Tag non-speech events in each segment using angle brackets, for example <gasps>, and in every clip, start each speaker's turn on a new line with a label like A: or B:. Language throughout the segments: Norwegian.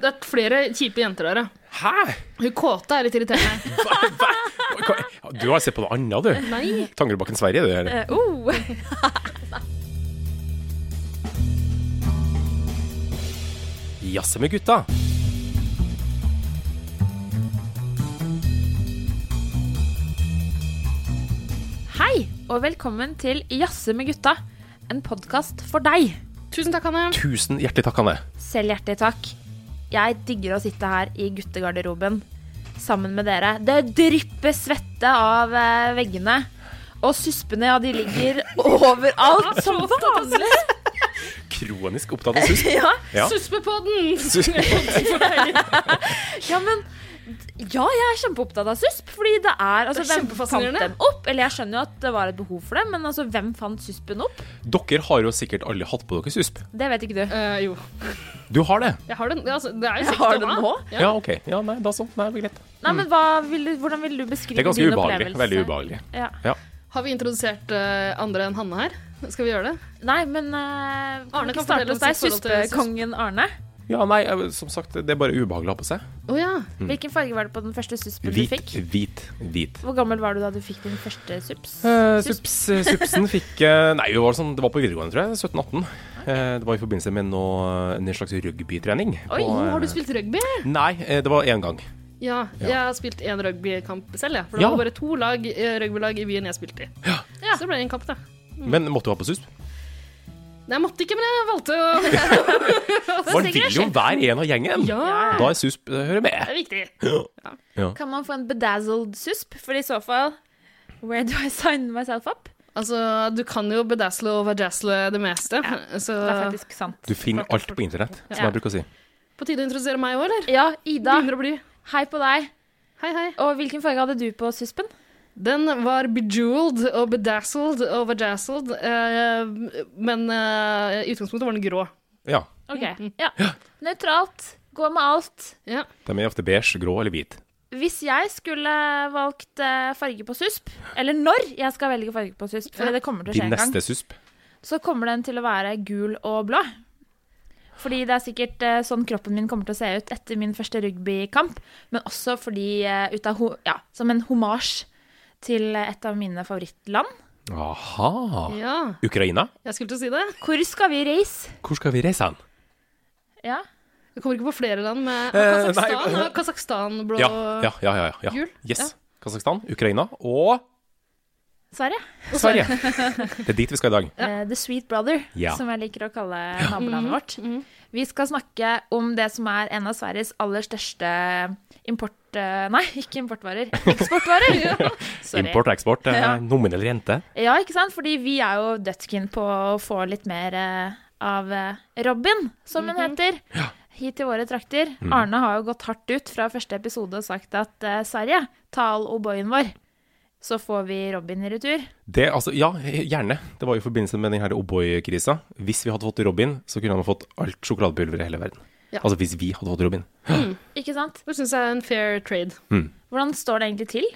A: Det er flere kjipe jenter der, ja.
B: Hæ?
A: Hun kåte er litt
C: <laughs>
A: irriterende.
B: Hva? Hva? Hva? Du har sett på noe annet, du.
A: Nei.
B: Tangerudbakken Sverige, du. eller?
C: Eh, oh.
B: Jazze med gutta.
C: <laughs> Hei, og velkommen til Jazze med gutta, en podkast for deg.
A: Tusen takk, Hanne.
B: Tusen hjertelig takk, Anne.
C: Selv hjertelig takk. Jeg digger å sitte her i guttegarderoben sammen med dere. Det drypper svette av eh, veggene, og suspene, ja, de
A: <laughs>
C: ligger overalt som vanlig.
B: Kronisk opptatt
C: <laughs>
B: av susk.
C: Ja,
B: Ja.
A: Suspepodden!
B: Sus-
C: ja, men ja, jeg er kjempeopptatt av susp. Fordi det er,
A: Det er
C: altså, Hvem fant
A: kjempefascinerende.
C: dem opp? Eller jeg skjønner jo at det var et behov for det, men altså, hvem fant suspen opp?
B: Dere har jo sikkert alle hatt på dere susp.
C: Det vet ikke du.
A: Eh, jo.
B: Du har det?
A: Jeg har den. Altså, det er jo sikkert
C: Har du
A: den
C: den
A: nå.
C: nå?
B: Ja, ok. Ja, nei, da så. Nei, det er greit.
C: Nei, men hva vil du, Hvordan vil du beskrive
B: Det er ganske
C: din
B: ubehagelig.
C: opplevelse?
B: Veldig ubehagelig.
C: Ja.
A: Har vi introdusert eh, andre enn Hanne her? Skal vi gjøre det?
C: Nei, men eh, kan
A: Arne
C: vi
A: kan
C: ikke starte
A: fortelle
C: hos deg?
A: sitt forhold til susp.
C: Suspekongen Arne.
B: Ja, nei, jeg- som sagt, det er bare ubehagelig å ha på seg.
A: Å ja.
B: Hm.
C: Hvilken farge var det på den første suspen du
B: Mm. Hvit,
C: fikk?
B: hvit, hvit.
C: Hvor gammel var du da du fikk din første <laughs> sups?
B: Eh,
C: Sups.
B: sups, eh, supsen fikk eh, Nei, det var, sånn, det var på videregående, tror jeg. 17-18. Eh, det var i forbindelse med noe, en slags rugbytrening.
C: Oi,
B: Og, eh,
A: Har du spilt rugby?
B: Nei, eh, det var én gang.
A: Ja. Jeg har spilt én rugbykamp selv, jeg. For det
B: Ja.
A: var bare to lag, eh, rugbylag i byen jeg spilte i. Så det ble en kamp, da.
B: Men måtte du ha på susp?
A: Nei, jeg måtte ikke, men jeg valgte å
B: Man vil jo være en av gjengen.
A: Ja.
B: Da er susp eh, hører
A: Det
B: med.
A: er viktig.
C: Kan man få en bedazzled susp? For i så fall Where do I sign myself up?
A: Altså, du kan jo bedazzle og vajazzle det meste, så
C: Det er faktisk sant.
B: Du finner alt på internett, som
C: Ja.
B: jeg bruker å si.
A: På tide å introdusere meg òg, eller?
C: Ja, Ida.
A: Begynner å bli.
C: Hei på deg.
A: Hei, hei.
C: Og hvilken farge hadde du på suspen?
A: Den var bejeweled og bedazzled og vajazzled, eh, men eh, i utgangspunktet var den grå.
B: Ja.
C: Ok, ja. Nøytralt. Gå med alt.
A: Ja.
B: De er ofte beige, grå eller hvit.
C: Hvis jeg skulle valgt eh, farge på susp, eller når jeg skal velge farge på susp, for det kommer til å skje
B: Din
C: en gang,
B: neste susp.
C: så kommer den til å være gul og blå. Fordi det er sikkert eh, sånn kroppen min kommer til å se ut etter min første rugbykamp, men også fordi eh, ut av ho ja, som en homasj til eh, et av mine favorittland.
B: Aha.
A: ja.
B: Ukraina?
A: Jeg skulle til å si det.
C: Hvor skal vi reise?
B: Hvor skal vi reise hen?
C: Ja.
A: Jeg kommer ikke på flere land med
B: Eh,
A: Kasakhstan.
B: nei.
A: har Kasakhstan blå
B: Ja, ja, ja. ja, ja.
A: Jul?
B: Yes.
A: Ja.
B: Kasakhstan, Ukraina og
C: Sverige.
B: Sverige. Det er dit vi skal i dag.
C: Eh, The Sweet Brother,
B: Ja.
C: som jeg liker å kalle nabolandet vårt. Vi skal snakke om det som er en av Sveriges aller største import... eh, Nei, ikke importvarer. Eksportvarer! Sorry.
B: Import og eksport. eh,
C: Ja.
B: Nominell rente.
C: Ja, ikke sant? Fordi vi er jo dødskin på å få litt mer eh, av eh, Robin, som hun heter, hit til våre trakter.
B: Mm.
C: Arne har jo gått hardt ut fra første episode og sagt at eh, Sverige, ta all O'boyen vår, så får vi Robin i retur.
B: Det, altså, ja, gjerne. Det var jo i forbindelse med denne O'boy-krisa. Hvis vi hadde fått Robin, så kunne han ha fått alt sjokoladepulveret i hele verden.
A: Ja.
B: Altså hvis vi hadde fått Robin.
C: Ikke sant?
A: Det syns jeg er en fair trade.
C: Hvordan står det egentlig til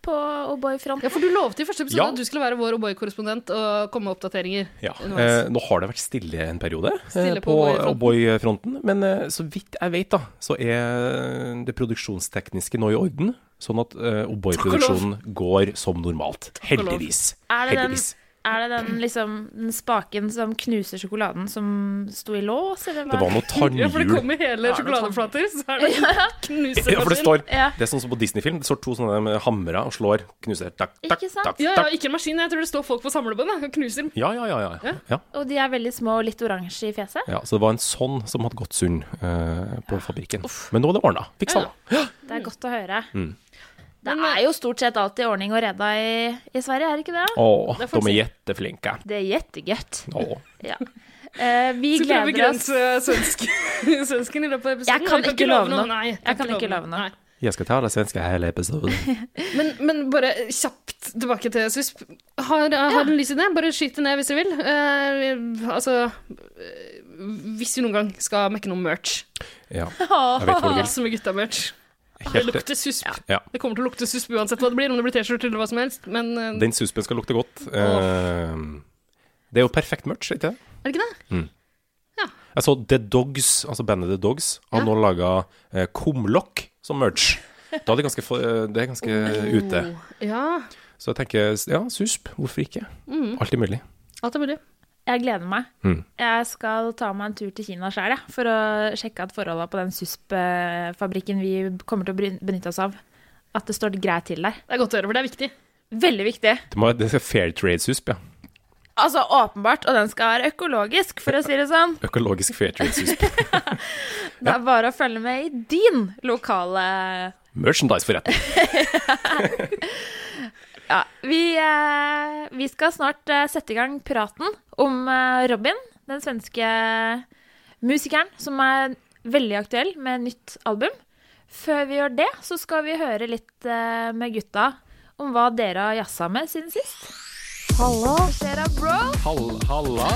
C: på O'boy-fronten?
A: Ja, For du lovte i første episode
B: Ja.
A: at du skulle være vår O'boy-korrespondent og komme med oppdateringer.
B: Ja.
A: underveis.
B: Eh, nå har det vært stille en periode eh,
A: Stille på
B: på
A: O'boy-fronten.
B: O'boy-fronten, men eh, så vidt jeg vet, da, så er det produksjonstekniske nå i orden. Sånn at eh, O'boy-produksjonen går som normalt.
A: og lov.
B: Heldigvis.
C: Er det den,
B: Heldigvis.
C: er det den, liksom, den spaken som knuser sjokoladen som sto i lås, eller hva?
B: Det var noe tannhjul.
A: Ja, for det kommer hele
C: Ja, det er
A: sjokoladeflater, så er det en knusemaskin.
B: <laughs> Ja, for det står
C: Ja.
B: Det er sånn som på Disney-film. Det står to sånne med hamre og slår, knuser takk, takk,
C: Ikke sant?
B: takk,
A: Ja, ja,
B: takk.
A: ikke en maskin. Jeg tror det står folk på samlebånd da, og knuser.
B: Ja, ja, ja, ja. ja. ja.
C: Og de er veldig små og litt oransje i fjeset.
B: Ja, Så det var en sånn som hadde gått sund eh, på fabrikken. Men nå er det ordna. Fikk sånn.
C: Det er godt å høre.
B: Mm.
C: Det
A: Men,
C: er jo stort sett alltid ordning og reda i, i Sverige, er det ikke det?
B: Å,
A: Det får
B: de er
A: vi
B: jetteflinke.
C: Det er jettegøtt.
B: Å.
C: Ja. Eh, vi
A: Vi gleder
C: gleder oss.
A: svensken, <laughs> svensken i løpet av episoden.
C: Jeg kan
A: Vi
C: ikke love noe.
A: Nei,
C: Jeg kan ikke love noe.
A: Nei.
B: Jeg skal ta det svenske hele episoden.
A: Men, men bare kjapt tilbake til SUSP. Har, har du en lys idé? Bare skyt det ned hvis du vil. Eh, altså eh, Hvis vi noen gang skal mekke noe merch.
B: Ja,
C: Åh,
B: jeg vet hvor det
A: Jazz med gutta-merch.
B: går.
A: Det
B: <laughs> Helt,
A: lukter SUSP.
B: Ja.
A: Det kommer til å lukte SUSP uansett hva det blir, om det blir T-skjorte eller hva som helst. Men eh,
B: den suspen skal lukte godt. Eh, det er jo perfekt merch, ikke det?
A: er det ikke det?
B: Mm.
A: Ja.
B: Jeg så The Dogs, altså bandet The Dogs, har
A: Ja.
B: nå laga eh, kumlokk som merch. Da er det ganske, få- eh, det er ganske ute.
A: Ja,
B: Så jeg tenker ja, susp, hvorfor ikke? Alltid mulig.
A: alt er mulig.
C: Jeg gleder meg.
B: Mm.
C: Jeg skal ta meg en tur til Kina sjøl, jeg, for å sjekke at forholda på den SUSP-fabrikken vi kommer til å bryn- benytte oss av, at det står greit til der.
A: Det er godt å høre, for det er viktig.
C: Veldig viktig.
B: Det, må, det er fair trade-susp, ja.
C: Altså åpenbart, og den skal være økologisk, for å si det sånn.
B: Økologisk fair trade-susp. <laughs>
C: Det er bare å følge med i din lokale
B: Merchandise-forretning.
C: Ja, vi, eh, vi skal snart eh, sette i gang praten om eh, Robin, den svenske musikeren som er veldig aktuell med nytt album. Før vi gjør det, så skal vi høre litt eh, med gutta om hva dere har jazza med siden sist.
D: Hallo,
C: Dere, bro.
B: Hall, halla.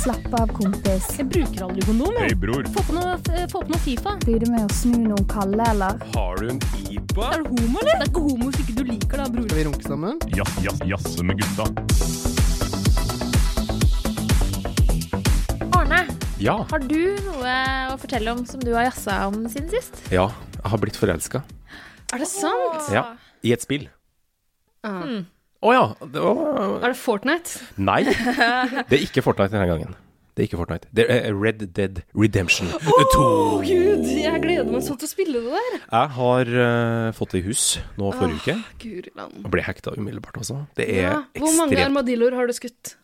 D: slapp av kompis.
E: Jeg bruker aldri kondom. jeg.
B: Hei, bror.
E: Få på noe, eh, få på noe Fifa.
D: Blir det med å snu noen kalde, eller?
B: Har du en IPA?
E: Er du homo, eller? Det er ikke homo hvis ikke du liker det, bror.
F: Skal vi runke sammen?
G: Jazz, jazz, jazze med gutta.
C: Arne,
B: Ja.
C: har du noe å fortelle om som du har jazza om siden sist?
B: Ja, jeg har blitt forelska.
A: Er det sant?
B: Ja. I et spill.
A: Ah.
C: Mm.
B: Å ja. Det var
A: Er det Fortnite?
B: Nei. Det er ikke Fortnite denne gangen. Det er ikke Fortnite. Det er Red Dead Redemption 2.
A: Å gud, jeg gleder meg sånn til å spille det der.
B: Jeg har eh, fått det i hus nå forrige uke.
A: Guri land.
B: Og ble hekta umiddelbart, altså. Det er
A: Ja. Hvor mange
B: ekstremt
A: armadilloer har du skutt?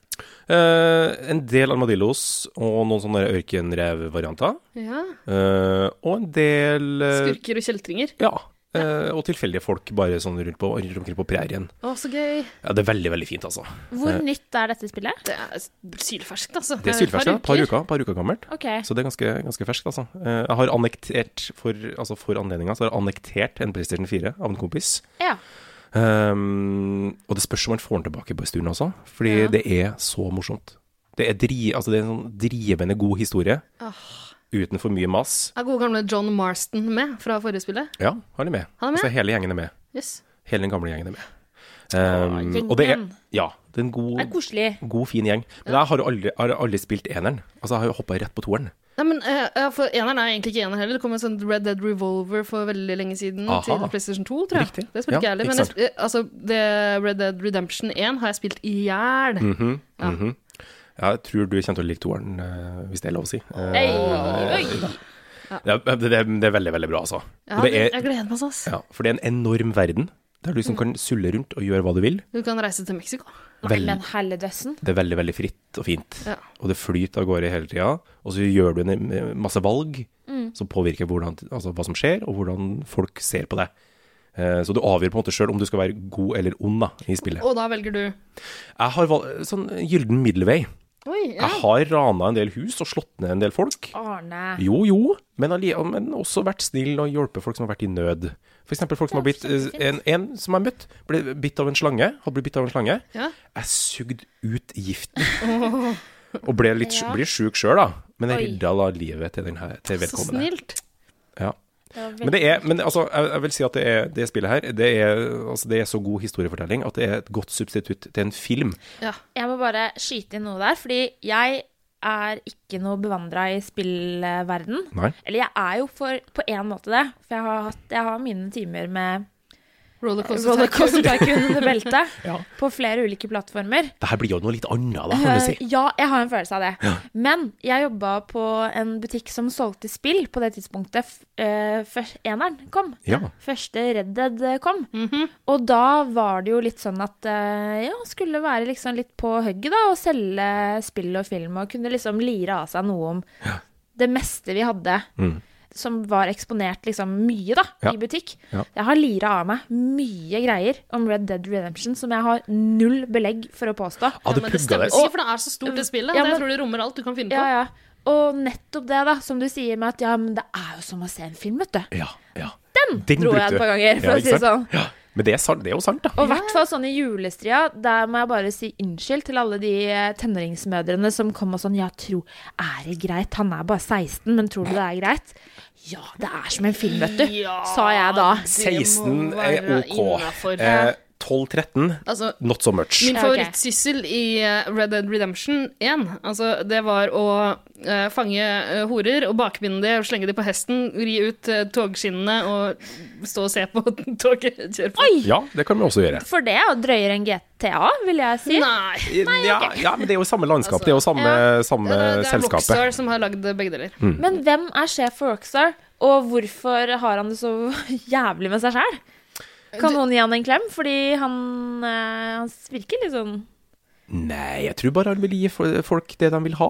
B: Eh, En del armadillos og noen sånne ørkenrevvarianter.
A: Ja.
B: Uh, og en del eh,
A: Skurker og kjeltringer.
B: Ja. eh, og tilfeldige folk bare sånn rundt, på, rundt omkring på prærien.
A: Å, så gøy.
B: Ja, det er veldig, veldig fint, altså.
C: Hvor nytt er dette spillet?
A: Det er sylferskt, altså.
B: Det er sylferskt, ja.
A: Et
B: Par uker, par uker gammelt.
C: Ok,
B: Så det er ganske, ganske ferskt, altså. Eh, Jeg har annektert, for, altså for anledninga, så har jeg annektert en PlayStation 4 av en kompis.
C: ja.
B: Ehm, og det spørs om han får den tilbake på stuen også, fordi det er så morsomt. Det er, dri, altså det er en sånn drivende god historie, uten for mye mas.
A: Er gode gamle John Marston med fra forrige spillet?
B: Ja, han er med.
A: Han er med?
B: Altså hele gjengen er med.
A: Yes.
B: Hele den gamle gjengen er med. Ehm,
C: Ah,
B: og det er,
C: gjengen.
B: ja, det er en
C: Det er
B: god,
C: koselig.
B: god fin gjeng. Men jeg har aldri, har aldri spilt eneren. Altså, jeg har jo hoppa rett på toeren.
A: Nei, men eh, ja, for Eneren er egentlig ikke ener heller. Det kom en sånn Red Dead Revolver for veldig lenge siden
B: Aha.
A: til PlayStation 2, tror jeg.
B: Riktig.
A: Det spilte
B: Ja,
A: ikke jeg heller.
B: ikke
A: Men jeg, sp- eh, altså, det Red Dead Redemption 1 har jeg spilt i hjel.
B: Mm.
A: Ja.
B: Ja, Jeg tror du kommer til å like toeren, eh, hvis det er lov å si. Eh,
C: Oi, oi.
B: det, er, det, er, det er veldig, veldig bra, altså.
A: Ja,
B: Og det er,
A: jeg Mm. gleder meg sånn. ass.
B: ja, for det er en enorm verden, der du liksom kan sulle rundt og gjøre hva du vil.
A: Du kan reise til Mexico.
C: Nei,
B: Vel-
C: men helledøssen.
B: det er veldig, veldig fritt og fint.
A: Ja.
B: Og det flyter av gårde hele tida. Og så gjør du en eh, masse valg
A: Mm.
B: som påvirker hvordan, altså, hva som skjer, og hvordan folk ser på deg. Eh, Så du avgjør på en måte sjøl om du skal være god eller ond da, i spillet.
A: Og da velger du
B: Jeg har valgt sånn gyllen middelvei.
A: Oi, ja.
B: Jeg har rana en del hus og slått ned en del folk.
C: Arne.
B: Jo, jo, men, alli- men også vært snill og hjulpet folk som har vært i nød. For eksempel folk som har blitt eh, en, en som jeg møtt, ble bitt av en slange. Hadde blitt bitt av en slange.
A: Ja.
B: Jeg sugde ut
A: <laughs>
B: giften. og ble litt sj- ble sjuk sjøl, da. Men jeg
C: Oi.
B: redda da livet til, den her, til
A: Så
B: vedkommende.
A: snilt.
B: Ja.
C: Det var
B: Men det er, men altså, jeg, jeg vil si at det, er, det spillet her, det er, altså, det er så god historiefortelling at det er et godt substitutt til en film.
A: Ja.
C: Jeg må bare skyte inn noe der, fordi jeg er ikke noe bevandra i spillverden.
B: Nei.
C: Eller jeg er jo for, på en måte det, for jeg har, hatt, jeg har mine timer med
A: Rollercoaster
C: Rollercoaster
A: <laughs>
C: Tycoon under beltet
B: Ja.
C: på flere ulike plattformer.
B: Det her blir jo noe litt annet, da, kan du si.
C: Eh, Ja, jeg har en følelse av det. Men jeg jobba på en butikk som solgte spill på det tidspunktet f eh, først eneren kom.
B: Ja.
C: Første Red Dead eh, kom. Og da var det jo litt sånn at eh, ja, skulle være liksom litt på hugget da, og selge spill og film, og kunne liksom lire av seg noe om det meste vi hadde. Som var eksponert liksom mye da,
B: Mm. Ja.
C: i butikk.
B: Ja.
C: Jeg har lira av meg mye greier om Red Dead Redemption som jeg har null belegg for å påstå.
B: Ja, du
A: men det
B: pugga
A: stemmer
B: det.
A: ikke, for det er så stort, det spillet.
C: Ja,
A: at
C: men-
A: jeg tror det rommer alt du kan finne på.
C: Ja, ja. Og nettopp det, da, som du sier med at ja, men det er jo som å se en film, vet du.
B: Ja, ja.
C: Den, dro
B: brukte
C: jeg
B: du.
C: et par ganger, for
B: Ja,
C: å si
B: ikke
C: det sånn.
B: sant? Ja. Men det er, sant, det er jo sant, da.
C: Og i hvert fall sånn i julestria, der må jeg bare si unnskyld til alle de eh, tenåringsmødrene som kom og sånn Ja, tro Er det greit? Han er bare 16, men tror du det er greit? Ja, det er som en film, vet du, sa jeg da.
B: 16 er ok.
A: innafor.
B: Eh, 12-13,
A: Altså,
B: not so much.
A: Min
C: Ja, ok.
A: favorittsyssel i eh, Red Dead Redemption 1, altså, det var å eh, fange eh, horer og bakbinde dem og slenge dem på hesten, ri ut eh, togskinnene og stå og se på <laughs> toget kjøre på.
B: Ja, det kan vi også gjøre.
C: For det er jo drøyere enn GTA, vil jeg si.
A: Nei!
B: ja, ja, men det er jo samme landskap, det er jo samme,
A: Det
B: samme
A: er, det er
B: selskapet. Mm.
A: Rockstar som har lagd begge deler.
C: Men hvem er sjef for Rockstar, og hvorfor har han det så <laughs> jævlig med seg sjæl? Kan noen gi han en klem? Fordi han, eh, han virker litt sånn
B: Nei, jeg tror bare han vil gi fo- folk det de vil ha.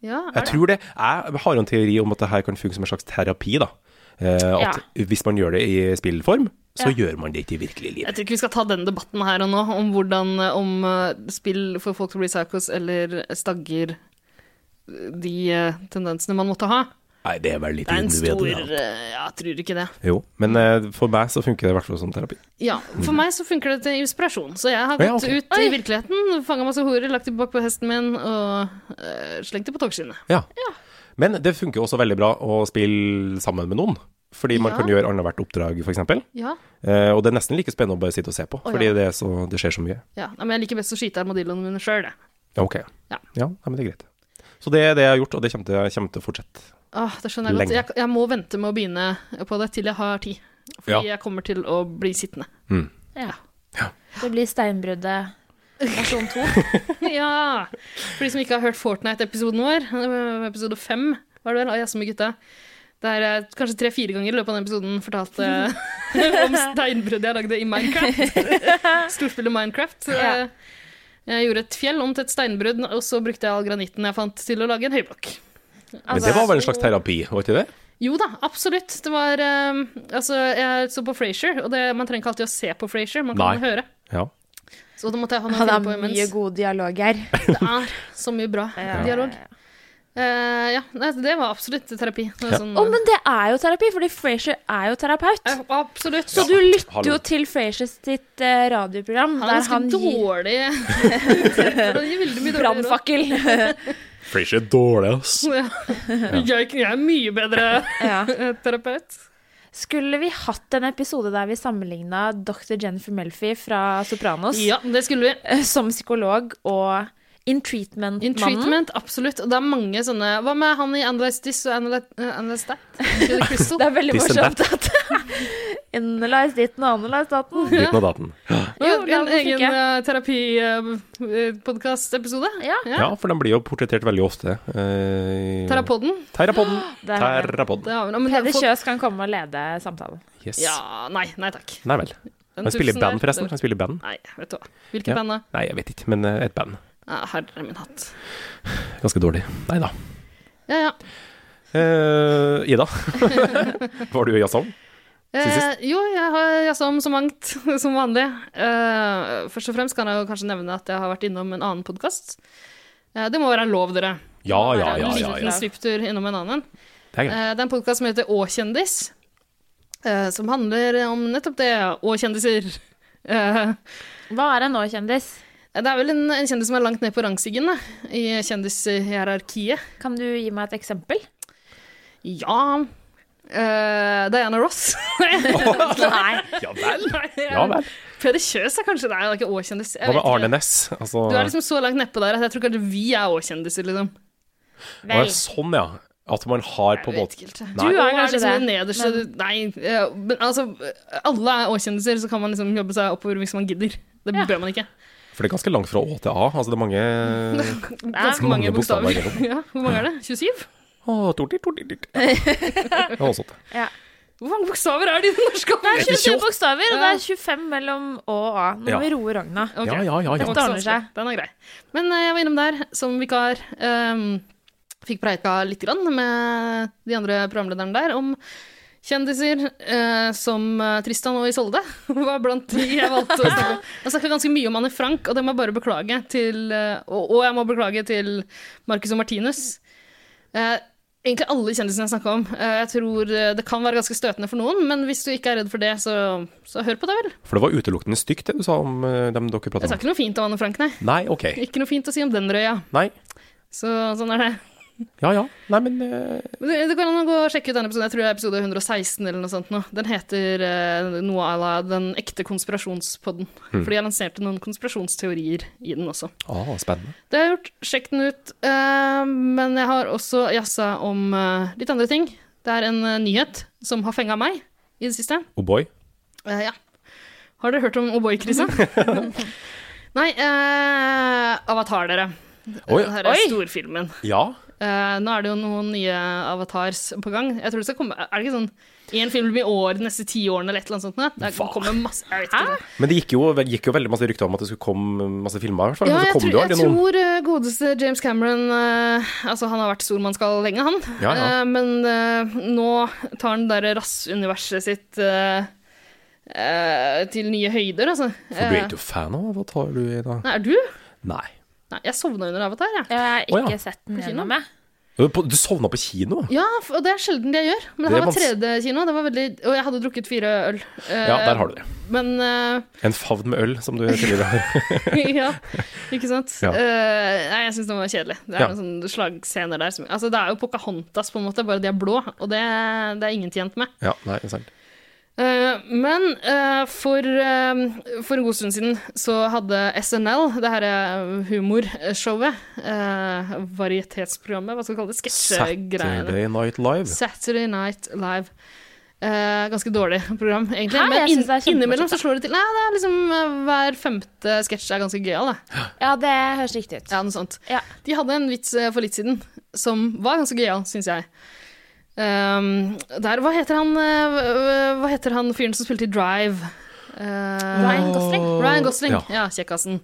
A: Ja, er
B: Jeg
A: det?
B: tror det. Jeg har jo en teori om at det her kan funke som en slags terapi, da. Eh, at hvis man gjør det i spillform, så gjør man det ikke i virkelig liv.
A: Jeg tror ikke vi skal ta den debatten her og nå, om hvordan eh, om eh, spill får folk til å bli psychos eller stagger de eh, tendensene man måtte ha.
B: Nei, det er vel litt
A: Det er en stor
B: individuelt.
A: eh, Ja, jeg tror ikke det.
B: Jo, men eh, for meg så funker det i hvert fall som terapi.
A: Ja, for meg så funker det til inspirasjon. Så jeg har gått
B: Ja, ok.
A: ut i virkeligheten, fanga masse horer, lagt dem bak på hesten min og eh, slengt dem på togskinnet.
B: Ja. Men det funker også veldig bra å spille sammen med noen. Fordi man
A: Ja.
B: kan gjøre annethvert oppdrag, f.eks.
A: Ja.
B: Eh, og det er nesten like spennende å bare sitte og se
A: Å,
B: på,
A: ja.
B: fordi det, er så, det skjer så mye.
A: ja. Nei, Men jeg liker best å skyte armadilloene mine sjøl, jeg.
B: Ja, ok.
A: Ja.
B: ja nei, men det er greit. Så det er det jeg har gjort, og det kommer til, kommer til å fortsette.
A: Åh, det skjønner jeg godt.
B: Lenge.
A: Jeg, jeg må vente med å begynne på det til jeg har tid. Fordi
B: Ja.
A: jeg kommer til å bli sittende.
C: Ja. Det blir steinbruddet versjon
B: <laughs>
C: to.
A: <laughs> ja! For de som ikke har hørt Fortnite-episoden vår, eh, episode fem, var det vel, av Jazze med gutta. Der jeg kanskje tre-fire ganger i løpet av den episoden
C: <laughs>
A: fortalte om steinbruddet jeg lagde i
C: <laughs>
A: Minecraft. Storspillet Minecraft.
C: Ja.
A: Eh, Jeg gjorde et fjell om til et steinbrudd, og så brukte jeg all granitten jeg fant til å lage en høyblokk. Altså,
B: Men
C: Altså,
B: det var vel en slags terapi, var ikke det?
A: Jo da, absolutt. Det var eh, Altså, jeg så på Frasier, og det, man trenger ikke alltid å se på Frasier, man kan
B: Nei.
A: høre.
B: Ja.
A: Så da måtte jeg ha noe å
C: Han
A: finne
C: har
A: på
C: mye
A: imens.
C: god dialog her.
A: Det er så mye bra dialog. Eh, ja, nei, det var absolutt terapi. Det var
B: Ja.
A: sånn,
C: Å, men det er jo terapi, fordi Frasier er jo terapeut.
A: eh, absolutt.
C: Så du lytter
B: hallo.
C: jo til Frasier sitt eh, radioprogram
A: Han er
C: der
A: ganske
C: han gir
A: dårlig
C: <laughs>
A: Han gir veldig mye dårlig råd.
C: brannfakkel.
A: <laughs>
C: <laughs>
B: Frasier er dårlig, ass.
A: Ja. Jeg, jeg er mye bedre eh,
C: ja.
A: terapeut.
C: Skulle vi hatt en episode der vi sammenligna dr. Jennifer Melfi fra Sopranos
A: Ja, det skulle vi.
C: eh, <laughs> som psykolog og In
A: In
C: Treatment-mannen?
A: treatment, absolutt. Og det er mange sånne Hva med han i Analyze This og Analyze, eh, analyze That? Til Crystal?
C: <laughs> Det er veldig
B: This and
C: morsomt at <laughs> Analyze ditten og analyze datten.
B: Ditten og datten.
A: Jo,
C: Jo,
A: en
C: den fikk
A: egen eh,
C: jeg.
A: terapipodkast-episode.
C: Ja.
B: Ja, for den blir jo portrettert veldig ofte. Eh,
A: Terapoden.
B: Terrapoden.
C: Der har vi
A: <gasps>
C: den.
A: Det
B: Terrapoden.
A: har vi. nå, men det
C: Peder
A: har vi fått-
C: Kjøs kan komme og lede samtalen.
B: Yes.
A: Ja, nei, nei takk.
B: Nei vel.
A: Den
B: Han spiller i
A: tusen
B: band,
A: der,
B: forresten.
A: det-
B: Han spiller i band.
A: Nei, vet du hva. Hvilket
B: Ja.
A: band da?
B: Nei, jeg vet ikke, men eh, et band.
A: Ah, Herre min hatt.
B: Ganske dårlig. Nei da.
A: Ja, ja.
B: Eh, Ida,
A: <laughs>
B: var du i jazzhall?
A: Eh,
B: Siden
A: jo, jeg har jazza om så mangt, <laughs> som vanlig. Eh, først og fremst kan jeg jo kanskje nevne at jeg har vært innom en annen podkast. Eh, det må være lov, dere.
B: Ja,
C: Nei,
B: ja, ja,
A: en
B: ja,
A: liten
B: ja.
A: svipptur innom en annen.
B: Det er greit.
A: Eh, det er en podkast som heter Å kjendis, eh, som handler om nettopp det. Å kjendiser. Eh,
C: Hva er en nå-kjendis?
A: det er vel en, en kjendis som er langt ned på rangstigen da, i kjendishierarkiet.
C: Kan du gi meg et eksempel?
A: Ja eh, Diana Ross. <laughs>
C: Nei.
B: Ja vel.
A: Nei,
B: Ja vel.
A: Peder Kjøs er kanskje Nei, han er ikke Å-kjendis. Jeg
B: Hva
A: vet
B: med
A: ikke.
B: Arne Næss? Altså,
A: Du er liksom så langt nedpå der at jeg tror kanskje vi er Å-kjendiser, liksom.
B: Å, ja,
C: Vel.
B: Sånn, ja. At man har på en måte
A: ikke helt.
B: Nei.
A: Du er
C: kanskje
A: kanskje liksom
C: det,
A: det nederste Nei, eh, men altså Alle er Å-kjendiser, så kan man liksom jobbe seg oppover hvis man gidder. Det
C: Ja.
A: bør man ikke.
B: For det er ganske langt fra Å til A. Altså, det er mange
A: <laughs> Ganske mange
B: mange bokstaver
A: bokstaver. <laughs> ja, hvor mange er det? 27?
B: Å, torti, torti,
A: <laughs>
B: torti. Ja, noe sånt.
A: Hvor mange bokstaver er det i det norske
C: Det er
A: alfabetet?
C: 27 bokstaver, og det
A: Ja.
C: er 25 mellom Å og A. Nå
B: Ja.
C: må vi roe Ragna.
A: Ok.
B: Ja, ja, ja.
A: Det
B: ja.
A: var
C: Dette
A: ikke så
C: ordner seg.
A: vanskelig. Den er grei. Men eh, jeg var innom der som vikar. ehm, fikk preika litt grann med de andre programlederne der om kjendiser eh, som eh, Tristan og Isolde <laughs> var blant de jeg valgte å
C: <laughs>
A: snakke om. Jeg snakka ganske mye om Anne Frank, og det må jeg bare beklage til eh, og, og jeg må beklage til Marcus og Martinus. Eh, Egentlig alle kjendisene jeg snakka om. Eh, Jeg tror eh, Det kan være ganske støtende for noen, men hvis du ikke er redd for det, så, så hør på det, vel.
B: For det var utelukkende stygt, det du sa om eh, dem dere
A: Jeg
B: prata
A: sa
B: om.
A: ikke noe fint om Anne Frank, nei.
B: Nei, ok.
A: Ikke noe fint å si om den røya.
B: Nei.
A: Så sånn er det.
B: Ja ja. Nei, men eh,
A: Men Det, det går an å gå og sjekke ut den episoden. Jeg tror det er episode 116 eller noe sånt nå. Den heter eh, noe à la Den ekte konspirasjonspodden.
B: Hmm.
A: For de har lansert noen konspirasjonsteorier i den også.
B: ah, spennende.
A: Det har jeg gjort. Sjekk den ut. Eh, men jeg har også jazza om eh, litt andre ting. Det er en eh, nyhet som har fenga meg i det siste.
B: Oh boy.
A: Eh, ja. Har dere hørt om O'boy-krisa?
B: <laughs>
A: Nei, eh, Avatar, dere.
B: Oi.
A: Dette er storfilmen.
B: Ja.
A: Eh, nå er det jo noen nye avatars på gang. Jeg tror det skal komme, Er det ikke sånn én film i år de neste ti årene eller et eller annet sånt? nå? Det
B: Hva?
A: kommer masse Jeg vet ikke.
B: Men det gikk jo, det gikk jo veldig masse rykter om at det skulle komme masse filmer, i hvert fall.
A: Ja,
B: men så
A: jeg, tror,
B: kom det jo
A: jeg
B: aldri noen.
A: tror eh, godeste James Cameron eh, Altså, han har vært stormannsgal lenge, han.
B: Ja, ja.
A: Eh, men eh, nå tar han det derre rassuniverset sitt eh, eh, til nye høyder, altså.
B: For du er
A: Eh,
B: ikke jo fan av Avatar, du, Ida?
A: Nei, er du?
B: Nei.
A: Nei, jeg sovna under Avatar, jeg.
C: Jeg har
B: Å,
C: ikke
B: ja.
C: sett den
A: kino?
C: gjennom, jeg.
B: Du, på- du sovna på kino?
A: Ja, f- og det er sjelden det jeg gjør. Men det,
B: Det er
A: her var
B: vans-
A: tredje kino, det var veldig, og jeg hadde drukket fire øl.
B: Ja,
A: Eh.
B: der har du det.
A: Men eh,
B: En favn med øl,
A: <laughs>
B: som du tidligere har.
A: ja, ikke sant?
B: Ja.
A: Eh, nei, jeg syns den var kjedelig. Det er
B: Ja.
A: noen sånne slagscener der som Altså, det er jo Pocahontas, på en måte, bare de er blå, og det, det er ingen tjent med.
B: Ja, nei, det er sant.
A: Eh, men eh, for, eh, for en god stund siden så hadde SNL, det herre humorshowet, uh, varietetsprogrammet, hva skal vi kalle det, sketsjegreiene
B: Saturday Night Live.
A: Saturday Night Live. Eh, ganske dårlig program, egentlig.
C: Hæ?
A: Men
C: Jeg synes
A: inn,
C: det er kjempemorsomt,
A: innimellom så slår det til. Nei, det er liksom eh, Hver femte sketsj er ganske gøyal, da.
C: Ja, det høres riktig ut.
A: Ja, noe sånt.
C: Ja.
A: De hadde en vits eh, for litt siden som var ganske gøyal, syns jeg. Ehm, der, hva heter han eh, hva- Hva heter han fyren som spilte i Drive? Eh,
C: Ryan Gosling?
A: Ryan Gosling.
B: Ja.
A: Ja, kjekkasen.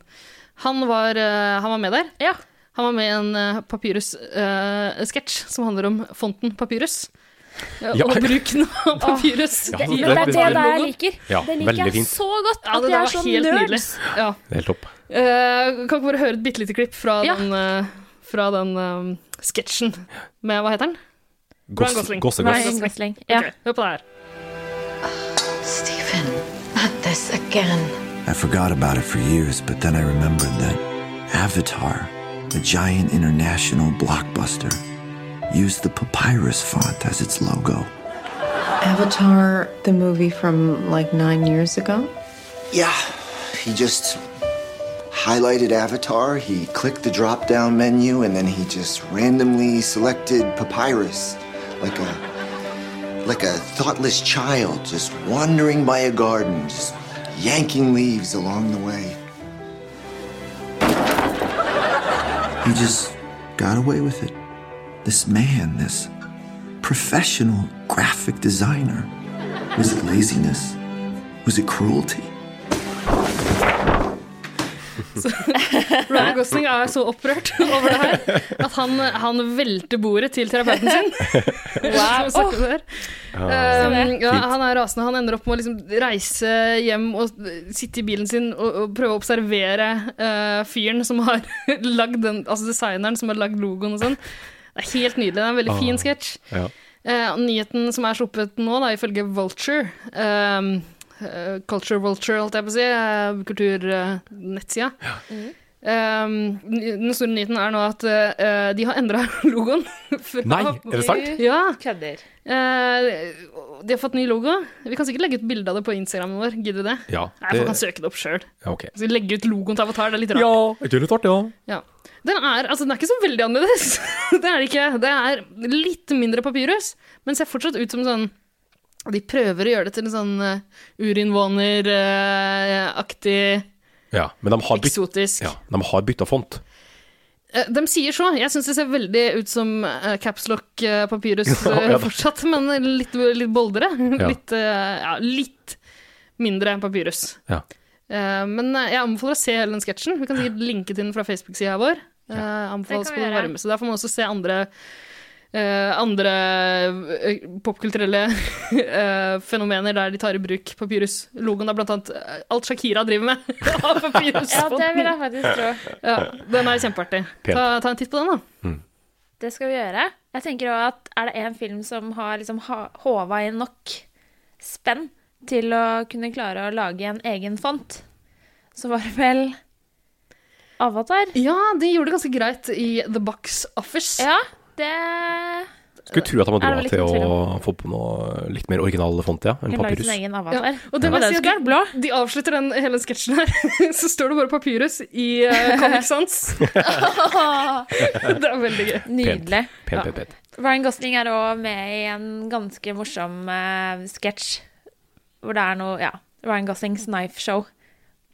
A: Han var, eh, han var med der.
C: Ja.
A: Han var med i en eh, papyrus-sketsj som handler om fonten papyrus. Eh,
B: Ja.
A: Og bruken av papyrus. i-
B: Ja, det-
C: Men det er det der jeg
A: Logo.
C: liker.
B: Ja,
C: det
B: veldig
C: liker jeg
B: fint.
C: så godt.
A: Ja, det
C: At de
A: der
C: er sånn
A: var
C: så
A: helt nydelig.
C: nerds.
A: Ja.
B: Det er helt topp.
A: Eh, kan ikke bare høre et bitte lite klipp fra
C: Ja.
A: den, eh, fra den eh, sketsjen med Hva heter den? Ryan Gosling.
B: Gossegoss.
C: Ryan Gosling. Ja.
A: Ok, hør på det her.
F: Stephen, not this again.
H: I forgot about it for years, but then I remembered that Avatar, the giant international blockbuster, used the papyrus font as its logo.
F: Avatar, the movie from like nine years ago?
H: Yeah, he just highlighted Avatar, he clicked the drop down menu, and then he just randomly selected papyrus like a like a thoughtless child just wandering by a garden, just yanking leaves along the way. He just got away with it. This man, this professional graphic designer. Was it laziness? Was it cruelty?
A: Ryan Gosling er så opprørt <laughs> over det her at han, han velter bordet til terapeuten sin.
C: <laughs>
A: Wow. Som vi snakket om før. Um, ja, han er rasende. Han ender opp med å liksom reise hjem og sitte i bilen sin og, og prøve å observere eh, fyren som har <laughs> lagd den, altså designeren som har lagd logoen og sånn. Det er helt nydelig. Det er en veldig fin sketsj.
B: Ja.
A: Eh, og nyheten som er sluppet nå, da, ifølge Vulture ehm, eh, Culture Vulture, holdt jeg på å si. eh, Kulturnettsida. Ehm, den store nyheten er nå at eh, de har endra <laughs> logoen. fra-
B: Nei, er det sant?
A: Ja.
C: Kødder.
A: eh, de har fått ny logo. Vi kan sikkert legge ut bilde av det på Instagramen vår. Gidder du det?
B: Ja,
A: Nei,
B: det,
A: Folk kan søke det opp sjøl.
B: ja, ok.
A: Skal vi legge ut logoen til Avatar? Det er litt rart.
B: Ja, er ikke det litt artig, ja?
A: Ja. Den er, altså, den er ikke så veldig annerledes. <laughs> det er det ikke. Det er litt mindre papyrus, men ser fortsatt ut som sånn De prøver å gjøre det til en sånn eh, urinnvåneraktig,
B: Ja, men de har, bytt,
A: eksotisk
B: ja, de har bytta font.
A: Eh, De sier så. Jeg syns det ser veldig ut som eh, caps lock eh, papyrus eh,
B: <laughs> Ja da.
A: fortsatt, men litt, litt boldere.
B: Ja.
A: Litt, eh, ja, litt mindre papyrus.
B: Ja.
A: Eh, men eh, jeg anbefaler å se hele den sketsjen. Vi kan sikkert linke til den fra Facebook-sida vår. Eh, anbefales
C: Det
A: på
C: kan vi
A: det
C: gjøre.
A: varmeste. Der får man også se andre eh, andre eh, popkulturelle <laughs> eh, fenomener der de tar i bruk papyrus-logoen. Det er blant annet eh, alt Shakira driver med <laughs> av papyrus.
C: Ja, det vil jeg faktisk tro.
A: ja, den er kjempeartig.
B: Pent.
A: Ta, ta en titt på den, da.
C: Det skal vi gjøre. Jeg tenker også at Er det én film som har liksom ha- håva inn nok spenn til å kunne klare å lage en egen font, så var det vel Avatar.
A: Ja, de gjorde det ganske greit i The Box Office.
C: Ja, Det
B: Skulle tro at han
C: Er
B: hadde
C: det
B: råd
C: vel
A: sånn
B: til
C: ikke
B: å få på noe litt mer original font, ja. Enn
C: Hun lagde
B: papirus.
C: sin egen avatar.
A: Ja, og det
C: Men
A: vil
C: den
A: si at
C: skulle være <laughs> blå.
A: De avslutter den hele sketsjen her, <laughs> så står det bare papyrus i <laughs> uh, Comic Sans. det er veldig gøy.
C: Nydelig.
B: Pent, pent, pent.
C: Ryan Gosling er òg med i en ganske morsom eh, sketsj hvor det er noe Ja, Ryan Goslings knife show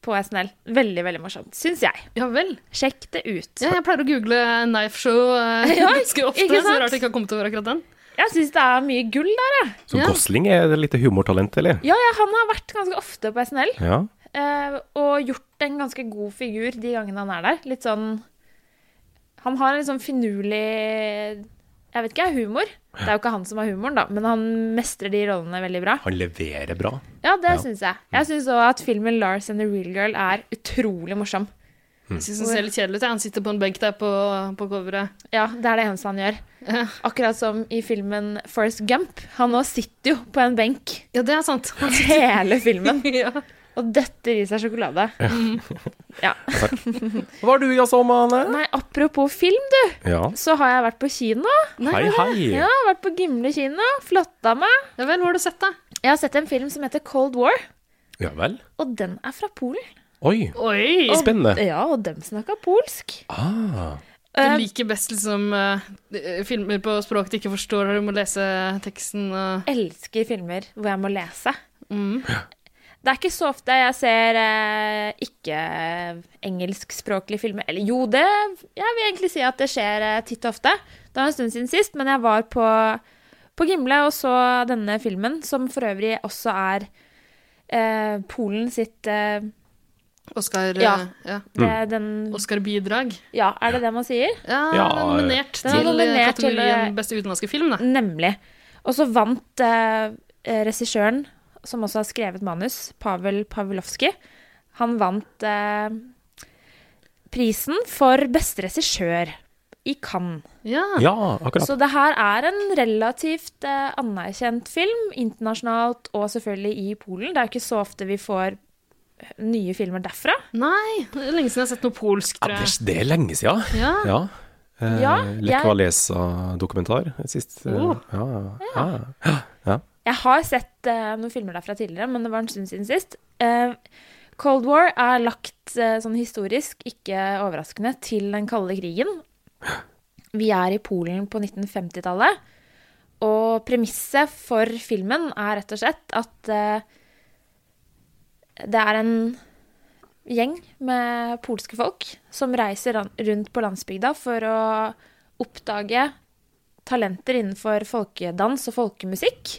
C: på SNL. Veldig, veldig morsomt, syns jeg.
A: Ja vel.
C: Sjekk det ut.
A: Ja, jeg pleier å google knife show eh,
C: Ja,
A: ganske ofte,
C: ikke
A: så det
C: sant?
A: er rart jeg ikke har kommet over akkurat den.
C: Jeg syns det er mye gull der, jeg.
B: Så
A: Ja.
B: Gosling er et lite humortalent, eller?
C: Ja, ja, han har vært ganske ofte på SNL
B: Ja.
C: eh, og gjort en ganske god figur de gangene han er der. Litt sånn Han har en litt sånn finurlig Jeg vet ikke, humor. Det er jo ikke han som har humoren, da, men han mestrer de rollene veldig bra.
B: Han leverer bra.
C: Ja, det
B: Ja.
C: syns jeg. Jeg syns òg at filmen 'Lars and the Real Girl' er utrolig morsom.
A: Jeg synes den ser litt kjedelig ut. jeg. Han sitter på en benk der på, på coveret.
C: Ja, det er det eneste han <laughs> gjør. Akkurat som i filmen 'Forest Gump'. Han nå sitter jo på en benk
A: <laughs> Ja, det er sant. Han sitter-
C: hele filmen
A: ja.
C: og døtter i seg sjokolade. Ja.
B: Hva har du gjort om, Anne?
C: Nei, apropos film, du,
B: Ja.
C: så har jeg vært på kino.
B: Hei, hei.
C: Ja, vært på Gimle kino, flotta meg.
A: ja vel, hvor har du sett det?
C: Jeg har sett en film som heter Cold War,
B: Ja vel.
C: og den er fra Polen.
B: Oi,
A: Oi!
B: spennende.
C: Ja, og dem snakka polsk.
B: Ah.
A: Du eh, liker best liksom eh, filmer på språk du ikke forstår, og du må lese teksten og
C: elsker filmer hvor jeg må lese. Det er ikke så ofte jeg ser eh, ikke-engelskspråklige filmer. Eller jo, det Jeg vil egentlig si at det skjer eh, titt og ofte. Det var en stund siden sist, men jeg var på, på Gimle og så denne filmen, som for øvrig også er eh, Polen sitt eh,
A: Oscar, eh,
C: Ja.
A: ja.
C: det, den,
A: Oscar-bidrag.
C: Ja, er det det man sier?
A: Ja,
B: Ja,
A: nominert til
C: Den er
A: eh,
C: nominert til,
A: kategorien
C: eh,
A: beste utenlandske film, da.
C: Nemlig. Og så vant eh, eh, regissøren, som også har skrevet manus, Pavel Pavlovskij, han vant eh, prisen for beste regissør i Cannes.
A: Ja.
B: Ja, akkurat.
C: Så det her er en relativt eh, anerkjent film, internasjonalt og selvfølgelig i Polen. Det er jo ikke så ofte vi får eh, nye filmer derfra.
A: Nei, det er lenge siden jeg har sett noe polsk,
B: Ja,
A: tror
B: det,
A: jeg.
B: det er lenge siden.
A: Ja.
B: Ja. Eh,
C: Ja, jeg-
B: Lekva Lesa-dokumentar sist. eh,
A: Oh.
B: Ja, Ah. ja.
C: Jeg har sett eh, noen filmer derfra tidligere, men det var en stund siden sist. Eh, Cold War er lagt eh, sånn historisk, ikke overraskende, til den kalde krigen. Vi er i Polen på 1950-tallet, og premisset for filmen er rett og slett at eh, det er en gjeng med polske folk som reiser ran- rundt på landsbygda for å oppdage talenter innenfor folkedans og folkemusikk.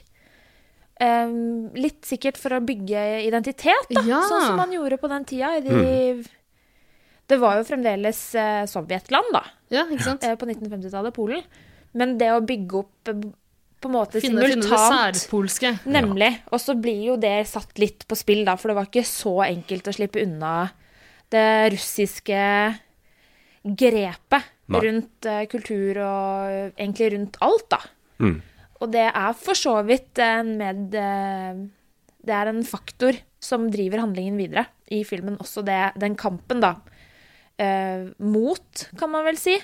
C: Ehm, litt sikkert for å bygge identitet, da,
A: Ja.
C: sånn som man gjorde på den tida. I de, Det var jo fremdeles eh, Sovjetland, da,
A: Ja, ikke sant?
C: eh, på 1950-tallet, Polen. Men det å bygge opp eh, på en måte
A: Finne, finne det
C: simultant
A: særpolske.
C: Nemlig. Og så blir jo det satt litt på spill, da, for det var ikke så enkelt å slippe unna det russiske grepet
B: Nei.
C: rundt eh, kultur og eh, egentlig rundt alt, da.
B: Mm.
C: Og det er for så vidt en med eh, Det er en faktor som driver handlingen videre i filmen, også det, den kampen, da. Eh, mot, kan man vel si.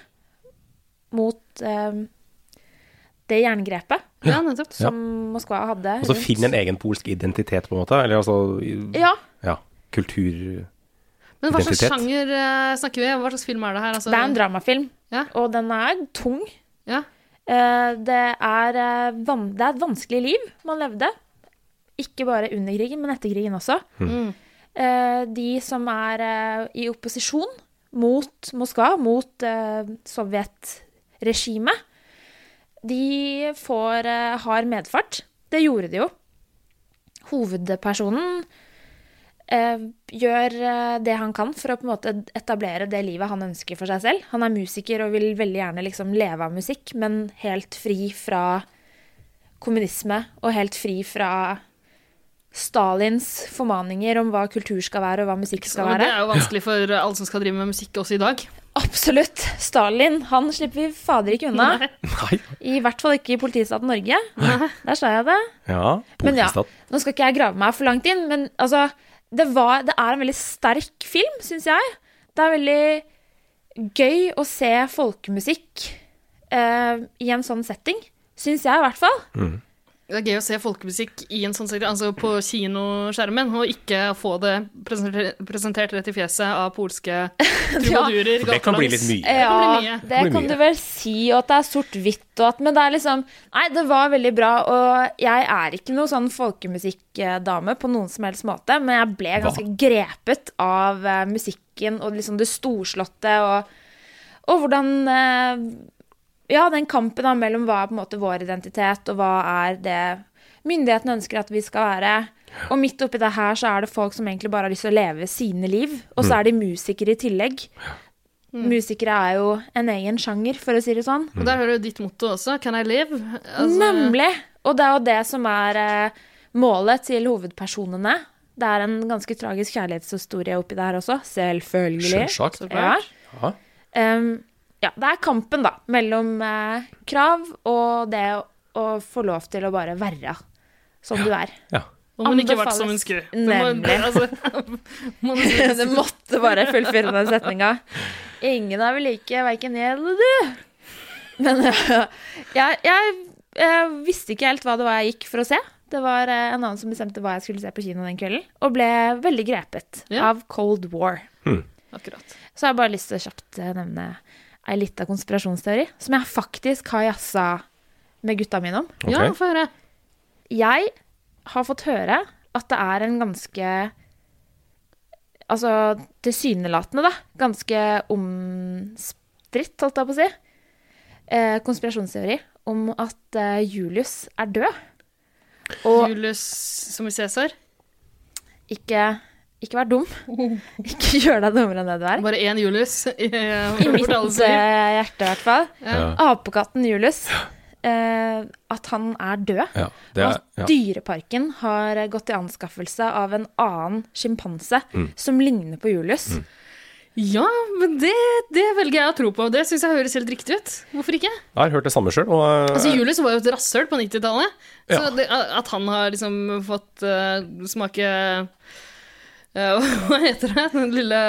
C: Mot eh, det jerngrepet
A: Ja, nettopp.
C: som Moskva hadde.
B: Og så
C: rundt-
B: finne en egen polsk identitet, på en måte. Eller altså i-
C: Ja.
B: ja. Kultur
A: Men hva slags
B: Identitet.
A: sjanger eh, snakker vi om? Hva slags film er det her? Altså,
C: Det er en dramafilm,
A: Ja.
C: og den er tung.
A: Ja.
C: Eh, Det er, eh, van det er et vanskelig liv man levde. Ikke bare under krigen, men etter krigen også. Eh, De som er eh, i opposisjon mot Moskva, mot eh, sovjetregimet, de får eh, hard medfart. Det gjorde de jo. Hovedpersonen eh, gjør eh, det han kan for å på en måte etablere det livet han ønsker for seg selv. Han er musiker og vil veldig gjerne liksom leve av musikk, men helt fri fra kommunisme og helt fri fra Stalins formaninger om hva kultur skal være og hva musikk skal
A: Men
C: være.
A: det er jo vanskelig for eh, alle som skal drive med musikk også i dag.
C: Absolutt! Stalin, han slipper vi fader ikke unna.
B: Nei.
C: I hvert fall ikke i politistaten Norge. Der sa jeg det.
B: Ja.
C: Men ja,
B: Polkestad.
C: nå skal ikke jeg grave meg for langt inn, men altså, det, var, det er en veldig sterk film, syns jeg. Det er veldig gøy å se folkemusikk eh, i en sånn setting. Syns jeg, i hvert fall.
A: Det er gøy å se folkemusikk i en sånn serie, altså på kinoskjermen, og ikke få det presenter- presentert rett i fjeset av
C: <laughs>
A: polske trubadurer.
B: For det kan bli
A: gatelangs.
B: litt mye.
A: kan bli
C: Ja,
A: mye.
C: det
B: Det blir
C: kan
B: mye.
C: du vel si, og at det er sort-hvitt og at Men det er liksom Nei, det var veldig bra, og jeg er ikke noe sånn folkemusikkdame på noen som helst måte, men jeg ble ganske grepet av eh, musikken og liksom det storslåtte og, og hvordan eh, Ja, den kampen da mellom hva er på en måte vår identitet, og hva er det myndighetene ønsker at vi skal være. Og midt oppi det her så er det folk som egentlig bare har lyst til å leve sine liv, og så
B: Mm.
C: er de musikere i tillegg. Musikere er jo en egen sjanger, for å si det sånn.
B: Mm.
A: Og der har du ditt motto også, 'Can I live?' Altså,
C: Nemlig! Og det er jo det som er eh, målet til hovedpersonene. Det er en ganske tragisk kjærlighetshistorie oppi der også, selvfølgelig.
B: Selvsagt.
C: Ja.
B: Ja.
C: Em, ja, det er kampen, da, mellom eh, krav og det å, å få lov til å bare være som du er.
B: Ja.
A: Om hun ikke har vært som hun
C: Anbefales
A: skulle.
C: nemlig. <laughs>
A: Altså, må du si
C: Det måtte bare fullføre den setninga. Ingen er vel like, verken jeg eller du. Men <laughs> jeg, jeg, jeg visste ikke helt hva det var jeg gikk for å se. Det var eh, en annen som bestemte hva jeg skulle se på kino den kvelden, og ble veldig grepet
A: Ja.
C: av Cold War.
A: Akkurat.
C: Så har jeg bare lyst til å kjapt eh, nevne ei lita konspirasjonsteori som jeg faktisk har jazza med gutta mine om.
B: Ok.
A: Ja, få høre.
C: Jeg har fått høre at det er en ganske Altså tilsynelatende, da. Ganske omstridt, holdt jeg på å si. Eh, konspirasjonsteori om at eh, Julius er død. Og
A: Julius som i Cæsar.
C: ikke, ikke vær dum. Ikke gjør deg dummere enn det du er.
A: Bare én Julius i,
C: I mitt eh,
A: fortalelse.
C: hjerte, i hvert fall.
B: Ja.
C: Apekatten Julius. Eh, at han er død.
B: Ja. Det er,
C: og
B: ja.
C: at Dyreparken har gått til anskaffelse av en annen sjimpanse
B: Mm.
C: som ligner på Julius.
A: Ja, men det, det velger jeg å tro på. Det syns jeg høres helt riktig ut. Hvorfor ikke?
B: Jeg har hørt det samme sjøl. Og
A: Altså, Julius var jo et rasshøl på 90-tallet. Så
B: Eh. Ja.
A: det, at han har liksom fått eh, smake eh, <laughs> Hva heter det? Den lille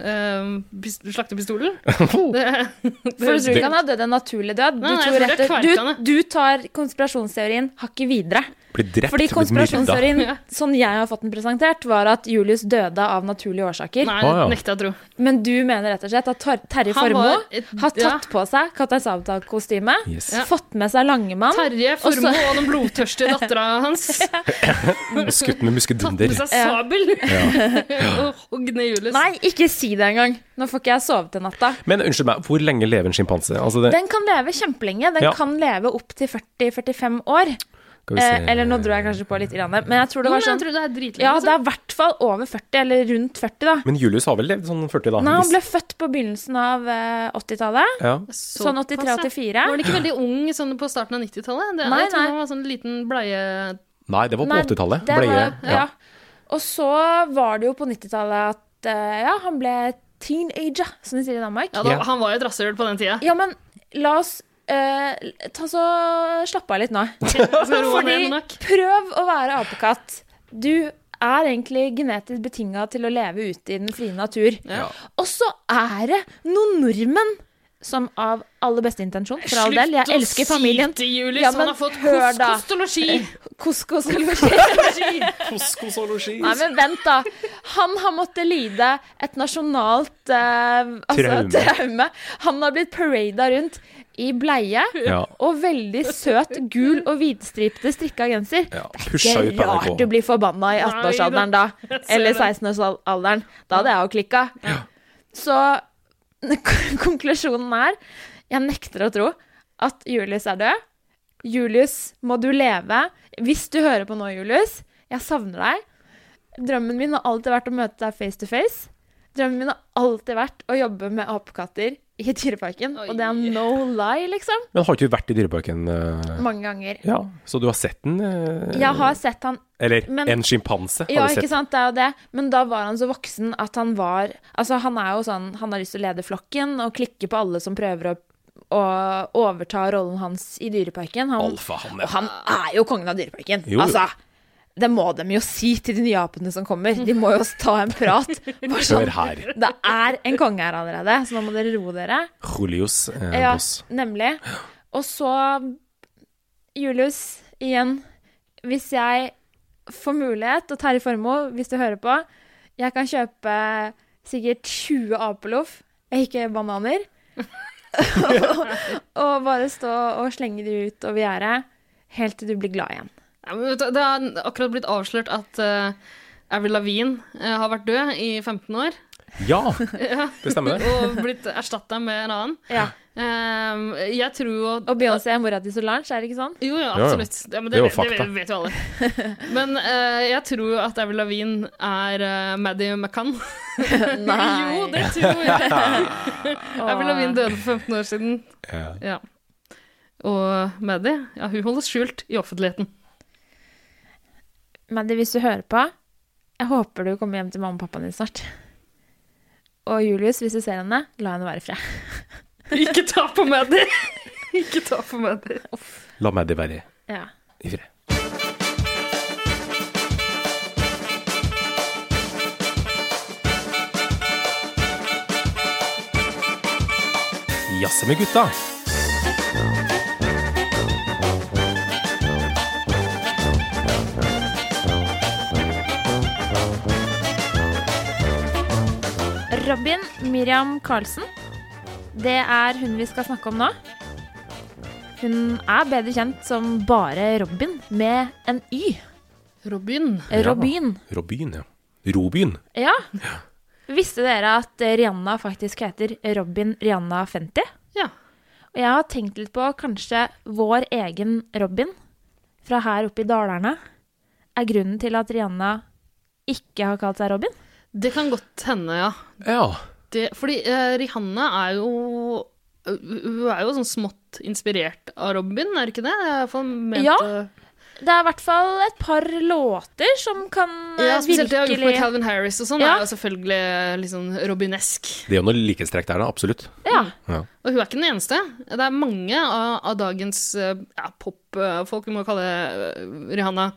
A: eh, pis- slaktepistolen?
B: <laughs>
A: Det,
C: For du
A: det,
C: tror ikke han er død en sånn, naturlig død. Du,
A: Nei, nei,
C: tror
A: jeg tror det er
C: rett, du,
A: kverkene.
C: du tar konspirasjonsteorien hakket videre.
B: blir drept
C: Fordi
B: og blir myrda.
C: konspirasjonsteorien,
A: Ja.
C: sånn jeg har fått den presentert, var at Julius døde av naturlige årsaker.
A: nei,
B: Å, Ah, ja.
A: nekter jeg å tro.
C: Men du mener rett og slett at Tar- Terje
A: Han
C: Formoe
A: var et-
C: har
A: ja.
C: tatt på seg Kaptein Sabeltann-kostyme,
B: Yes.
A: Ja.
C: fått med seg Langemann
A: Terje
C: og så-
A: Formoe og den
C: <laughs>
A: blodtørstige dattera hans tatt
B: <laughs> Skutt med
A: med
C: <laughs>
B: muskedunder.
A: seg sabel <laughs> og hogg ned Julius.
C: Nei, ikke si det engang! Nå får ikke jeg sove til natta.
B: Men unnskyld meg, hvor lenge lever en sjimpanse? Altså, det-
C: Den kan leve kjempelenge. Den
B: Ja.
C: kan leve opp til 40-45 år.
B: skal vi se.
C: Eh, eller nå dro jeg kanskje på litt, grann, men jeg tror
A: Jo,
C: det
A: men
C: var
A: jeg
C: sånn
A: tror det er dritlenge.
C: Ja,
A: altså.
C: det er i hvert fall over 40, eller rundt 40, da.
B: Men Julius har vel levd sånn 40, da?
C: Nei, han
B: Hvis-
C: ble født på begynnelsen av eh, 80-tallet.
B: ja.
A: Så
C: Sånn
A: pass, ja.
C: 83-84.
A: Var han ikke veldig ung sånn på starten av 90-tallet? Det-
C: Nei,
A: Jeg tror
C: nei.
A: han var sånn liten bleie...
B: Nei, det var på
C: Nei,
B: 80-tallet.
C: det
B: Bleie.
C: var-
B: Ja.
C: ja. Og så var det jo på 90-tallet at eh, ja, han ble teenager, som de sier i Danmark.
A: Ja, da,
B: Ja.
A: Han var jo et rasshøl på den tida.
C: Ja, men la oss eh, ta så slappe av litt nå.
A: <laughs> Så roa ned
C: Fordi
A: nok.
C: prøv å være apekatt. Du er egentlig genetisk betinga til å leve ute i den frie natur. Og så er det noen nordmenn som av aller beste intensjon, for all del, jeg elsker familien
A: Slutt å si til Julius,
C: Ja,
A: han
C: men
A: har fått
C: hør da.
A: kost og
C: <laughs>
A: losji.
C: Kosko
A: <laughs>
C: Nei, men vent, da. Han har måttet lide et nasjonalt eh, altså,
B: Traume.
C: traume. Han har blitt parada rundt i bleie
B: Ja.
C: og veldig søt gul og hvitstripte strikka genser.
B: Ja,
C: Det
B: pusha
C: er
B: ut på
C: rart du
B: NRK.
C: blir forbanna i
A: Nei,
C: 18-årsalderen da. Eller 16-årsalderen. Da hadde jeg jo klikka. Så <laughs> konklusjonen er Jeg nekter å tro at Julius er død. Julius, må du leve. Hvis du hører på nå, Julius, jeg savner deg. Drømmen min har alltid vært å møte deg face to face. Drømmen min har alltid vært å jobbe med apekatter i Dyreparken. Og det er
A: Oi.
C: no lie, liksom.
B: Men har ikke du vært i Dyreparken? eh?
C: Mange ganger.
B: Ja, så du har sett den? eh?
C: Jeg har sett han
B: Eller
C: men-
B: en sjimpanse har
C: Ja,
B: du sett.
C: ikke sant, det er jo det. Men da var han så voksen at han var Altså, han er jo sånn Han har lyst til å lede flokken og klikke på alle som prøver å, å overta rollen hans i Dyreparken. Han,
B: Alfahann, ja.
C: Og han er jo kongen av Dyreparken.
B: Jo, jo.
C: Altså! Det må de jo si til de nye apene som kommer. De må jo ta en prat. Bare
B: Hør
C: sånn,
B: her.
C: det er en konge her allerede, så nå må dere roe dere.
B: Julius eh,
C: Ja,
B: Boss.
C: nemlig. Og så, Julius, igjen. Hvis jeg får mulighet, og Terje Formoe, hvis du hører på Jeg kan kjøpe sikkert 20 apeloff, ikke bananer. <laughs> og bare stå og slenge de ut over gjerdet helt til du blir glad igjen.
A: Ja, men vet du, Det har akkurat blitt avslørt at eh, Avril Lavigne eh, har vært død i 15 år.
C: <laughs>
B: Ja, det stemmer det.
A: Og blitt erstatta med en annen.
C: Ja.
A: Eh, jeg tror jo
C: Og Beyoncé er mora til Solange, er det ikke sånn?
A: Jo, ja,
B: ja.
A: absolutt. Ja, men
B: Det
A: det,
B: er jo
A: vet- det,
B: fakta.
A: vet- vet jo alle. Men eh, jeg tror jo at Avril Lavigne er eh, Maddie McCann.
C: <laughs>
A: jo, det tror jeg. <laughs> Avril Lavigne døde for 15 år siden.
B: Ja.
A: Ja. Og Maddie, ja, hun holdes skjult i offentligheten. <laughs>
C: Maddy, hvis du hører på, jeg håper du kommer hjem til mamma og pappaen din snart. Og Julius, hvis du ser henne, la henne være i fred.
A: Ikke ta på Maddie! <laughs> Ikke ta på Maddie.
B: La Maddy være
C: <laughs> Ja.
B: i fred. Jazze med gutta.
C: Robin Miriam Karlsen, det er hun vi skal snakke om nå. Hun er bedre kjent som bare Robin, med en Y.
A: Robin.
C: Robin.
B: Robyn, ja. Robyn.
C: Ja. Visste dere at Rihanna faktisk heter Robin Rihanna 50?
A: Ja.
C: Og jeg har tenkt litt på kanskje vår egen Robin fra her oppe i Dalarne er grunnen til at Rihanna ikke har kalt seg Robin.
A: Det kan godt hende, ja.
B: Ja.
A: Det, fordi eh, Rihanna er jo Hun er jo sånn smått inspirert av Robin, er det ikke det? Jeg har i hvert fall ment
C: Ja,
A: det.
C: Det er i hvert fall et par låter som kan eh,
A: Ja, spesielt det jeg har gjort med
C: virkelig
A: Calvin Harris og sånn,
C: Ja.
A: er jo selvfølgelig litt sånn robinesk.
B: Det er jo noe likhetstrekk der, da. Absolutt.
C: ja,
A: Mm. Og hun er ikke den eneste. Det er mange av, av dagens eh, ja, popfolk, vi må kalle eh, Rihanna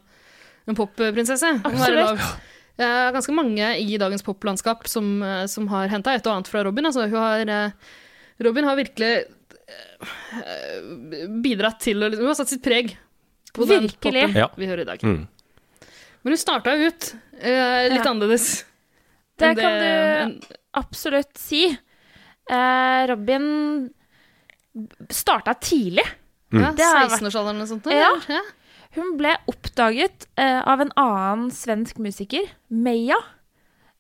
A: en popprinsesse. Det må være
C: Absolutt.
A: lov. Eh, ganske mange i dagens poplandskap som, eh, som har henta et og annet fra Robin. Altså, hun har, eh, Robin har virkelig eh, bidratt til å liksom- Hun har satt sitt preg på
C: Virkelig.
A: den popen
B: Ja.
A: vi hører i dag.
B: Mm.
A: Men hun starta ut eh, litt
C: Ja.
A: annerledes.
C: det
A: enn
C: kan du
A: enn-
C: absolutt si. Eh, Robin starta tidlig.
B: Mm.
A: ja,
C: Det har vært-
A: 16-årsalderen eller noe sånt?
C: Ja.
A: eller? ja.
C: Hun ble oppdaget eh, av en annen svensk musiker, Meya,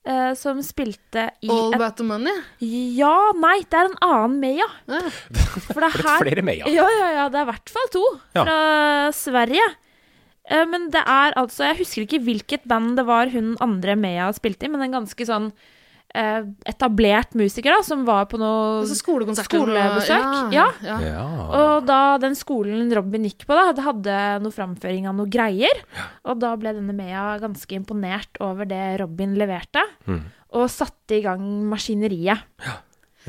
C: eh, som spilte i
A: All
C: et
A: about the money.
C: Ja, nei, det er en annen Meya.
A: Ja.
C: For det er
B: Litt
C: her
B: flere med, ja.
C: Ja, ja, ja, det er i hvert fall to
B: Ja.
C: fra Sverige. Eh, Men det er altså Jeg husker ikke hvilket band det var hun andre Meya spilte i, men en ganske sånn eh, etablert musiker, da, som var på noe
A: Altså skolekonserter.
C: Skolebesøk, ja.
A: ja.
B: Ja.
C: Og da den skolen Robin gikk på, da, det hadde noe framføring av noe greier. Og da ble denne Meya ganske imponert over det Robin leverte, og satte i gang maskineriet.
B: ja.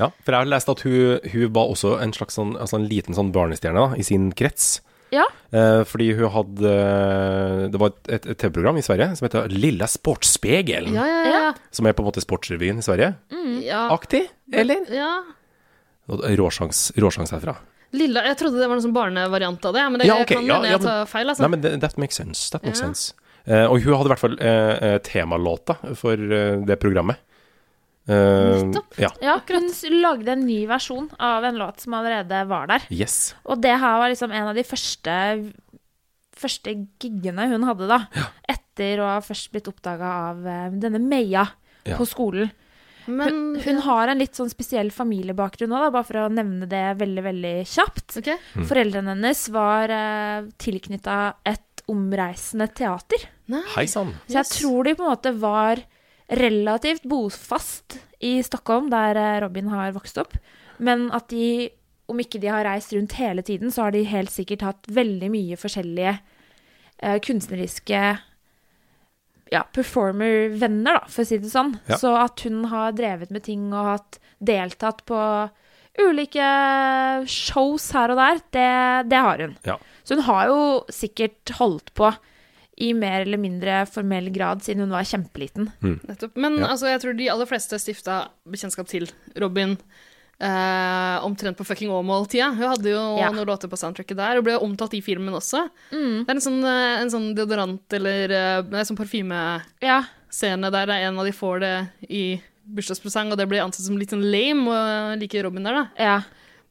B: For jeg har lest at hun, hun var også en slags sånn, altså en liten sånn barnestjerne da, i sin krets.
C: Ja,
B: Eh, fordi hun hadde eh, Det var et, et, et TV-program i Sverige som heter Lilla Sportsspegelen.
A: Ja, ja, ja.
B: Som er på en måte Sportsrevyen i Sverige.
A: Mm. ja.
B: Aktig, eller?
A: ja.
B: Og Råsjans, råsjans herfra.
A: Lilla, jeg trodde det var noen sånn barnevariant av det, men det
B: Ja, ok,
A: kan
B: ja,
A: hende
B: ja,
A: jeg tar
B: men-
A: feil. Altså.
B: Nei, men that, that makes sense. That makes
A: Ja.
B: sense. Eh, og hun hadde i hvert fall eh, eh, temalåta for eh, det programmet. Eh,
A: Nettopp.
B: Ja.
C: ja hun s- lagde en ny versjon av en låt som allerede var der.
B: Yes.
C: Og det her var liksom en av de første Første giggene hun hadde, da. Etter å ha først blitt oppdaga av eh, denne Meya
B: Ja.
C: på skolen.
A: men,
C: Hun, hun har en litt sånn spesiell familiebakgrunn òg, bare for å nevne det veldig, veldig kjapt.
A: ok.
C: Foreldrene hennes var eh, tilknytta et omreisende teater.
B: Hei sann.
C: Så jeg
A: Yes.
C: tror de på en måte var relativt bofast i Stockholm, der eh, Robin har vokst opp. Men at de, om ikke de har reist rundt hele tiden, så har de helt sikkert hatt veldig mye forskjellige eh, kunstneriske ja, performer-venner, da, for å si det sånn.
B: Ja.
C: Så at hun har drevet med ting og hatt deltatt på ulike shows her og der, det, det har hun.
B: Ja.
C: Så hun har jo sikkert holdt på i mer eller mindre formell grad siden hun var kjempeliten.
A: Nettopp. Men
B: Ja.
A: altså, jeg tror de aller fleste stifta bekjentskap til Robin eh, omtrent på fucking Åmål-tida. Hun hadde jo
C: Ja.
A: noen låter på soundtracket der, og ble jo omtalt i filmen også. Det er en sånn, eh, en sånn deodorant eller eh, nei, sånn parfymescene
C: Ja,
A: der det er en av de får det i bursdagspresang, og det blir ansett som litt sånn lame å like Robin der, da.
C: ja.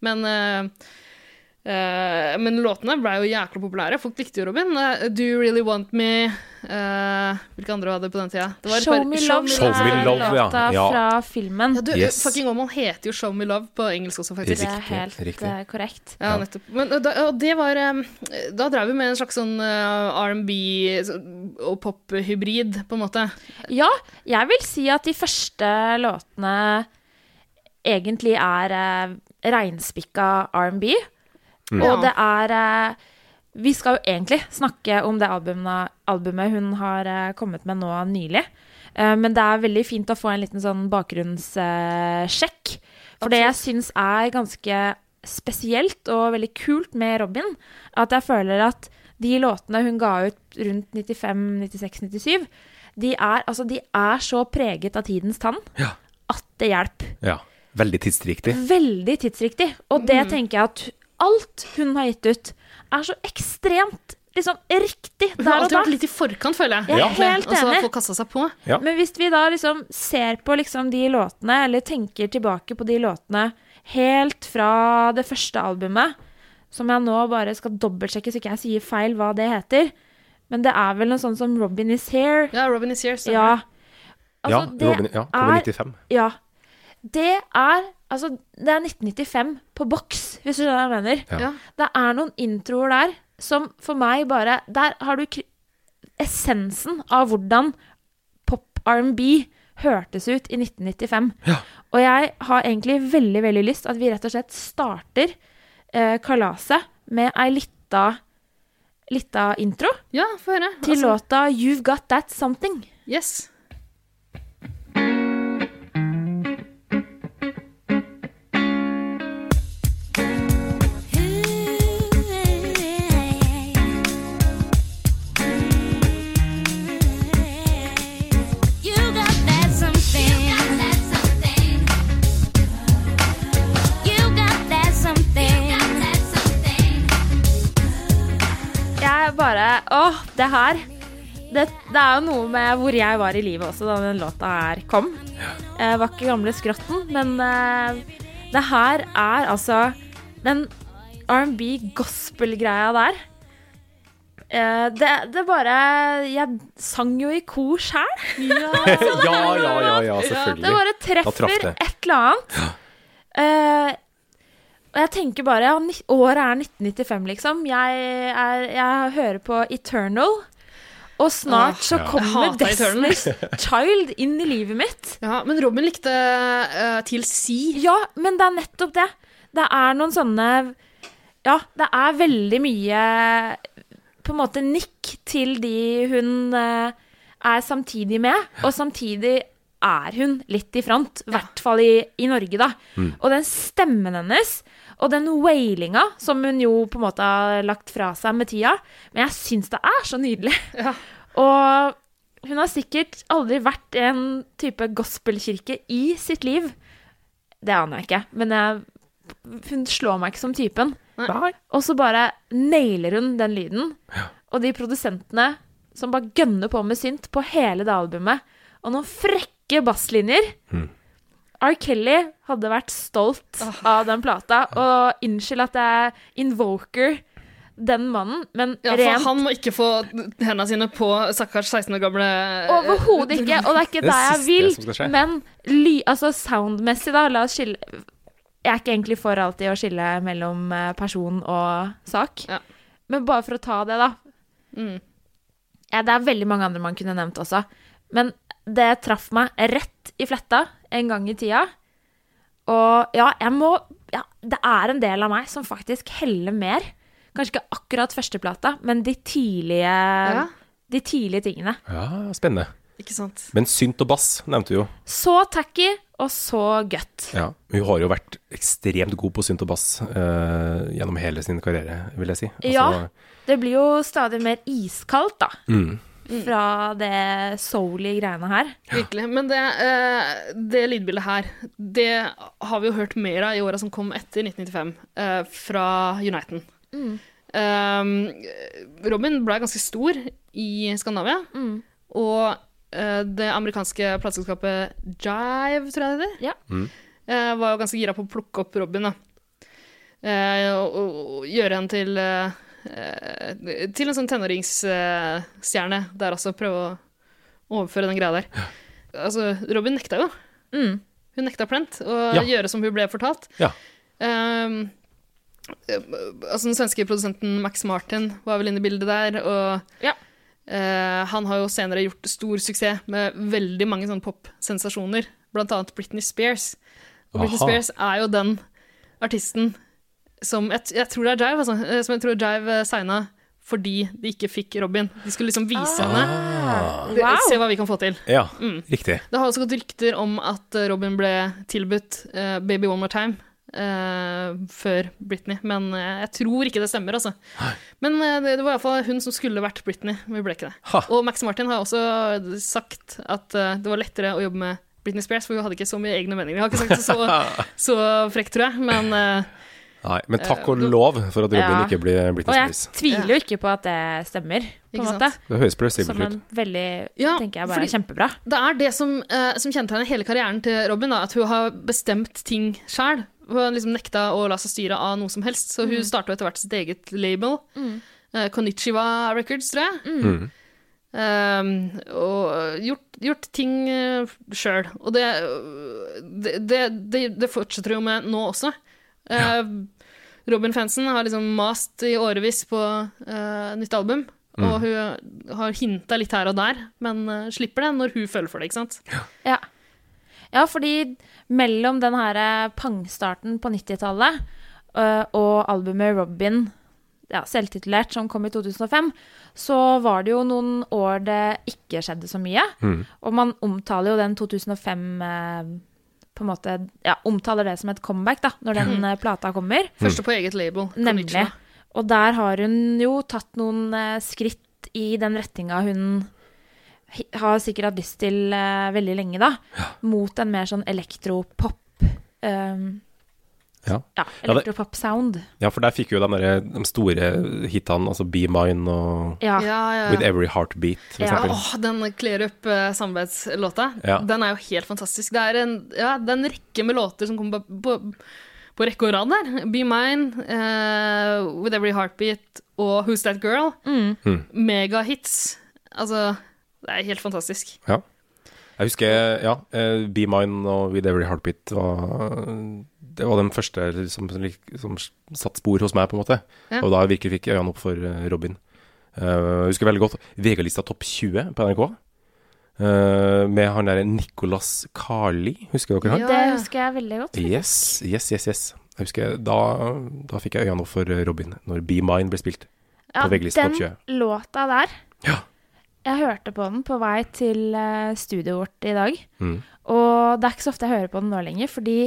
A: Men, eh, eh, men låtene ble jo jækla populære. Folk likte jo Robin. Eh, Do You Really Want Me eh, Hvilke andre var det på den tida? Det var et
C: Show
A: par-
C: Me Love,
B: Show Me
C: er
B: Love, ja.
C: låta
B: Ja.
C: fra filmen.
A: Ja, du,
B: Yes.
A: Fucking Oman heter jo Show Me Love på engelsk også, faktisk.
C: Det er
B: Riktig,
C: helt
B: riktig.
C: eh, korrekt.
A: Ja, nettopp. Men eh, da, og det var eh, Da drev vi med en slags sånn eh, R&B så- og pop-hybrid, på en måte.
C: Ja, jeg vil si at de første låtene egentlig er eh, reinspikka R&B.
A: Ja.
C: Og det er eh, Vi skal jo egentlig snakke om det albumet, albumet hun har eh, kommet med nå nylig. Eh, men det er veldig fint å få en liten sånn bakgrunnssjekk. for det jeg syns er ganske spesielt og veldig kult med Robin, at jeg føler at de låtene hun ga ut rundt 95, 96, 97, de er, altså, de er så preget av tidens tann
B: Ja.
C: at det hjelper.
B: Ja. Veldig tidsriktig.
A: Mm.
C: Veldig tidsriktig. Og det tenker jeg at alt hun har gitt ut, er så ekstremt liksom, riktig
A: Hun har
C: der og
A: alltid
C: da.
A: vært litt i forkant, føler jeg.
C: Jeg er
A: egentlig.
C: helt
A: Og så har
C: enig.
A: folk kasta seg på.
B: Ja.
C: Men hvis vi da liksom ser på liksom de låtene, eller tenker tilbake på de låtene helt fra det første albumet, som jeg nå bare skal dobbeltsjekke så ikke jeg sier feil hva det heter, men det er vel noe sånt som 'Robin is here'.
A: Ja, Robin is here. stemmer.
C: Ja.
B: ja,
C: Altså, det
B: Robin, ja, kommer
C: er-
B: 95.
C: Ja. Det er Altså, det er 1995 på boks, hvis du skjønner hva jeg mener.
B: Ja.
A: Ja.
C: Det er noen introer der som for meg bare Der har du kri- essensen av hvordan pop-R&B hørtes ut i 1995. Og jeg har egentlig veldig, veldig lyst at vi rett og slett starter eh, kalaset med ei lita Lita intro
A: ja, få høre.
C: til
A: Altså,
C: låta 'You've Got That Something'.
A: Yes.
C: Jeg bare Åh, det her det, det er jo noe med hvor jeg var i livet også da den låta her kom. Jeg var ikke gamle skrotten, men eh, det her er altså den R&B-gospel-greia der. eh, det, det bare Jeg sang jo i kor sjæl. <laughs>
B: ja,
A: Sånn
B: ja, ja, ja,
C: Det
B: selvfølgelig.
C: bare
B: traff
C: treffer
B: det.
C: et eller annet. Eh, og jeg tenker bare ja, ni- Året er 1995, liksom. Jeg, er, jeg hører på Eternal. Og snart så kommer
A: Jeg hater Eternal.
C: Destiny's
A: <laughs>
C: Child inn i livet mitt.
A: Ja, men Robin likte eh, til Si.
C: Ja, men det er nettopp det. Det er noen sånne Ja, det er veldig mye på en måte nikk til de hun eh, er samtidig med, og samtidig er hun litt i front, i hvert fall i, i Norge, da. Og den stemmen hennes, og den wailinga som hun jo på en måte har lagt fra seg med tida, men jeg syns det er så nydelig. Og hun har sikkert aldri vært i en type gospelkirke i sitt liv. Det aner jeg ikke, men jeg, hun slår meg ikke som typen. Og så bare nailer hun den lyden. Og de produsentene som bare gønner på med synt på hele det albumet. Og noen frekke basslinjer. R. Kelly hadde vært stolt av den plata. Og unnskyld at jeg invoker den mannen, men
A: Ja, for
C: rent
A: han må ikke få hendene sine på stakkars 16 år gamle eh,
C: Overhodet ikke, og det er ikke
B: Det er
C: det jeg
B: siste som skal
C: vil.
B: skje.
C: Men ly, altså soundmessig, da, la oss skille Jeg er ikke egentlig for alltid å skille mellom eh, person og sak,
A: Ja.
C: men bare for å ta det, da.
A: Mm.
C: Ja, det er veldig mange andre man kunne nevnt også, men det traff meg rett i fletta en gang i tida. Og ja, jeg må ja, Det er en del av meg som faktisk heller mer. Kanskje ikke akkurat førsteplata, men de tidlige,
A: Ja.
C: de tidlige tingene.
B: Ja, spennende.
A: Ikke sant?
B: Men synt og bass nevnte vi jo.
C: Så tacky og så godt.
B: Ja. Hun har jo vært ekstremt god på synt og bass eh, gjennom hele sin karriere, vil jeg si. Altså,
C: Ja. Det blir jo stadig mer iskaldt, da.
B: Mm.
C: Fra det soulige greiene her.
A: Virkelig. Men det, eh, det lydbildet her, det har vi jo hørt mer av i åra som kom etter 1995, eh, fra Uniten. Eh, Robin ble ganske stor i Skandinavia, og eh, det amerikanske plateselskapet Jive, tror jeg det heter,
C: Ja.
A: eh, var jo ganske gira på å plukke opp Robin, da. Eh, og, og, og gjøre henne til eh, eh, Til en sånn tenåringsstjerne eh, stjerne der også, prøve å overføre den greia der. Altså, Robin nekta jo.
C: Mm.
A: Hun nekta plent å
B: Ja.
A: gjøre som hun ble fortalt.
B: Ja.
A: Ehm, eh, altså, den svenske produsenten Max Martin var vel inne i bildet der, og
C: Ja.
A: eh, han har jo senere gjort stor suksess med veldig mange sånne popsensasjoner, blant annet Britney Spears. Og Britney
B: Aha.
A: Spears er jo den artisten som jeg, jeg tror det er Jive, altså, eh, som jeg tror Jive eh, signa fordi de ikke fikk Robin. De skulle liksom vise henne. Se
C: Ah. Wow!
A: hva vi kan få til.
B: Ja,
C: Mm.
B: riktig.
A: Det har også gått rykter om at eh, Robin ble tilbudt eh, Baby One More Time eh, før Britney, men eh, jeg tror ikke det stemmer, altså. Men eh, det, det var iallfall hun som skulle vært Britney, men hun ble ikke det.
B: Ha.
A: Og Max Martin har også sagt at eh, det var lettere å jobbe med Britney Spears, for hun hadde ikke så mye egne meninger. Jeg har ikke sagt det
B: <laughs>
A: så, så frekt, tror jeg, men eh,
B: Nei, men takk og lov for at Robin
C: Eh, Ja.
B: ikke blir
C: Og
B: Britney
C: jeg
B: Spears.
C: tviler jo ikke på at det stemmer, på en
A: Ikke
C: måte.
A: sant?
B: Det høres
C: Som
B: plausibelt
C: en
B: ut.
C: veldig
A: Ja,
C: tenker jeg bare
A: fordi-
C: er kjempebra.
A: Det er det som, eh, som kjennetegner hele karrieren til Robin, da, at hun har bestemt ting sjøl. Hun har liksom nekta å la seg styre av noe som helst, så hun starta etter hvert sitt eget label. Eh, Konnichiwa Records, tror jeg. Eh, og gjort, gjort ting uh, sjøl. Og det, det, det, det, det fortsetter hun jo med nå også. Eh, Robin-fansen har liksom mast i årevis på eh, nytt album.
B: Mm.
A: Og hun har hinta litt her og der, men eh, slipper det når hun føler for det. ikke sant?
B: Mm.
C: Ja. ja, fordi mellom den her eh, pangstarten på 90-tallet eh, og albumet Robin, ja, selvtitulert, som kom i 2005, så var det jo noen år det ikke skjedde så mye. Og man omtaler jo den 2005 eh, på en måte, ja, omtaler det som et comeback da, når den eh, plata kommer.
A: Første på eget label.
C: Nemlig.
A: Konnichiwa.
C: Og der har hun jo tatt noen eh, skritt i den retninga hun hi- har sikkert hatt lyst til eh, veldig lenge, da. Mot en mer sånn elektropop. Um,
B: Ja.
C: ja,
B: Ja, det-
C: elektropop-sound.
B: ja, for der fikk jo de, der, de store hitene, altså Be Mine og
C: Ja.
A: Ja, ja,
B: With
A: ja.
B: Every Heartbeat, for
C: Ja.
A: ja
B: eksempel.
A: åh, den Clear Up eh, samarbeidslåta,
B: Ja.
A: den er jo helt fantastisk. Det er en, ja, det er en rekke med låter som kommer på, på, på rekke og rad der. Be Mine, eh, With Every Heartbeat og Who's That Girl.
C: Mm.
B: Mm.
A: Megahits. Altså, det er helt fantastisk.
B: Ja. Jeg husker, ja, eh, Be Mine og With Every Heartbeat var Det var den første som, som, lik- som satt spor hos meg, på en måte.
A: Ja.
B: Og da jeg virkelig fikk øynene opp for eh, Robin. Eh, jeg husker veldig godt VG-lista Topp 20 på NRK. eh, med han derre Nicolas Carli, husker dere han?
A: Ja,
C: Det
A: ja.
C: husker jeg veldig godt.
B: Yes, yes, yes. yes. Jeg husker, da, da fikk jeg øynene opp for eh, Robin, når Be Mine ble spilt.
C: Ja,
B: VG-listen
C: den
B: oppkjøret.
C: låta der.
B: Ja.
C: Jeg hørte på den på vei til eh, studioet vårt i dag.
B: Mm.
C: Og det er ikke så ofte jeg hører på den nå lenger, fordi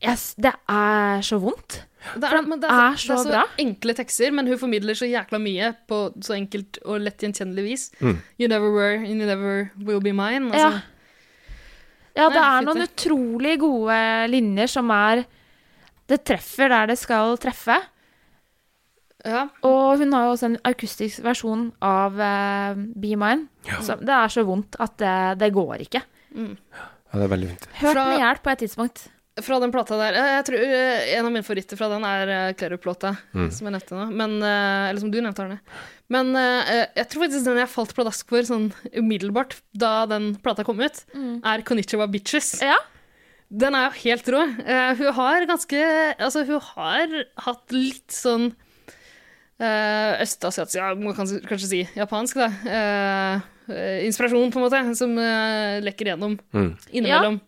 C: jeg, s- det er så vondt.
A: Det
C: For den
A: men
C: er så
A: det er så
C: bra.
A: enkle tekster, men hun formidler så jækla mye på så enkelt og lett gjenkjennelig vis. You never were and you never will be mine. Altså,
C: ja. ja, det
A: Nei,
C: er noen utrolig gode linjer som er Det treffer der det skal treffe.
A: ja.
C: Og hun har jo også en akustisk versjon av eh, Be Mine. Så det er så vondt at det, det går ikke.
B: Ja, det er veldig fint.
C: Hørt
A: Fra-
C: den i hjel på et tidspunkt.
A: Fra den plata der eh, Jeg tror eh, En av mine favoritter fra den er eh, Clear Up-låta, som jeg nevnte nå. Men, eh, eller som du nevnte, Arne. Men eh, jeg tror faktisk den jeg falt pladask for sånn umiddelbart da den plata kom ut,
C: Mm.
A: er Konnichiwa Bitches.
C: Ja.
A: Den er jo helt rå. Eh, hun har ganske Altså, hun har hatt litt sånn uh, østasiatisk Ja, man kan s- kanskje si japansk, da. eh, eh, inspirasjon, på en måte, som eh, lekker gjennom
B: Mm.
A: innimellom.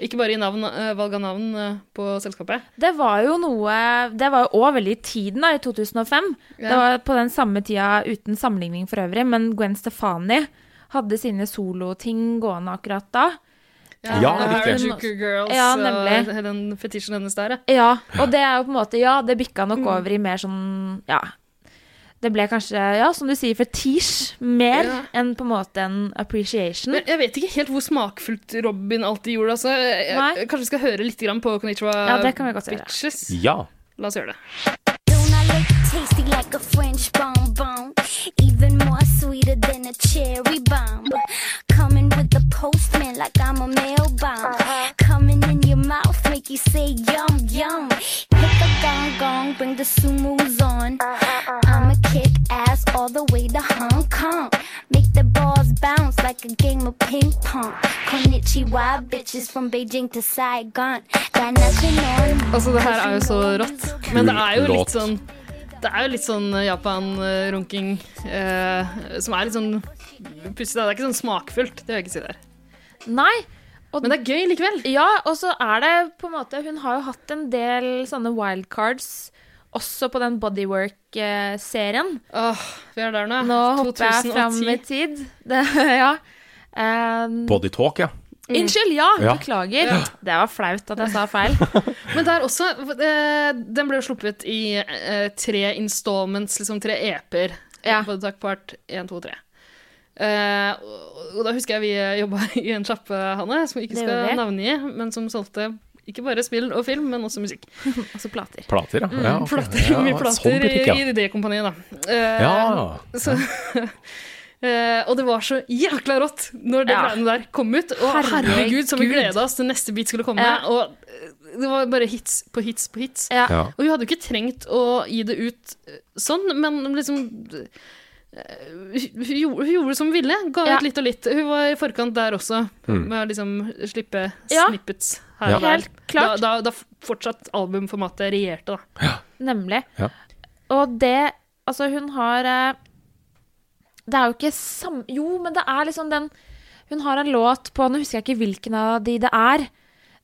A: Ikke bare i navn, eh, valg av navn eh, på selskapet.
C: Det var jo noe Det var jo òg veldig i tiden, da, i 2005. Det var på den samme tida, uten sammenligning for øvrig, men Gwen Stefani hadde sine soloting gående akkurat da.
B: Ja,
A: det
B: riktig.
A: er Juker Girls
C: Ja, nemlig.
A: og eh, den fetisjen hennes der, ja.
C: Mm. Ja, og det er jo på en måte Ja, det bikka nok over i mer sånn Ja. det ble kanskje, ja, som du sier, fetisj mer
A: Ja.
C: enn på en måte en appreciation.
A: Men jeg vet ikke helt hvor smakfullt Robin alltid gjorde. Altså. Jeg,
C: Nei.
A: jeg, kanskje vi skal høre litt grann på Konnichiwa
C: Ja, det kan vi godt gjøre.
A: Bitches.
B: Ja.
A: La oss gjøre det.
I: Don't I look tasty like a French bonbon? Even more sweeter than a cherry bomb. Coming with the postman like I'm a mail bomb. Coming in your mouth, make you say yum yum. Hit the gong gong, bring the sumos on. I'ma kick ass all the way to Hong Kong. Make the balls bounce like a game of ping pong. Konnichiwa, bitches from Beijing to Saigon. Got nothing on me.
A: Altså, det her er jo så rått. Men det er jo
B: Kul
A: litt
B: låt.
A: sånn Det er jo litt sånn Japan-runking eh, som er litt sånn pussig. da. Det er ikke sånn smakfullt, det vil jeg ikke si der.
C: Nei,
A: Men det er gøy likevel.
C: Ja, og så er det på en måte Hun har jo hatt en del sånne wildcards også på den Bodywork-serien.
A: Åh, vi er der nå.
C: Nå hopper jeg fram i tid. <laughs> Det, ja. Um,
B: Bodytalk, ja.
C: Unnskyld, ja,
B: Ja.
C: beklager. Det var flaut at jeg sa feil.
A: Men der også eh, Den ble jo sluppet i eh, tre installments, liksom tre EP-er.
C: Ja.
A: Både takk part 1, 2, 3. Eh, og og da husker jeg vi jobba <laughs> i en sjappe, Hanne, som vi ikke
C: Det
A: skal
C: gjorde vi.
A: navngi, men som solgte ikke bare spill og film, men også musikk.
C: <laughs> Og så plater.
B: Plater, ja. ja ok.
A: Mm, Plater,
B: Ja,
A: mye
B: sånn
A: plater
B: butikk, ja.
A: i, i det kompaniet, da. Eh,
B: Ja.
A: Så, <laughs> Eh, og det var så jækla rått når det
C: Ja.
A: greiene der kom ut. Og herregud, som vi gleda oss til neste bit skulle komme.
C: Ja.
A: Og eh, det var bare hits på hits på hits.
C: Ja.
B: Ja.
A: Og vi hadde jo ikke trengt å gi det ut eh, sånn, men liksom eh, hun hun gjorde, hun gjorde som hun ville. Ga
C: Ja.
A: ut litt og litt. Hun var i forkant der også,
B: Mm.
A: med å liksom slippe
C: Ja.
A: snippets her
B: Ja.
A: og der.
C: Helt klart.
A: Da, da, da fortsatt albumformatet regjerte, da.
C: Nemlig.
B: Ja.
C: Og det Altså, hun har eh, Det er jo ikke sam... Jo, men det er liksom den Hun har en låt på Nå husker jeg ikke hvilken av de det er,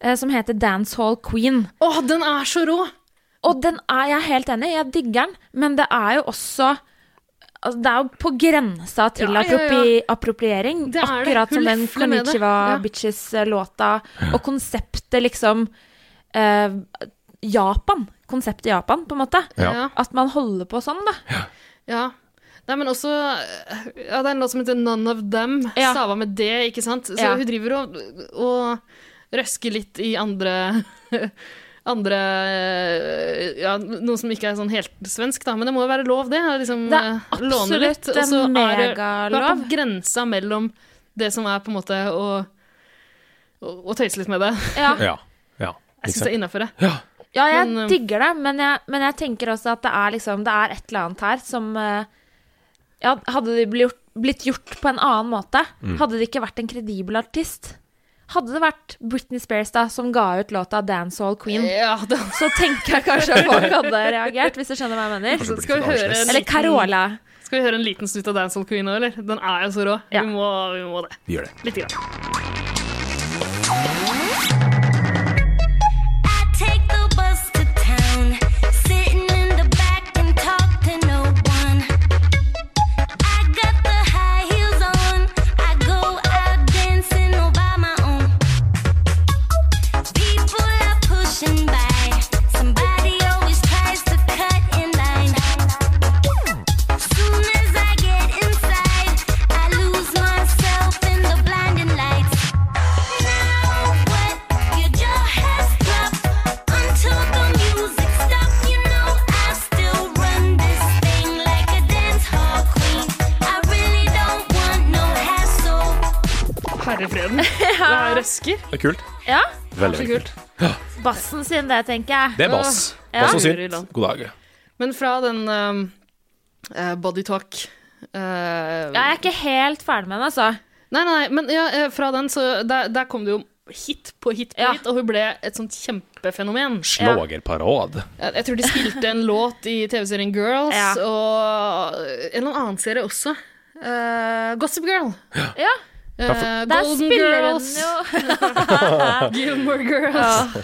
C: eh, som heter Dance Hall Queen.
A: Å, den er så rå!
C: Og den er jeg er helt enig i, jeg digger den, men det er jo også altså, Det er jo på grensa
A: Ja,
C: til
A: ja, ja.
C: appropri- appropriering.
A: Det er det.
C: Akkurat
A: Hun
C: som den
A: lefler med det. Ja.
C: Konnichiwa-bitches-låta og konseptet liksom eh, Japan. Konseptet Japan, på en måte.
B: Ja.
C: At man holder på sånn, da.
A: Ja. Nei, men også Ja, det er en låt som heter None of Them.
C: Ja.
A: Stava med det, ikke sant? Så
C: Ja.
A: hun driver og, og røsker litt i andre <laughs> Andre eh, Ja, noe som ikke er sånn helt svensk, da. Men det må jo være lov, det. å Liksom,
C: Det er
A: eh,
C: absolutt
A: låne litt, og så
C: en
A: er det- Være
C: megalov.
A: på grensa mellom det som er på en måte å å, å tøyse litt med det.
C: Ja.
B: Ja. ja.
A: Jeg syns det er innafor, det.
C: Ja, jeg
A: Men, eh,
C: digger det, men jeg, men jeg tenker også at det er liksom Det er et eller annet her som eh, Ja, hadde det blitt gjort, blitt gjort på en annen måte,
B: Mm.
C: hadde det ikke vært en kredibel artist Hadde det vært Britney Spears da som ga ut låta 'Dance Hall Queen',
A: Ja, det
C: så tenker jeg kanskje at folk hadde reagert, hvis du skjønner hva jeg mener.
A: så skal vi høre en
C: Eller
A: liten,
C: Carola.
A: skal vi høre en liten snutt av Dancehall Queen òg, eller? Den er jo så rå.
C: Ja.
A: Vi, må, vi må det.
B: Vi gjør det.
A: Lite grann.
I: I take the bus to town, sitting in the back and talk to no one. I got the high heels on, I go out dancing all by my own. People are pushing by, somebody always tries to cut in line. Soon as I get inside, I lose myself in the blinding lights. Now what? Get your hands up until the music stops. You know I still run this thing like a dance hall queen. I really don't want no hassle.
A: Herrefreden. Det er røsker.
B: Det er kult.
C: Ja,
B: Veldig,
A: Så
B: veldig kult.
A: kult.
C: bassen sin, det, tenker jeg.
B: Det er bass.
C: Ja.
B: Bass og
A: Lurer i
B: synt.
A: land.
B: God dag.
A: Men fra den um, eh, Body Talk eh,
C: Ja, jeg er ikke helt ferdig med den, altså.
A: Nei, nei, nei, men ja, eh, fra den, så der, der kom det jo hit på hit på
C: Ja.
A: hit, og hun ble et sånt kjempefenomen.
B: Slagerparad.
A: Jeg, jeg tror de spilte
C: <laughs>
A: en låt i TV-serien Girls,
C: Ja.
A: og en eller annen serie også. Eh, Gossip Girl.
C: Ja,
A: Eh,
C: der
A: Golden
C: spiller hun
A: Girls.
C: jo
A: <laughs> Gilmore Girls.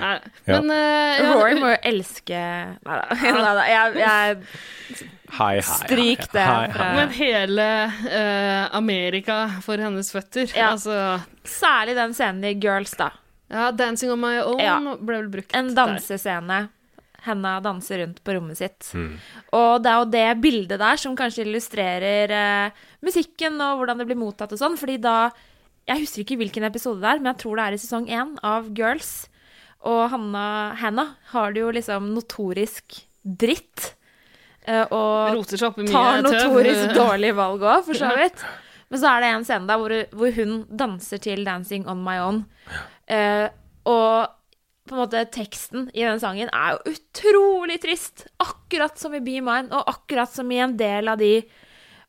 A: Nei,
B: Ja.
A: men eh, ja,
C: <laughs> Rory må jo elske Nei <laughs> da. Nei da. Jeg, jeg
B: Hei, hei.
C: Stryk det
B: Hei,
C: fra-
B: hei.
A: Men hele eh, Amerika for hennes føtter.
C: Ja.
A: Altså
C: Særlig den scenen i Girls, da.
A: Ja, 'Dancing on my own'
C: Ja.
A: ble vel brukt
C: En dansescene. henda danser rundt på rommet sitt. Og det er jo det bildet der som kanskje illustrerer eh, musikken og hvordan det blir mottatt og sånn, fordi da Jeg husker ikke hvilken episode det er, men jeg tror det er i sesong én av Girls. Og Hanna, Hannah har det jo liksom notorisk dritt. eh, Og
A: Roter seg opp i mye
C: tar
A: tøv. Eh, <laughs>
C: notorisk dårlig valg òg, for så vidt. Men så er det en scene der hvor, hvor hun danser til 'Dancing on my own'. Eh, og på en måte teksten i den sangen er jo utrolig trist. Akkurat som i Be Mine, og akkurat som i en del av de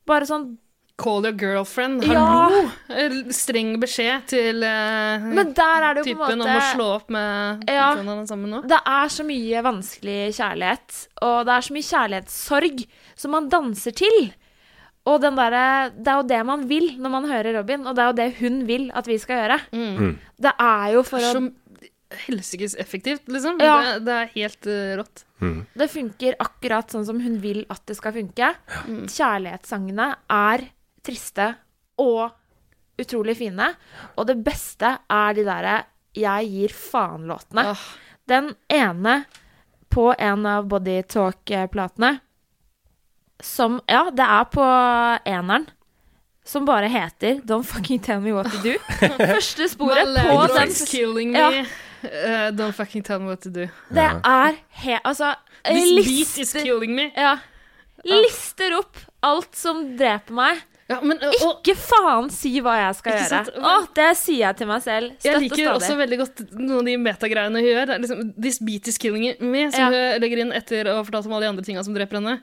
C: Bare sånn
A: Call your girlfriend.
C: Ja.
A: Hallo! Eh, Streng beskjed til eh,
C: Men der er det jo på
A: typen
C: en
A: om å
C: måte
A: slå opp med
C: Ja.
A: den han er sammen med nå.
C: Det er så mye vanskelig kjærlighet, og det er så mye kjærlighetssorg som man danser til. Og den derre- det er jo det man vil når man hører Robin, og det er jo det hun vil at vi skal gjøre. Det er jo for å
A: Så helsikes effektivt, liksom.
C: Ja.
A: Det, det er helt eh, rått.
C: Det funker akkurat sånn som hun vil at det skal funke. Kjærlighetssangene er triste og utrolig fine. Og det beste er de derre 'jeg gir faen'-låtene.
A: Ah.
C: Den ene på en av Body Talk-platene som Ja, det er på eneren. Som bare heter 'Don't fucking tell me what to
A: <laughs>
C: do'. Første sporet på
A: Malandro
C: den.
A: is killing me.
C: Ja.
A: Eh, don't fucking tell me what to do.
C: Det er he... Altså,
A: This beat is
C: lister-
A: killing me.
C: Ja. Lister opp alt som dreper meg.
A: Ja, men, eh, og,
C: Ikke faen si hva jeg skal
A: Ikke
C: gjøre.
A: sant?
C: Å, det sier jeg til meg selv.
A: jeg
C: Støtt og
A: liker
C: stadig.
A: også veldig godt noen av de metagreiene hun gjør. Det er liksom, This beat is killing me, som
C: Ja. Mm.
A: hun legger inn etter å ha fortalt om alle de andre tinga som dreper henne.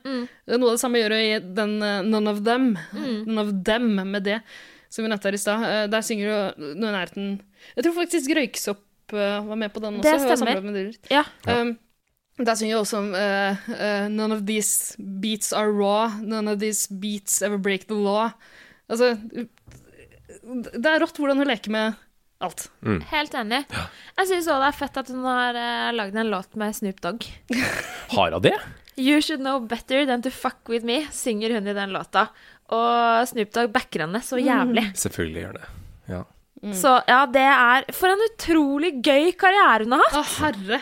A: Noe av det samme gjør hun i den eh, None of Them. None of Them med det, som vi nevnte her i stad. Eh, Der synger hun noe i nærheten Jeg tror faktisk Røyksopp eh, var med på den også.
C: Det
A: Hun har
C: stemmer.
A: samarbeidet med Dylan.
C: Ja.
A: Um, der synger jeg også om eh, eh, None of these beats are raw. None of these beats ever break the law. Altså Det er rått hvordan hun leker med alt.
C: Helt enig. Jeg syns også det er fett at hun har uh, lagd en låt med Snoop Dogg.
B: Har hun det?
C: You should know better than to fuck with me, synger hun i den låta. Og Snoop Dogg backer henne
A: Mm,
C: så jævlig.
B: Selvfølgelig gjør hun det. Ja.
C: Så ja, det er For en utrolig gøy karriere hun har hatt!
A: Å, herre.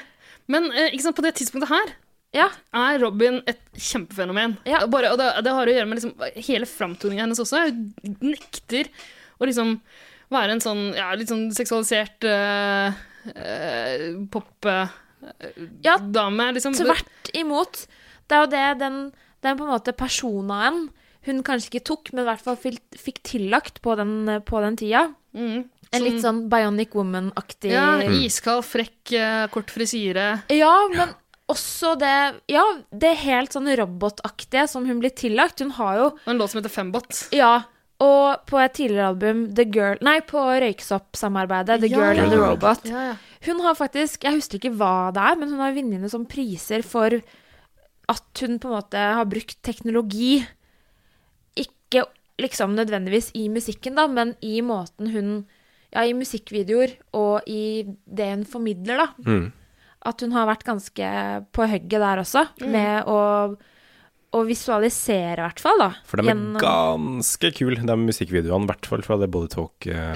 A: Men eh, ikke sant, på det tidspunktet her
C: Ja.
A: er Robin et kjempefenomen.
C: Ja.
A: Bare, og det, det har å gjøre med liksom, hele framtoninga hennes også. Hun nekter å liksom være en sånn ja, litt sånn seksualisert eh, eh, pop
C: Ja,
A: popdame. liksom.
C: Tvert imot. Det er jo det den, den på en måte personaen hun kanskje ikke tok, men i hvert fall fikk, fikk tillagt på den, på den tida.
A: Mm.
C: En litt sånn Bionic Woman-aktig
A: Ja, iskald, frekk, eh, kort frisyre.
C: Ja, men også det Ja, det helt sånn robotaktige som hun blir tillagt. Hun har jo
A: Og en låt som heter Fembot.
C: Ja. Og på et tidligere album, The Girl Nei, på Røyksopp-samarbeidet, The
A: Ja.
C: Girl and the
B: Girl and the
C: Robot. Hun har faktisk Jeg husker ikke hva det er, men hun har vunnet noen sånne priser for at hun på en måte har brukt teknologi. Ikke liksom nødvendigvis i musikken, da, men i måten hun Ja, i musikkvideoer og i det hun formidler, da.
B: Mm.
C: At hun har vært ganske på hugget der også,
A: Mm.
C: med å, å visualisere, i hvert fall, da.
B: For de er
C: gjennom-
B: ganske kule, de musikkvideoene, i hvert fall fra det Body
A: Ja.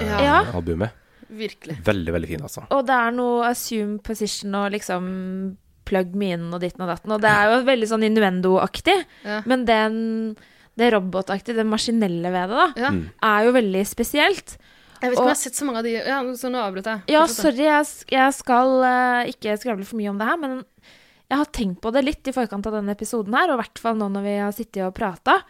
B: Talk-albumet.
A: Virkelig.
B: Veldig, veldig fine, altså.
C: Og det er noe assume position og liksom plug me in og ditten og datten. Og det er jo veldig sånn innuendo-aktig.
A: Ja.
C: Men den, det robotaktige, det maskinelle ved det, da,
A: Ja.
C: er jo veldig spesielt.
A: Jeg vet ikke om
C: Og-
A: jeg har sett så mange av de Ja, så nå avbrøt jeg.
C: Ja,
A: Fortsett.
C: sorry, jeg, s- jeg skal eh, ikke skravle for mye om det her, men jeg har tenkt på det litt i forkant av denne episoden her, og i hvert fall nå når vi har sittet og prata.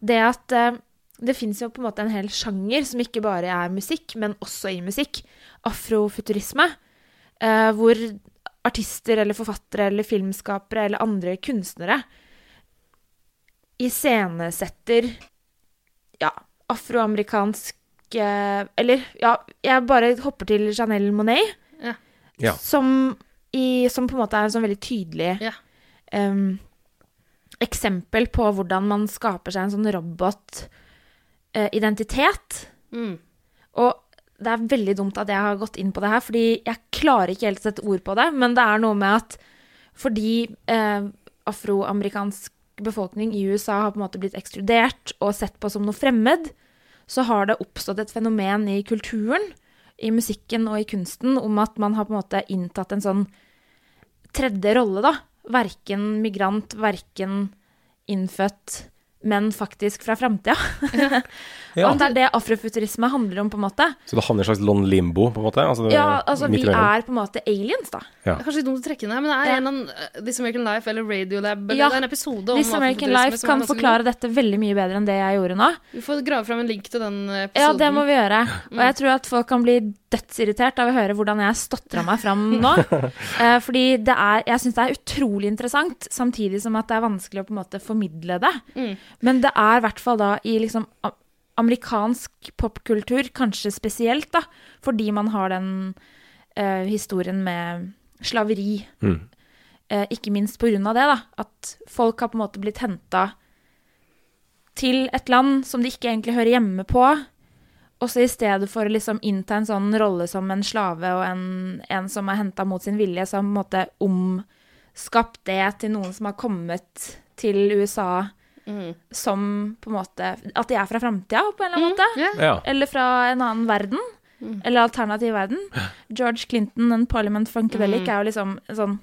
C: Det at eh, det fins jo på en måte en hel sjanger som ikke bare er musikk, men også i musikk. Afrofuturisme. eh, hvor artister eller forfattere eller filmskapere eller andre kunstnere iscenesetter ja, afroamerikansk eh, Eller ja, jeg bare hopper til Janelle Monet,
A: Ja.
B: Ja.
C: som, i, som på en måte er en sånn veldig tydelig
A: Ja.
C: em, eksempel på hvordan man skaper seg en sånn robotidentitet.
A: Mm.
C: Og det er veldig dumt at jeg har gått inn på det her, fordi jeg klarer ikke helt å sette ord på det, men det er noe med at fordi eh, afroamerikansk befolkning i USA har på en måte blitt ekskludert og sett på som noe fremmed, så har det oppstått et fenomen i kulturen, i musikken og i kunsten, om at man har på en måte inntatt en sånn tredje rolle, da. verken migrant, verken innfødt, men faktisk fra framtida.
B: Ja.
C: Og Det er det afrofuturisme handler om, på en måte.
B: Så det havner i en slags Lon Limbo, på en måte? Altså, det-
C: Ja, altså,
B: midt
C: vi
B: imellom.
C: er på en måte aliens, da.
A: Det er kanskje litt dumt å trekke den her, men det er
C: Ja.
A: en av eh, This American Life eller Radiolab eller
C: Ja.
A: det er en episode om
C: This American
A: afrofuturisme
C: Life
A: som er
C: kan
A: ganske god.
C: forklare dette veldig mye bedre enn det jeg gjorde nå.
A: Vi får grave fram en link til den episoden.
C: Ja, det må vi gjøre. Og jeg tror at folk kan bli dødsirritert av å høre hvordan jeg stotra meg fram nå. Eh, Fordi det er, jeg syns det er utrolig interessant, samtidig som at det er vanskelig å på en måte formidle det. Men det er i hvert fall da i liksom a- amerikansk popkultur, kanskje spesielt, da, fordi man har den eh, historien med slaveri.
B: Mm.
C: Eh, ikke minst på grunn av det, da. At folk har på en måte blitt henta til et land som de ikke egentlig hører hjemme på. Og så i stedet for å liksom innta en sånn rolle som en slave og en, en som er henta mot sin vilje, så har man på en måte omskapt det til noen som har kommet til USA som på en måte At de er fra framtida, på en eller annen måte.
A: Ja.
B: Ja.
C: Eller fra en annen verden. Eller alternativ verden. George Clinton and Parliament Funkadelic er jo liksom en sånn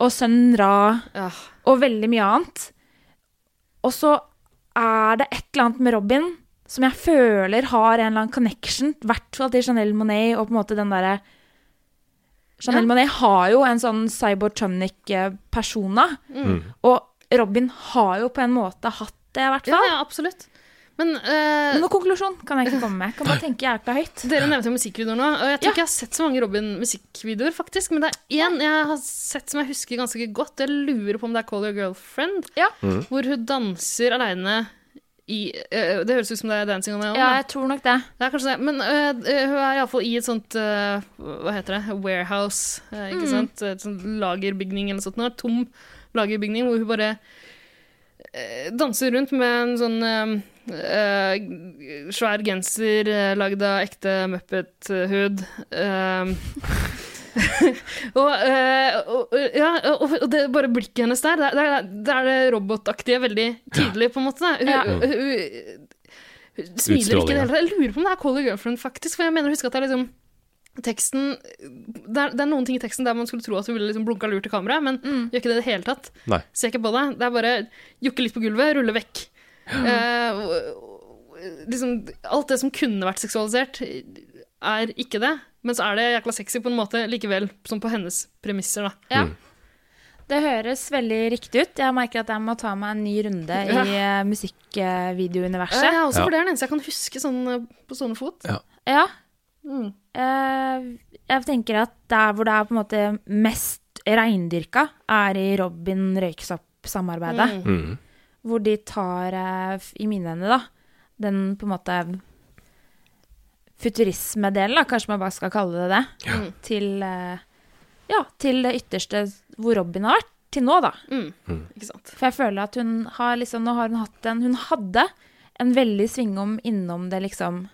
C: Og Sønn Ra
A: Ja.
C: og veldig mye annet. Og så er det et eller annet med Robin som jeg føler har en eller annen connection, i hvert fall til Chanel Monet og på en måte den derre Chanel Monet har jo en sånn cybertronic-persona, og Robin har jo på en måte hatt det, i hvert
A: ja,
C: fall.
A: ja, absolutt. Men eh,
C: Men Noen konklusjon kan jeg ikke komme med. Kan bare tenke jækla høyt.
A: dere nevnte jo musikkvideoer nå, og jeg tror
C: Ja.
A: ikke jeg har sett så mange Robin-musikkvideoer, faktisk. Men det er én jeg har sett som jeg husker ganske godt. Jeg lurer på om det er Call Your Girlfriend,
C: Ja.
A: hvor hun danser aleine i eh, Det høres ut som det er Dancing on my own.
C: Ja,
A: da.
C: jeg tror nok det.
A: Det er kanskje det. Men øh, øh, hun er iallfall i et sånt øh, Hva heter det? Warehouse. øh, ikke sant? Et sånt lagerbygning eller noe sånt. nå, Et tom lagerbygning hvor hun bare øh, danser rundt med en sånn øh, øh, svær genser øh, lagd av ekte Muppet-hud. øh, <laughs> og, øh, og, og- ja, og, og det bare blikket hennes der, det er det, er- det, er det robotaktige veldig tydelig, på en måte. da. Hun,
C: Ja.
A: hun, hun, smiler ikke i det hele tatt. Jeg lurer på om det er Call Your Girlfriend, faktisk. For jeg mener å huske at det er liksom Teksten det er, det er noen ting i teksten der man skulle tro at hun ville liksom blunka lurt til kameraet, men gjør ikke det i det hele tatt.
B: Nei.
A: Ser ikke på det. Det er bare jukke litt på gulvet, rulle vekk. Eh, og- og- liksom, alt det som kunne vært seksualisert, er ikke det. Men så er det jækla sexy på en måte likevel, som på hennes premisser, da.
C: Ja. Det høres veldig riktig ut. Jeg merker at jeg må ta meg en ny runde i eh, musikkvideouniverset.
A: Ja, også
B: Ja.
A: for det er den eneste jeg kan huske sånn eh, på stående fot.
C: Ja.
A: Mm.
C: Eh, jeg tenker at der hvor det er på en måte mest reindyrka, er i Robin Røyksopp-samarbeidet.
B: Mm.
C: Hvor de tar, eh, f- i mine øyne, da, den på en måte futurismedelen, da, kanskje man bare skal kalle det det, til, eh, ja, til det ytterste hvor Robin har vært til nå, da.
A: Ikke sant?
C: For jeg føler at hun har liksom, nå har hun hatt en Hun hadde en veldig svingom innom det liksom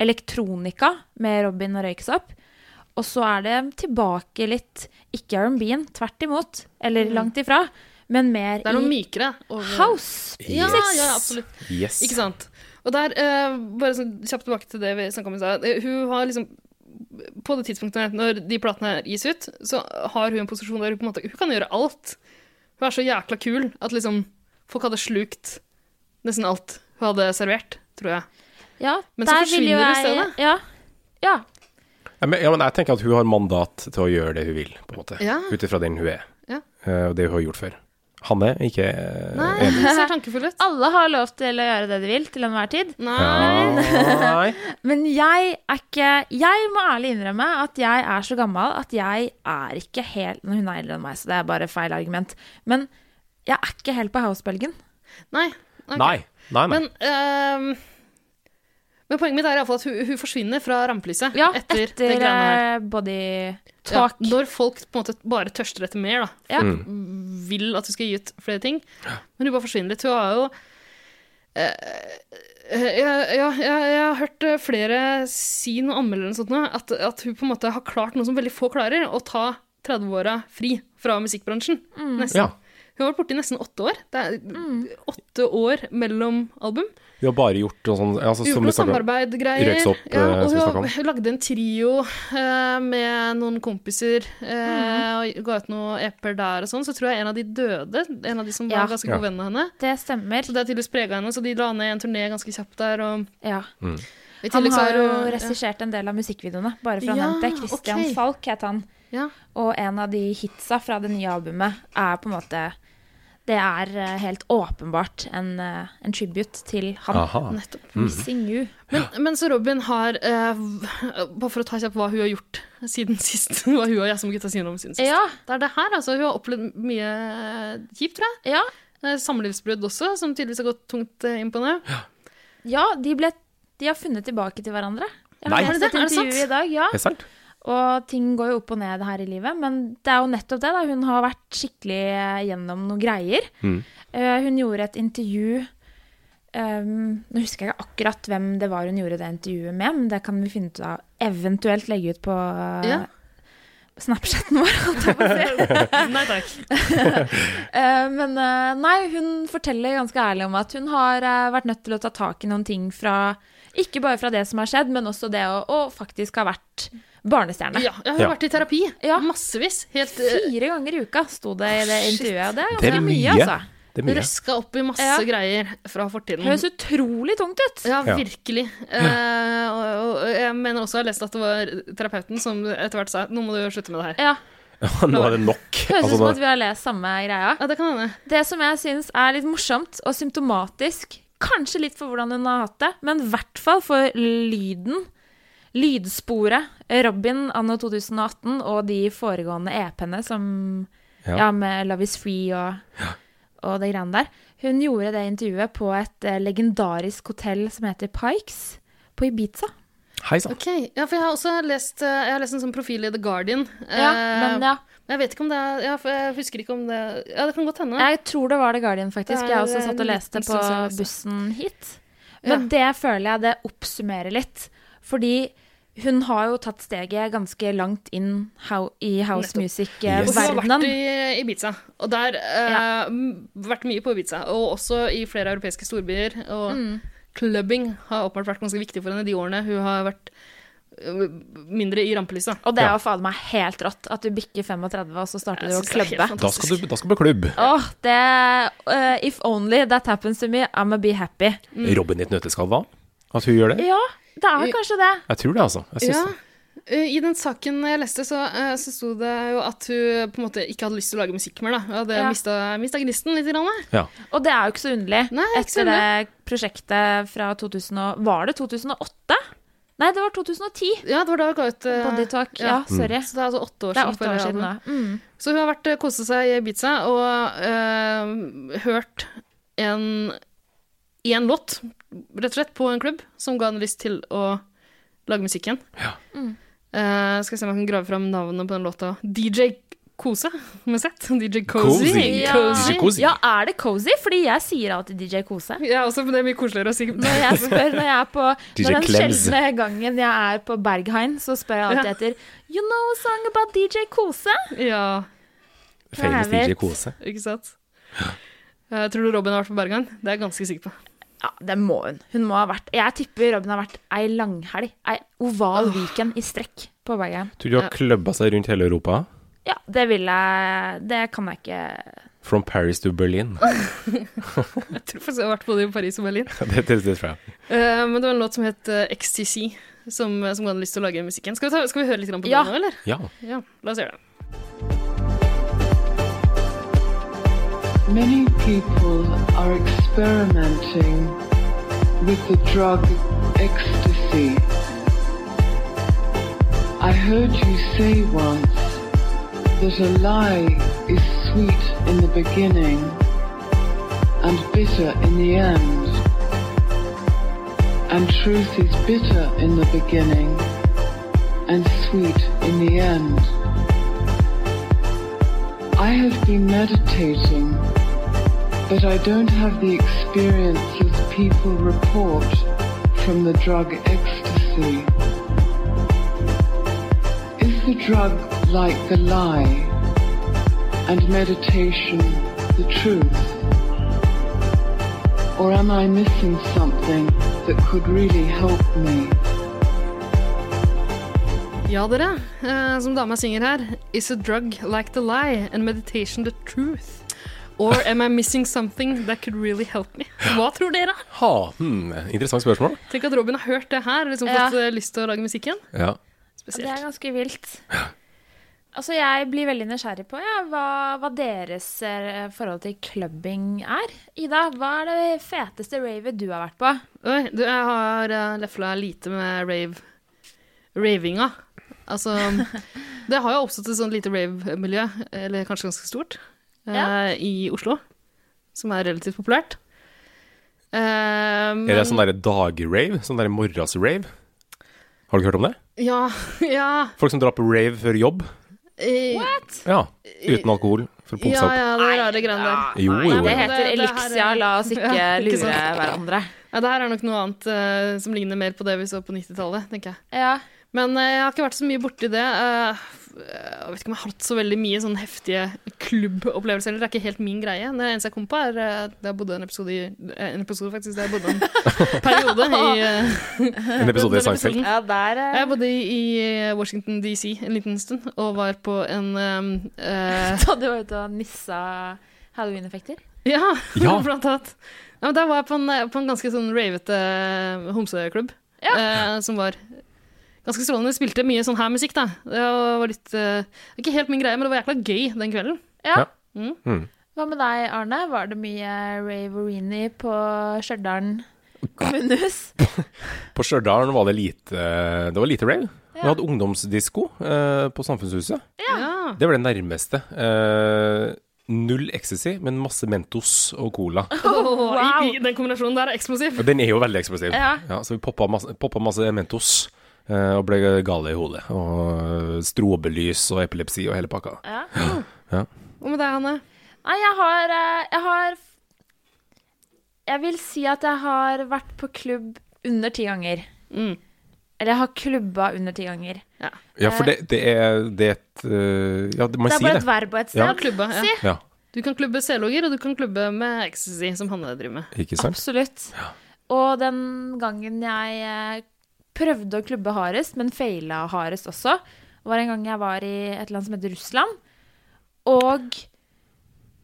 C: elektronika med Robin og Røyksopp. Og så er det tilbake litt, ikke R&B-en, tvert imot, eller langt ifra, men mer
A: Mm. Det er noe
C: i
A: mykere. over-
C: house.
A: Ja,
C: Yes.
A: ja, absolutt.
B: Yes.
A: Ikke sant? Og der, eh, bare sånn kjapt tilbake til det vi snakka om i stad. Eh, Hun har liksom På det tidspunktet når de platene her gis ut, så har hun en posisjon der hun på en måte Hun kan gjøre alt. Hun er så jækla kul at liksom folk hadde slukt nesten alt hun hadde servert, tror jeg.
C: Ja,
A: Men så
C: der vil
A: forsvinner
C: jo
A: det stedet.
C: Ja, ja,
B: Ja, men, ja, men jeg tenker at hun har mandat til å gjøre det hun vil, på en måte.
A: Ja.
B: Ut ifra den hun er.
A: Ja.
B: Eh, Og det hun har gjort før. Hanne, ikke eh,
A: Nei,
B: enig.
A: det ser tankefull ut.
C: alle har lov til å gjøre det de vil til enhver tid.
A: Nei. <laughs>
B: Nei.
C: Men jeg er ikke Jeg må ærlig innrømme at jeg er så gammel at jeg er ikke helt Hun er eldre enn meg, så det er bare feil argument. Men jeg er ikke helt på house-bølgen.
A: Nei. Ok.
B: Nei. Nei, nei.
A: Men, ehm, men poenget mitt er iallfall at hun, hun forsvinner fra rampelyset
C: Ja,
A: etter,
C: etter,
A: det greiene her.
C: eh, body
A: Ja,
C: talk.
A: når folk på en måte bare tørster etter mer, da.
C: Ja.
A: vil at du skal gi ut flere ting. Men hun bare forsvinner litt. Hun har jo eh, eh, ja, ja, jeg, jeg har hørt eh, flere si noe anmeldere eller noe sånt nå, at, at hun på en måte har klart noe som veldig få klarer, å ta 30-åra fri fra musikkbransjen. Nesten.
B: Ja.
A: Hun har vært borte i nesten åtte år. Det er åtte år mellom album.
B: Vi har bare gjort noe sånn altså, som vi
A: Uflo
B: snakket om.
A: samarbeid-greier.
B: Røyksopp,
A: ja, og
B: eh, som vi snakket
A: hun,
B: om.
A: hun lagde en trio eh, med noen kompiser eh,
C: Mhm.
A: og ga ut noen ep-er der og sånn. Så tror jeg en av de døde, en av de som
C: Ja.
A: var ganske
B: Ja.
A: god venn av henne.
C: Det stemmer.
A: Så det har tydeligvis prega henne, så de la ned en turné ganske kjapt der. Og
C: Ja.
A: i
C: Han
A: tillegg så
C: har
A: er
C: jo
A: hun-
C: regissert en del av musikkvideoene, bare for å
A: Ja,
C: nevne det. Christian
A: ok.
C: Falk het han.
A: Ja.
C: Og en av de hitsa fra det nye albumet er på en måte Det er eh, helt åpenbart en, eh, en tribute til han.
B: Aha.
A: Nettopp.
C: Missing You.
A: Men, men så Robin har eh, v- Bare for å ta kjapt hva hun har gjort siden sist. <laughs> Hva hun og jeg som gutta sier om siden sist.
C: Ja,
A: Det er det her, altså. Hun har opplevd mye eh, kjipt, tror jeg.
C: ja,
A: Eh, Samlivsbrudd også, som tydeligvis har gått tungt eh, inn på henne.
C: ja de, ble, de har funnet tilbake til hverandre. Jeg
B: Nei.
C: har lest
A: Er det
C: et
A: det? Er det sant?
C: intervju i dag. Ja.
B: Er det sant?
C: Og ting går jo opp og ned her i livet, men det er jo nettopp det. da. Hun har vært skikkelig eh, gjennom noen greier. Eh, hun gjorde et intervju ehm, Nå husker jeg ikke akkurat hvem det var hun gjorde det intervjuet med, men det kan vi finne ut av. Eventuelt legge ut på eh,
A: Ja.
C: Snapchaten vår, holdt jeg på å si.
A: <laughs> Nei takk.
C: <laughs> Eh, men eh, nei, hun forteller ganske ærlig om at hun har eh, vært nødt til å ta tak i noen ting fra Ikke bare fra det som har skjedd, men også det å, å faktisk ha vært barnestjerne.
A: Ja, jeg har
B: Ja.
A: vært i terapi.
C: Ja.
A: Massevis. Helt eh,
C: Fire ganger i uka sto det i det
A: Ah,
C: intervjuet. Og det er,
B: Det er
C: ganske mye,
B: mye.
C: altså.
B: Det er mye.
A: røska opp i masse
C: Ja.
A: greier fra fortiden.
C: Høres utrolig tungt ut.
A: Ja,
B: Ja.
A: virkelig. Eh, og, og jeg mener også jeg har lest at det var terapeuten som etter hvert sa nå må du slutte med det her.
C: Ja,
B: <laughs> Nå er det nok.
C: Høres ut
B: Altså,
C: som
B: nå-
C: at vi har lest samme greia.
A: Ja, det kan hende.
C: Det som jeg syns er litt morsomt og symptomatisk, kanskje litt for hvordan hun har hatt det, men i hvert fall for lyden, lydsporet, Robin anno 2018 og de foregående EP-ene som
B: Ja.
C: ja. med Love Is Free og, og det greiene der. Hun gjorde det intervjuet på et eh, legendarisk hotell som heter Pikes på Ibiza.
B: Hei sann.
A: Ok, ja, for Jeg har også lest, eh, jeg har lest en sånn profil i The Guardian.
C: Ja,
A: Eh,
C: men ja.
A: Jeg vet ikke om det er ja, for Jeg husker ikke om det Ja, det kan godt hende.
C: Jeg tror det var The Guardian, faktisk.
A: Det er
C: Jeg også satt
A: en
C: og leste
A: liten
C: på
A: stund siden jeg leste.
C: bussen hit. Men det føler jeg det oppsummerer litt. Fordi hun har jo tatt steget ganske langt inn hou- i house eh,
A: Nettopp.
B: Yes.
A: Og så har jeg vært
C: music-verdenen.
A: i Ibiza, og der eh, m- vært mye på Ibiza. Og også i flere europeiske storbyer. Og
C: Mm.
A: clubbing har åpenbart vært ganske viktig for henne de årene hun har vært eh, mindre i rampelyset.
C: Og det er
B: Ja.
C: jo fader meg helt rått at du bikker 35, og så starter du å
A: synes det er helt
C: klubbe.
B: Da skal du da skal du på klubb.
C: Åh, det eh, If only that happens to me, I'ma be happy.
A: Mm.
B: Robin i et nøtteskall, hva? At hun gjør det?
C: Ja, det er kanskje det.
B: Jeg tror det, altså. Jeg syns
A: Ja.
B: det.
A: Eh, I den saken jeg leste, så, eh, så sto det jo at hun på en måte ikke hadde lyst til å lage musikk mer. da. Hun hadde
C: Ja.
A: mista, mista gnisten litt. Grann, da.
B: Ja.
C: Og det er jo ikke så underlig.
A: Nei, ikke så
C: Etter det prosjektet fra 2000 og Var det 2008? Nei, det var 2010.
A: ja, det var da hun ga ut eh,
C: Body talk.
A: ja.
C: Ja, sorry.
A: Så det er altså åtte år
C: Det er
A: siden.
C: åtte år
A: forrige
C: siden nå.
A: album.
C: Mm.
A: Så hun har vært eh, koset seg i Ibiza og eh, hørt en, en låt, rett og slett, på en klubb som ga henne lyst til å lage musikk igjen.
B: Ja.
A: Eh, skal jeg se om jeg kan grave fram navnet på den låta. DJ Kose, <laughs> med sett. DJ Cozy.
B: Cozy.
C: Ja.
B: Cozy, cozy.
C: ja, er det cozy? Fordi jeg sier alltid DJ Kose.
A: Ja, også, men det er mye koseligere å si.
C: Når jeg spør, når jeg er på
B: DJ
C: Når den
B: Klems.
C: sjeldne gangen jeg er på Berghain, så spør jeg alltid etter You know a song about DJ Kose?
A: Ja,
B: Famous
C: Jeg
B: DJ
C: vet.
B: Kose.
A: ikke sant? Eh, tror du Robin har vært på Bergan? Det er jeg ganske sikker på.
C: Ja, det må hun. Hun må ha vært Jeg tipper Robin har vært ei langhelg. Ei oval weekend i strekk på Berghain.
B: Tror du hun har kløbba seg rundt hele Europa?
C: Ja, det vil jeg Det kan jeg ikke
B: From Paris
A: <laughs>
B: to Berlin.
A: Jeg tror faktisk jeg har vært både i Paris og Berlin.
B: det, det, det tror jeg.
A: Eh, men det var en låt som het eh, XTC, som, eh, som hadde lyst til å lage musikken. Skal vi, ta, skal vi høre litt grann på
C: Ja.
A: den nå, eller?
B: Ja.
A: Ja, la oss gjøre det.
J: Many people are experimenting with the drug ecstasy. I heard you say once that a lie is sweet in the beginning and bitter in the end. And truth is bitter in the beginning and sweet in the end. I have been meditating, but I don't have the experiences people report from the drug ecstasy. Is the drug like the lie and meditation the truth? Or am I missing something that could really help me?
A: Ja, dere. Eh, som dama synger her. Is a drug like the lie and meditation the truth? Or am I missing something that could really help me? Hva tror dere?
B: Ha, hmm, interessant spørsmål.
A: Tenk at Robin har hørt det her og liksom
C: Ja.
A: fått eh, lyst til å lage musikken.
B: Ja.
C: Det er
A: Spesielt.
C: ganske vilt. Altså, jeg blir veldig nysgjerrig på ja, hva, hva deres eh, forhold til clubbing er. Ida, hva er det feteste ravet du har vært på?
A: Oi, du, jeg har uh, lefla lite med rave ravinga. Altså Det har jo oppstått et sånt lite rave-miljø, eller kanskje ganske stort, eh,
C: Ja.
A: i Oslo. Som er relativt populært. Eh, men-
B: Er det sånn derre dag-rave? Sånn derre morgens-rave? Har du ikke hørt om det?
A: Ja. <laughs> ja
B: Folk som drar på rave før jobb?
A: eh,
B: Ja. Uten alkohol, for å pumpe
A: Ja,
B: seg opp. Eh,
A: ja, det er rare greiene der.
B: Jo, jo.
C: Det
B: jo.
A: det-
C: heter
A: det her er-
C: Elixia, la oss ikke
A: <laughs> Ja, ikke
C: lure
A: sant.
C: hverandre.
A: Ja, det her er nok noe annet eh, som ligner mer på det vi så på 90-tallet, tenker jeg.
C: Ja.
A: Men eh, jeg har ikke vært så mye borti det. eh, f- eh, jeg vet ikke om jeg har hatt så veldig mye sånn heftige klubbopplevelser. Eller det er ikke helt min greie. Det eneste jeg kom på, er eh, da jeg bodde en episode i eh, En episode, faktisk. Da jeg bodde en periode i eh,
B: En episode
A: den
B: i Seinfeld.
A: episoden.
C: ja, der eh,
A: Jeg bodde i i Washington DC en liten stund og var på en eh, eh,
C: <laughs> Da du var ute og nissa halloween-effekter.
A: Ja,
B: Ja.
A: <laughs> blant annet. Ja, men der var jeg på en, på en ganske sånn ravete homseklubb. Eh, som var ganske strålende. Spilte mye sånn her musikk, da. Det var litt eh, Ikke helt min greie, men det var jækla gøy den kvelden.
C: Ja.
B: Ja. Mm.
C: Hva med deg, Arne? Var det mye raverini på <laughs> Stjørdal kommunehus?
B: På Stjørdal var det lite eh, Det var lite rave. Vi hadde ungdomsdisko eh, på Samfunnshuset.
A: Ja.
C: <laughs>
B: Det var det nærmeste. Eh, null ecstasy, men masse Mentos og cola.
A: Åh,
C: wow.
A: i, i, den kombinasjonen der er eksplosiv.
B: Og den er jo veldig eksplosiv.
C: Ja.
B: så vi poppa masse, poppa masse Mentos eh, og ble gale i hodet. Og eh, strobelys og epilepsi og hele pakka.
C: Ja.
A: Hva med deg, Hanne?
C: Nei, jeg har eh, Jeg har Jeg vil si at jeg har vært på klubb under ti ganger.
A: Mm.
C: Eller jeg har klubba under ti ganger.
B: Ja, for det, det er det er et eh, Ja, det- man
C: Det er
B: sier
C: bare et
B: det.
C: verb og et
B: Ja.
C: sted.
A: Klubba, ja.
C: Si.
B: Ja,
A: Du kan klubbe selogger, og du kan klubbe med ecstasy, som Hanne driver med.
B: ikke sant?
C: Absolutt. Og den gangen jeg eh, prøvde å klubbe hardest, men feila hardest også, var en gang jeg var i et land som heter Russland. Og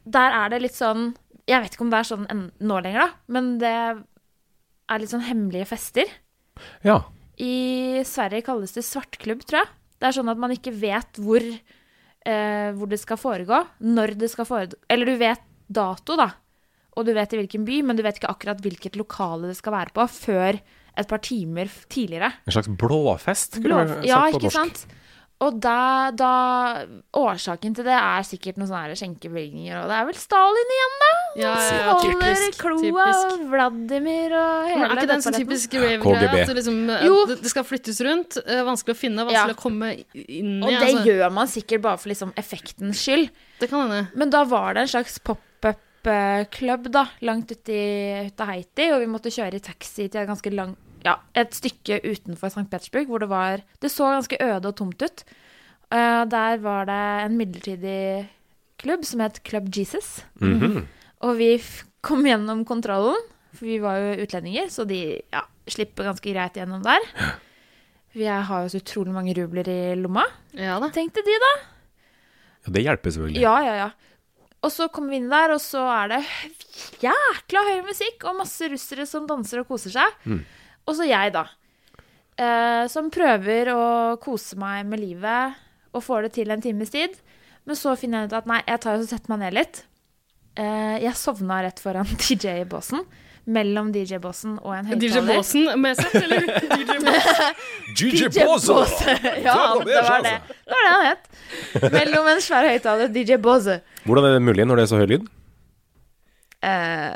C: der er det litt sånn Jeg vet ikke om det er sånn en- nå lenger, da, men det er litt sånn hemmelige fester.
B: Ja.
C: I Sverige kalles det svartklubb, tror jeg. Det er sånn at man ikke vet hvor, eh, hvor det skal foregå, når det skal foregå Eller du vet dato, da, og du vet i hvilken by, men du vet ikke akkurat hvilket lokale det skal være på før et par timer f- tidligere.
B: En slags blåfest, skulle
C: Lov-
B: vi sagt
C: ja,
B: på
C: ikke
B: norsk.
C: sant? Og da, da Årsaken til det er sikkert noen sånne her skjenkebevilgninger, og det er vel Stalin igjen, da?
A: Ja,
C: Som
A: ja, ja.
C: holder
A: Typisk,
C: kloa
A: typisk.
C: og Vladimir og
A: Men
C: hele
A: er ikke den så
C: dødsballetten.
A: typisk
B: KGB.
A: rave-greia? At det, liksom, eh,
C: Jo.
A: det, det skal flyttes rundt, eh, vanskelig å finne,
C: Ja.
A: vanskelig å komme inn i. altså.
C: Og det gjør man sikkert bare for liksom effektens skyld.
A: det kan hende.
C: Men da var det en slags pop-up-klubb da, langt ute i ute av Haiti, og vi måtte kjøre i taxi til et ganske lang, ja, et stykke utenfor St. Petersburg, hvor det var, det så ganske øde og tomt ut. Eh, der var det en midlertidig klubb som het Club Jesus,
B: Mhm.
C: Mhm. og vi f- kom gjennom kontrollen, for vi var jo utlendinger, så de ja, slipper ganske greit gjennom der. Vi har jo så utrolig mange rubler i lomma,
A: Ja da.
C: tenkte de da.
B: Ja, det hjelper selvfølgelig.
C: Ja, ja, ja. Og så kommer vi inn der, og så er det jækla høy musikk og masse russere som danser og koser seg. Og så jeg, da. Eh, som prøver å kose meg med livet og får det til en times tid. Men så finner jeg ut at nei, jeg tar og setter meg ned litt. Eh, jeg sovna rett foran <laughs> DJ-båsen. Mellom DJ-båsen og en
A: DJ
C: høyttaler.
A: Båsen med seg, eller? DJ Båsen.
B: DJ
C: Bozo! <laughs> ja, det var det. Det var det han het. Mellom en svær høyttaler og DJ Boze.
B: Hvordan er det mulig når det er så høy lyd?
C: Eh,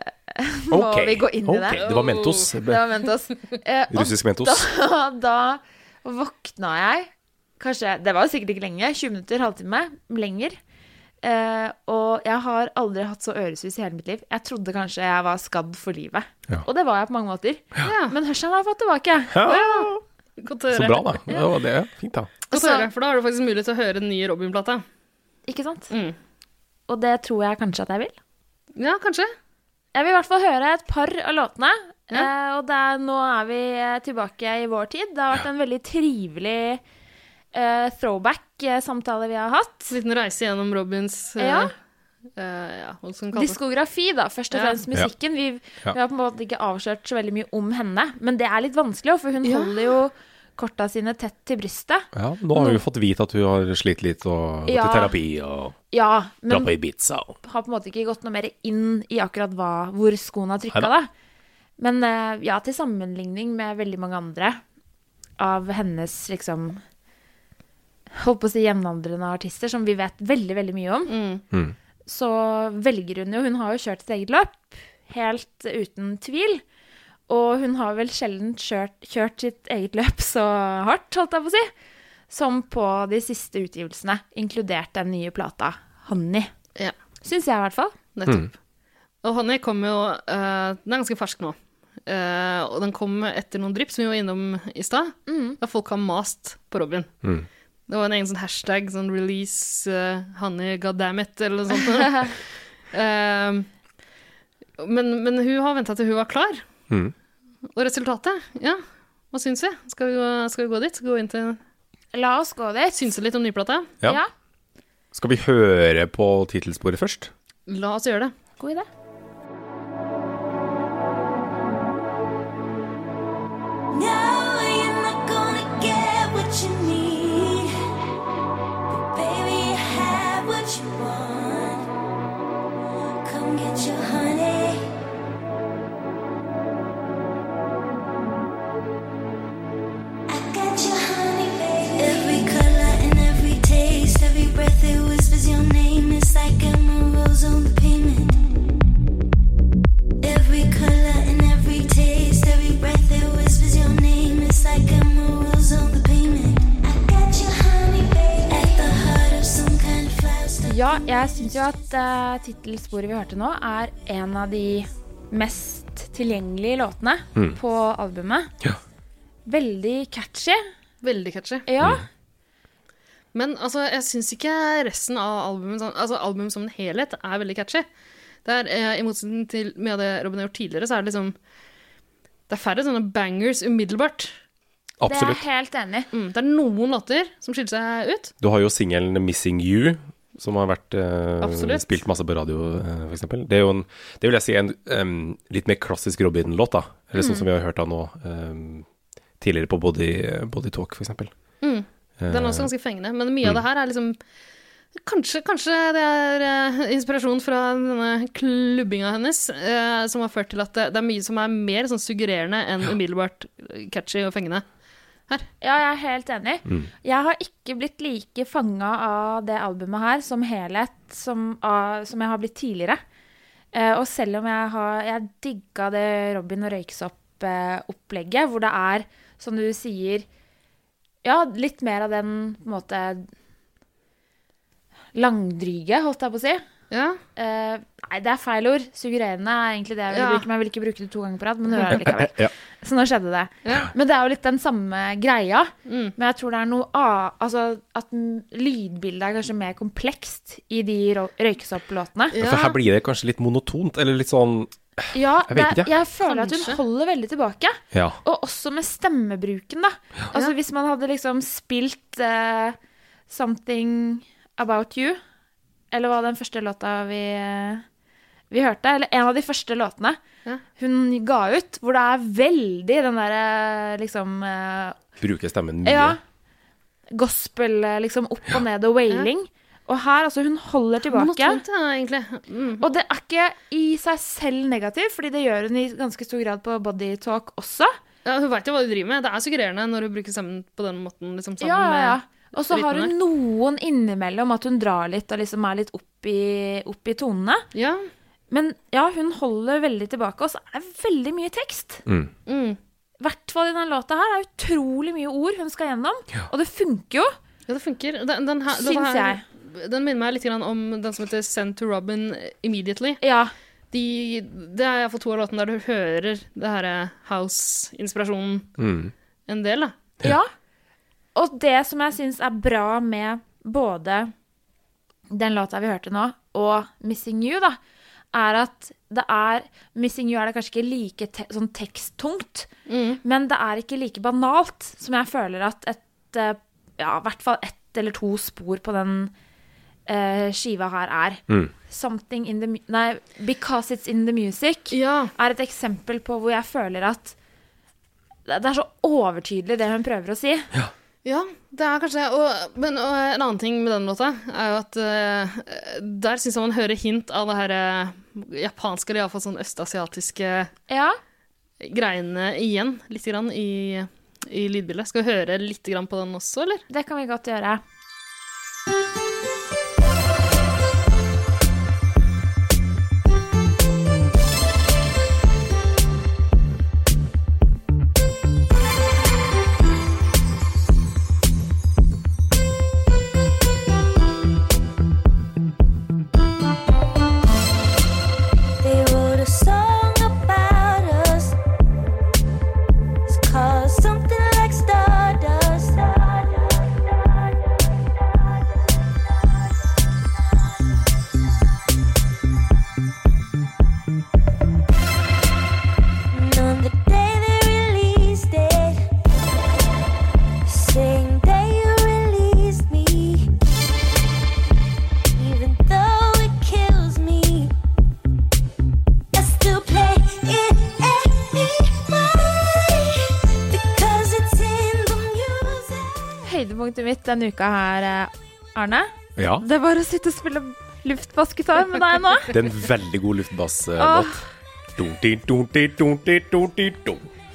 C: må
B: Ok,
C: vi gå inn i
B: ok,
C: det?
B: det var Mentos. Det
C: Det
B: ble
C: var Mentos. Eh, og
B: Russisk Mentos.
C: <laughs> da, da våkna jeg, kanskje Det var sikkert ikke lenge, 20 minutter, halvtime, lenger. Eh, og jeg har aldri hatt så øresus i hele mitt liv. Jeg trodde kanskje jeg var skadd for livet.
B: Ja.
C: Og det var jeg på mange måter.
A: Ja.
C: Men hørselen har jeg fått tilbake.
A: Godt å høre.
B: Så bra, da. Ja, det er fint, da.
A: Godt å høre, for da har du faktisk mulighet til å høre den nye Robin-plata.
C: Ikke sant?
A: Mm.
C: Og det tror jeg kanskje at jeg vil.
A: Ja, kanskje.
C: Jeg vil i hvert fall høre et par av låtene. Eh, og det er, nå er vi eh, tilbake i vår tid. Det har vært en veldig trivelig eh, throwback-samtale vi har hatt.
A: Liten reise gjennom Robins eh,
C: Ja.
A: eh, ja, hva skal man kalle det?
C: Diskografi, da, først og
A: Ja.
C: fremst musikken. Vi,
B: Ja.
C: vi har på en måte ikke avslørt så veldig mye om henne, men det er litt vanskelig, for hun holder jo korta sine tett til brystet.
B: Ja, nå har vi jo fått vite at hun har slitt litt og gått
C: Ja.
B: i terapi og
C: Ja,
B: dratt
C: men
B: på Ibiza. og-
C: har på en måte ikke gått noe mer inn i akkurat hva, hvor skoen har trykka,
B: Neida.
C: da. Men eh, ja, til sammenligning med veldig mange andre av hennes liksom Holdt på å si jevnaldrende artister, som vi vet veldig, veldig mye om.
B: Mm.
C: Så velger hun jo Hun har jo kjørt sitt eget løp, helt uten tvil. Og hun har vel sjelden kjørt, kjørt sitt eget løp så hardt, holdt jeg på å si, som på de siste utgivelsene, inkludert den nye plata, 'Honey'.
A: Ja,
C: Syns jeg, i hvert fall.
A: nettopp.
B: Mm.
A: Og Honey kom jo eh, Den er ganske fersk nå. Eh, og den kom etter noen drypp, som vi var innom i stad, da folk har mast på Robin.
B: Mm.
A: Det var en egen sånn hashtag, sånn 'release eh, honey goddammit', eller noe sånt. Eh, men, men hun har venta til hun var klar.
B: Mm.
A: Og resultatet? Ja, hva syns vi? Skal vi, gå, skal vi gå dit? Gå inn til
C: La oss gå dit.
A: Synse litt om nyplata?
B: Ja.
C: Ja.
B: Skal vi høre på tittelsporet først?
A: La oss gjøre det.
C: God idé.
I: No, you're not gonna get what you need. But baby, you have what you want. Come get your honey. I got your honey, baby. Every color and every taste, every breath it whispers your name. It's like emeralds on the pavement. Every color and every taste, every breath that whispers your name. It's like emeralds on the pavement. I got your honey, babe, at the heart of some kind of flower.
C: Ja, jeg syns jo at uh, tittelsporet vi hørte nå, er en av de mest tilgjengelige låtene
B: Mm.
C: på albumet.
B: Ja.
C: Veldig catchy.
A: Veldig catchy.
C: Ja.
B: Mm.
A: Men altså, jeg syns ikke resten av albumet sånn- Altså, albumet som en helhet er veldig catchy. Det er, eh, I motsetning til mye av det Robin har gjort tidligere, så er det liksom Det er færre sånne bangers umiddelbart.
C: Det er
B: Absolutt.
C: jeg helt enig i.
A: Mm, det er noen låter som skiller seg ut.
B: Du har jo singelen 'Missing You', som har vært eh,
A: Absolutt.
B: spilt masse på radio, eh, for eksempel. Det er jo en, det vil jeg si, en em, litt mer klassisk Robin-låt, da. Eller
C: Mm.
B: sånn som vi har hørt av nå em, tidligere på Body, body Talk, for eksempel.
A: Den er også ganske fengende. Men mye av
B: Mm.
A: det her er liksom Kanskje, kanskje det er eh, inspirasjon fra denne klubbinga hennes eh, som har ført til at det, det er mye som er mer sånn suggererende enn umiddelbart catchy og fengende.
C: Ja, jeg er helt enig. Jeg har ikke blitt like fanga av det albumet her som helhet som, av, som jeg har blitt tidligere. Eh, og selv om jeg har Jeg digga det Robin og Røyksopp-opplegget, hvor det er, som du sier Ja, litt mer av den på en måte langdryge, holdt jeg på å si.
A: Ja.
C: Eh, nei, det er feil ord. Suggererende er egentlig det jeg vil
A: Ja.
C: bruke. Men jeg vil ikke bruke det to ganger på rad, men det
B: <laughs>
C: gjør jeg likevel.
B: Ja.
C: Så nå skjedde det.
A: Ja.
C: Men det er jo litt den samme greia.
B: Mm.
C: Men jeg tror det er noe av Altså at m- lydbildet er kanskje mer komplekst i de rå- røykesopplåtene.
B: For her blir det kanskje litt monotont, eller litt sånn
C: Ja,
B: Jeg
C: det,
B: vet ikke.
C: er- jeg føler at
A: Kanskje.
C: hun holder veldig tilbake.
B: Ja.
C: Og også med stemmebruken, da. Altså hvis man hadde liksom spilt eh, Something About You, eller hva den første låta vi, eh, vi hørte, eller en av de første låtene
A: Ja.
C: hun ga ut, hvor det er veldig den derre liksom eh,
B: Bruker stemmen mye.
C: Ja. Gospel, eh, liksom opp og ned og wailing. Og her, altså, hun holder tilbake.
A: Monotont, ja, egentlig. Mm.
C: Og det er ikke i seg selv negativt, fordi det gjør hun i ganske stor grad på Body Talk også.
A: Ja, hun veit jo hva hun driver med. Det er suggererende når hun bruker stemmen på den måten. Liksom, sammen
C: Ja, ja, ja.
A: med-
C: Og så har hun noen innimellom at hun drar litt og liksom er litt opp i, opp i tonene.
A: ja.
C: Men ja, hun holder veldig tilbake, og så er det veldig mye tekst.
B: Mm.
A: Mm.
C: I hvert fall i denne låta her. Det er utrolig mye ord hun skal gjennom, og det funker jo,
A: ja, det funker. Den, den her, den
C: syns jeg.
A: her, den minner meg litt grann om den som heter 'Send to Robin Immediately'.
C: Ja.
A: De, det er iallfall to av låtene der du hører det her eh, house-inspirasjonen
B: Mm.
A: en del, da.
C: Ja. Og det som jeg syns er bra med både den låta vi hørte nå, og 'Missing You', da, er at det er Missing You er det kanskje ikke like te sånn teksttungt, men det er ikke like banalt som jeg føler at et eh, Ja, i hvert fall ett eller to spor på den eh, skiva her er.
B: Mm.
C: Something in the mu- Nei, Because It's In The Music
A: Ja.
C: er et eksempel på hvor jeg føler at det det er så overtydelig det hun prøver å si.
A: Ja, det er kanskje det. Og, men og en annen ting med den låta er jo at eh, der syns jeg man hører hint av det her eh, japanske eller iallfall sånn østasiatiske
C: Ja.
A: greiene igjen, litt grann, i, i lydbildet. Skal vi høre litt grann på den også, eller?
C: Det kan vi godt gjøre.
I: They wrote a song about us. It's called something like Stardust. And on the day they released it, same day you released me, even though it kills me. I still play it anyway because it's in the music.
C: Høydepunktet mitt denne uka her, eh, Arne,
B: Ja.
C: det var å sitte og spille luftbassgitar med deg nå.
B: Det er en veldig god
C: Åh.
B: luftbasslåt. Du
C: Du er veldig god,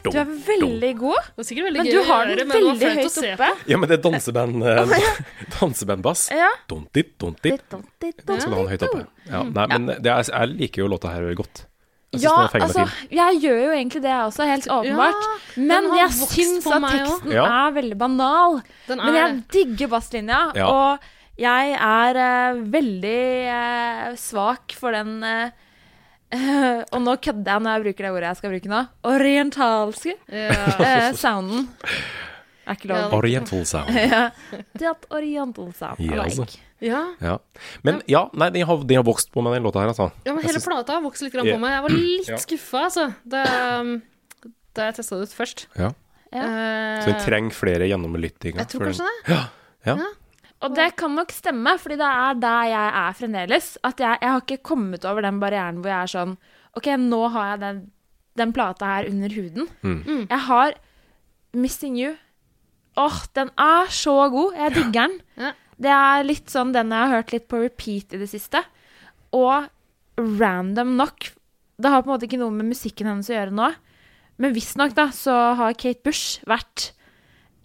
A: Det var sikkert veldig
C: men
A: gøy
C: du
A: å
C: har
A: gjøre,
C: den
A: men det var
C: veldig
A: flaut å
C: høyt
A: se
C: oppe.
B: Ja, men det er danseband eh, dansebandbass.
C: Ja.
B: Dontit, dontit. Den skal du ha den høyt oppe. Ja, nei, men det er, jeg liker jo låta her veldig godt. Jeg synes
C: Ja,
B: den er fengende
C: altså, jeg gjør jo egentlig det også, helt åpenbart. Men
A: den har
C: jeg
A: vokst
C: syns
A: på
C: at
A: meg også.
C: teksten
B: Ja.
C: er veldig banal.
A: Den
C: Men
A: er
C: jeg digger basslinja,
B: Ja.
C: og jeg er eh, veldig eh, svak for den eh, <laughs> Og nå kødder jeg når jeg bruker det ordet jeg skal bruke nå. Orientalske
A: Ja.
C: eh, sounden. Er ikke lov.
B: fin. Oriental sound.
C: Det at oriental sound
B: Ja,
C: I like.
B: altså.
A: ja.
B: Ja. Men ja, nei, den har, den har vokst på meg, den låta her, altså.
A: ja, men
B: Jeg
A: hele
B: synes-
A: plata har vokst litt grann
B: Ja.
A: på meg. Jeg var
B: Ja.
A: litt skuffa, altså, da, um, da jeg testa det ut først.
B: Ja. Så den
A: Eh,
B: trenger flere gjennomlyttinger.
A: jeg tror kanskje det.
C: Og det kan nok stemme, fordi det er der jeg er fremdeles. At jeg, jeg har ikke kommet over den barrieren hvor jeg er sånn OK, nå har jeg den, den plata her under huden. Jeg har 'Missing You'. Åh, den er så god. Jeg digger den.
A: Ja.
C: Det er litt sånn den jeg har hørt litt på repeat i det siste. Og random nok Det har på en måte ikke noe med musikken hennes å gjøre nå. Men visstnok, da, så har Kate Bush vært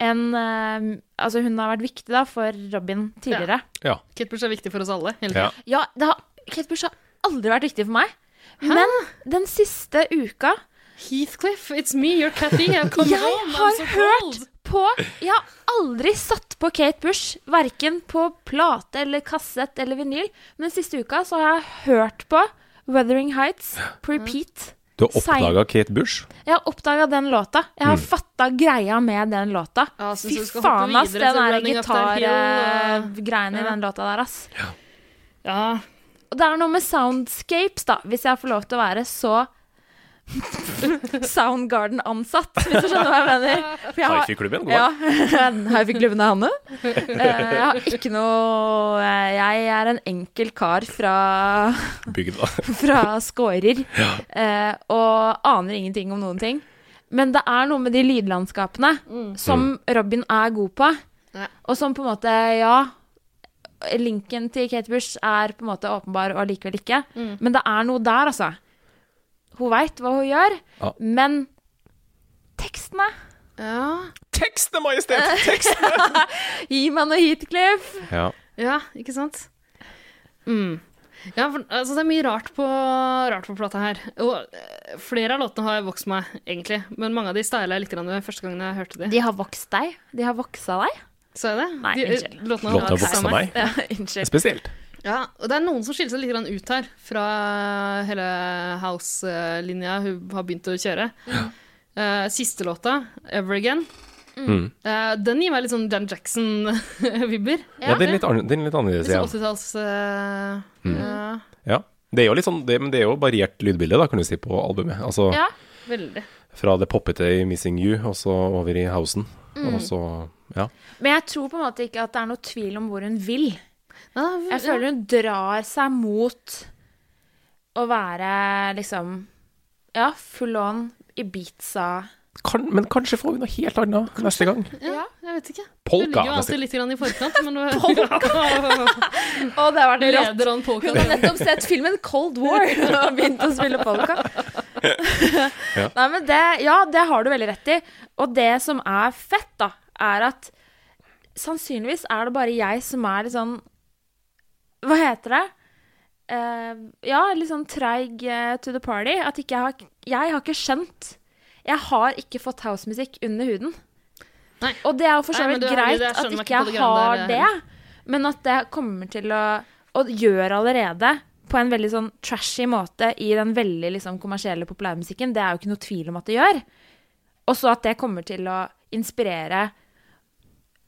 C: en eh, Altså, hun har vært viktig da for Robin tidligere.
B: Ja.
A: Kate Bush er viktig for oss alle. hele
B: Ja.
A: tiden.
C: Ja, det har, Kate Bush har aldri vært viktig for meg. Men den siste uka
A: Heathcliff, it's me, your Cathy. I've come
C: Jeg
A: home.
C: har
A: I'm so
C: hørt
A: cold.
C: på Jeg har aldri satt på Kate Bush, verken på plate eller kassett eller vinyl. Men den siste uka så har jeg hørt på Weathering Heights på repeat.
B: Du har oppdaga Kate Bush.
C: Jeg har oppdaga den låta. Jeg har fatta greia med den låta.
A: Ja, jeg synes
C: Fy
A: vi skal hoppe
C: faen, ass,
A: videre
C: den
A: til
C: der
A: Running Up That Hill,
C: eh,
A: og-
C: gitargreiene i
A: Ja.
C: den låta der, ass.
A: Ja,
C: Og det er noe med soundscapes, da, hvis jeg får lov til å være så <laughs> Soundgarden-ansatt, hvis du skjønner hva jeg mener. For jeg har-
B: Hifi-klubben går.
C: Ja. <laughs> Hifi-klubben er Hanne. Eh, Jeg har ikke noe eh, Jeg er en enkel kar fra,
B: Bygda. <laughs>
C: fra Skårer eh, og aner ingenting om noen ting. Men det er noe med de lydlandskapene som Robin er god på,
A: Ja.
C: og som på en måte, ja linken til Kate Bush er på en måte åpenbar og likevel ikke. Men det er noe der, altså. Hun veit hva hun gjør,
B: Ja.
C: men tekstene
A: ja,
B: Tekstene, Majestet! Tekstene!
C: Gi meg noe Heathcliff!
B: Ja.
A: ja, ikke sant? Mm. Ja, for, altså, det er mye rart på, rart på plata her. Og eh, flere av låtene har vokst meg, egentlig. Men mange av de styla jeg litt grann ved første gangen jeg hørte de.
C: De har vokst deg. De har voksa deg.
A: Så jeg det?
C: Nei,
A: de, eh,
C: unnskyld.
A: Låtene
B: Låta
A: har
B: voksa
A: vokst meg.
B: meg.
C: Ja, unnskyld.
B: Spesielt.
A: Ja, og det er noen som skiller seg litt grann ut her fra hele house-linja hun har begynt å kjøre. Eh, siste låta, 'Ever Again',
B: Mm.
A: eh, den gir meg litt sånn Jan Jackson-vibber.
B: Ja, det er litt, anner- det er litt annerledes
A: Litt sånn
B: igjen.
A: 80-talls eh, ja.
B: Ja. Det er jo litt sånn, det, men det er jo variert lydbilde, da, kan du si, på albumet. Altså
C: Ja.
A: Veldig.
B: fra det poppete i 'Missing You', og så over i 'Housen'.
A: Mm.
B: Og så, ja.
C: Men jeg tror på en måte ikke at det er noe tvil om hvor hun vil.
A: Ja, v-
C: Jeg føler hun drar seg mot å være liksom Ja, full on i beatsa.
B: Kan, men kanskje får vi noe helt annet neste gang.
C: Ja.
A: Jeg vet ikke. Du
B: Polka, altså.
A: ligger jo
B: neste-
A: alltid litt grann i forkant, men du <laughs> Polka!
C: Å, det har vært rått.
A: leder an polka.
C: Hun har nettopp sett filmen Cold War <laughs> og begynt å spille polka. Nei, men det, ja, det har du veldig rett i. Og det som er fett, da, er at sannsynligvis er det bare jeg som er litt sånn Hva heter det? Eh, ja, litt sånn treig eh, to the party. At ikke jeg har Jeg har ikke skjønt Jeg har ikke fått housemusikk under huden.
A: Nei.
C: Og det er jo for så
A: Nei, men
C: vidt
A: du er
C: greit
A: veldig- jeg
C: at
A: skjønner meg
C: ikke
A: ikke på det
C: jeg
A: greiene
C: har
A: der,
C: det, men at det kommer til å Og gjør allerede på en veldig sånn trashy måte i den veldig liksom kommersielle populærmusikken. Det er jo ikke noe tvil om at det gjør. Og så at det kommer til å inspirere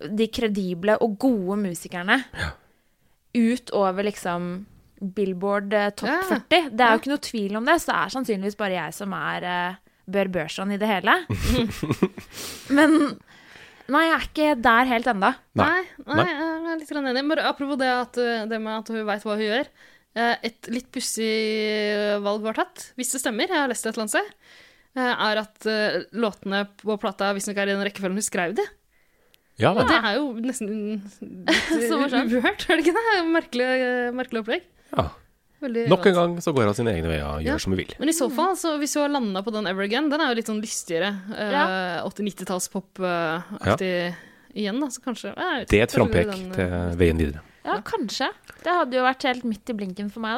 C: de kredible og gode musikerne ut over liksom Billboard eh, topp
A: Ja.
C: 40. Det er jo ikke noe tvil om det, så det er sannsynligvis bare jeg som er eh, Bør Børson i det hele. Men Nei, jeg er ikke der helt ennå.
A: Nei,
B: Nei.
A: nei, jeg er litt grann enig. Bare apropos det, at, uh, det med at hun veit hva hun gjør. Eh, Et litt pussig eh, valg var tatt, hvis det stemmer, jeg har lest det et eller annet sted, eh, er at eh, låtene på plata visstnok er i den rekkefølgen hun skrev de.
B: Ja,
A: Og det er jo nesten så
C: morsomt.
A: uhørt, er det ikke det? Merkelig, eh, merkelig opplegg.
B: ja.
A: Veldig
B: Nok en gang så går han sine egne veier og gjør
A: Ja.
B: som vi vil.
A: Men i så
C: Mm.
A: fall, så hvis hun har landa på den Ever Again, den er jo litt sånn lystigere. eh,
C: Ja.
A: 80-90-talls-pop-aktig igjen, da, så kanskje jeg vet
B: Det er
A: ikke,
B: et
A: kanskje
B: frampek
A: den, eh,
B: til veien videre.
C: Ja, kanskje. Det hadde jo vært helt midt i blinken for meg,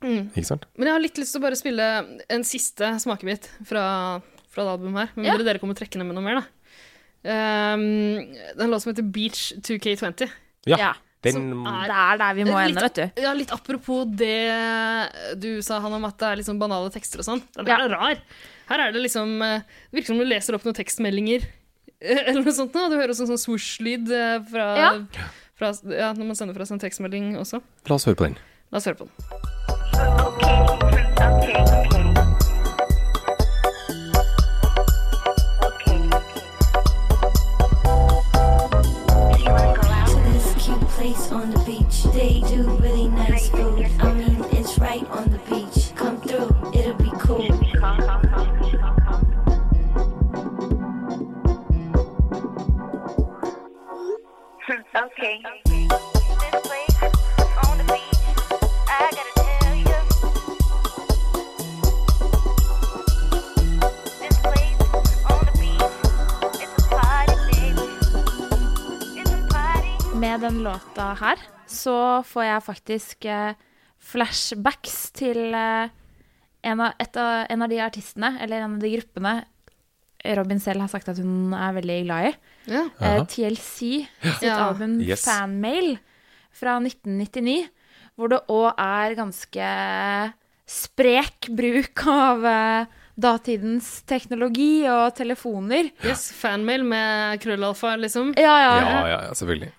C: da.
B: Ikke sant?
A: Men jeg har litt lyst til å bare spille en siste smakebit fra, fra det albumet her. Med mindre dere kommer trekkende med noe mer, da. Um, den låt som heter Beach 2K20.
B: Ja.
C: Ja.
B: Den
A: er-
C: Det er der vi må ende, vet du.
A: Ja, litt apropos det du sa, han om at det er liksom banale tekster og sånn. Den her
C: Ja.
A: er rar. Her er det liksom eh, Det virker som du leser opp noen tekstmeldinger <laughs> eh, eller noe sånt, nå, og du hører også en sånn swoosh-lyd eh, fra,
C: Ja.
A: fra ja, når man sender fra seg en tekstmelding også.
B: La oss høre på den.
A: La oss høre på den.
I: to this cute place on the beach. They do really nice food. I mean, it's right on the beach. Come through, it'll be cool.
K: Okay. This place on the beach, I gotta tell you. This place on the beach, it's a party, baby. It's a party.
C: Med den låta her så får jeg faktisk eh, flashbacks til eh, en, av, et av, en av de artistene, eller en av de gruppene, Robin selv har sagt at hun er veldig glad i.
A: Ja.
C: eh,
B: Aha.
C: TLC sitt
A: Ja.
C: album
B: Yes.
C: Fanmail fra 1999, hvor det òg er ganske sprek bruk av eh, datidens teknologi og telefoner.
A: Yes, fanmail med krøllalfa, liksom.
C: Ja, ja.
B: Ja, ja, ja, selvfølgelig.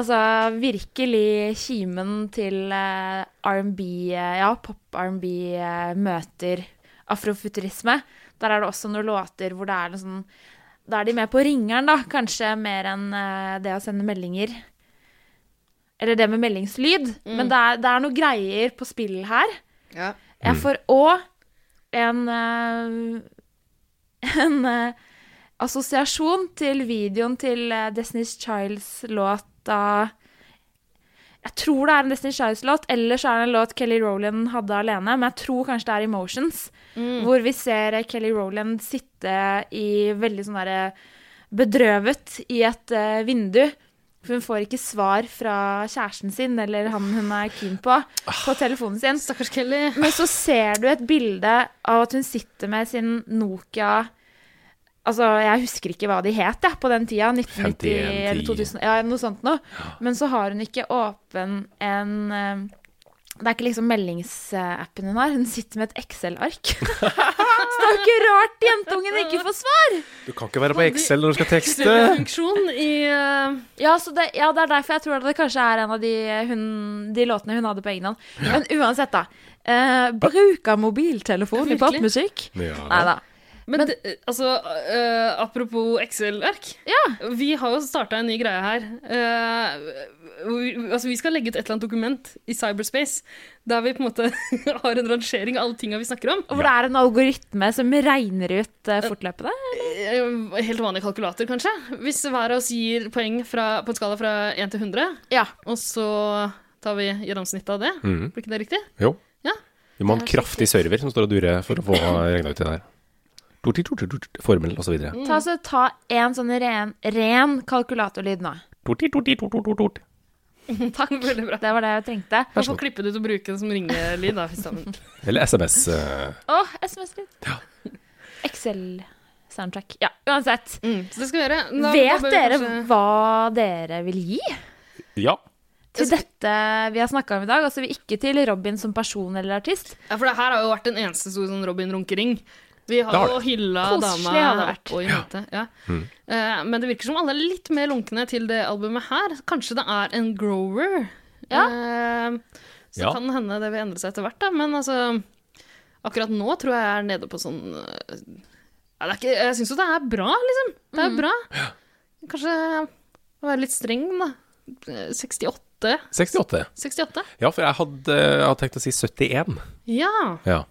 C: Altså virkelig kimen til eh, R&B, eh, ja, pop-R&B eh, møter afrofuturisme. Der er det også noen låter hvor det er noe sånn Da er de med på ringeren, da, kanskje mer enn eh, det å sende meldinger. Eller det med meldingslyd. Men det er, det er noe greier på spill her.
A: Ja.
C: Jeg får òg en eh, <laughs> En eh, assosiasjon til videoen til eh, Destiny's Childs-låta Jeg tror det er en Destiny's Childs-låt, eller så er det en låt Kelly Rowland hadde alene, men jeg tror kanskje det er Emotions, hvor vi ser eh, Kelly Rowland sitte i veldig sånn derre bedrøvet i et eh, vindu. For hun får ikke svar fra kjæresten sin eller han hun er keen på, på telefonen sin.
A: Stakkars Kelly.
C: Men så ser du et bilde av at hun sitter med sin Nokia Altså, jeg husker ikke hva de het jeg, på den tida. 1990
B: 51,
C: eller 2000, ja, noe sånt noe. Men så har hun ikke åpen en eh, Det er ikke liksom meldingsappen hun har. Hun sitter med et Excel-ark. <laughs> Så det er jo ikke rart jentungen ikke får svar!
B: Du kan ikke være på Excel når du skal tekste.
A: <laughs> Funksjon i eh,
C: Ja, så det, ja, det er derfor jeg tror at det kanskje er en av de, hun, de låtene hun hadde på egen hånd. Men uansett, da. Eh, bruk av mobiltelefon i
A: Virkelig.
C: popmusikk?
B: Ja.
C: Nei da.
A: Men, det, altså, eh, apropos Excel-ark. Vi har jo starta en ny greie her. Eh, vi, altså, vi skal legge ut et eller annet dokument i cyberspace der vi på en måte <laughs> har en rangering av alle tinga vi snakker om.
C: Og hvor det er en algoritme som regner ut eh, fortløpende?
A: Eh, Helt vanlig kalkulator, kanskje. Hvis hver av oss gir poeng fra, på en skala fra 1 til 100, og så tar vi gjennomsnittet av det.
B: Mhm.
A: Blir ikke det riktig?
B: Jo.
A: Ja.
B: Du må ha en kraftig server som står og durer for å
A: <clears throat>
B: få regna ut det der. Torti, torti, torti, formel og så videre.
C: Ta, så, ta en sånn ren, ren kalkulatorlyd nå.
B: Torti, torti, torti, torti, torti.
A: Takk. Veldig bra.
C: Det var det jeg trengte.
A: Du får klippe det ut og bruke den som ringelyd. da, hvis det er- sånn.
B: Eller SMS. eh,
C: Å, SMS-lyd. Excel-soundtrack. Ja, uansett.
A: Mm. Så det skal vi gjøre. Da- da
C: Vet
A: bør vi
C: dere
A: kanskje-
C: hva dere vil gi
B: ja.
C: til dette vi har snakka om i dag? Altså ikke til Robin som person eller artist.
A: Ja, for det her har jo vært den eneste store sånn Robin Runkering. Vi har
C: Det har
A: jo
C: det. Mm.
A: hylla
C: Koselig
A: dama
C: har det vært.
A: opp og i møte. Ja. Eh, men det virker som alle er litt mer lunkne til det albumet her. Kanskje det er en grower. Eh, så
B: Ja.
A: kan hende det vil endre seg etter hvert, da. Men altså, akkurat nå tror jeg jeg er nede på sånn eh, ja, det er ikke, Jeg syns jo det er bra, liksom. Det
C: Mm.
A: er bra. Kanskje være litt streng, da. Eh, 68.
B: 68.
A: 68?
B: Ja, for jeg hadde, jeg hadde tenkt å si 71.
A: Ja.
B: Ja.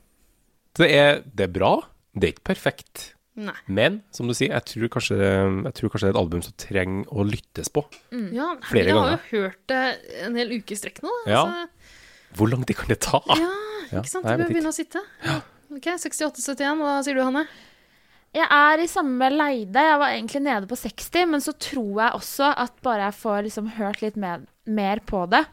B: Så det er, det er bra. Det er ikke perfekt.
A: Nei.
B: Men som du sier, jeg tror kanskje, jeg tror kanskje det er et album som trenger å lyttes på.
A: Ja,
B: Mm. Flere
A: jeg
B: ganger.
A: har jo hørt det en hel uke i strekk nå.
B: Ja.
A: Altså,
B: Hvor lang tid kan det ta?
A: ja,
B: Ja,
A: ikke sant?
B: nei,
A: Du
B: jeg
A: bør
B: vet
A: begynne å sitte. Ok, 68-71, hva sier du, Hanne?
C: Jeg er i samme leide. Jeg var egentlig nede på 60, men så tror jeg også at bare jeg får liksom hørt litt mer, mer på det,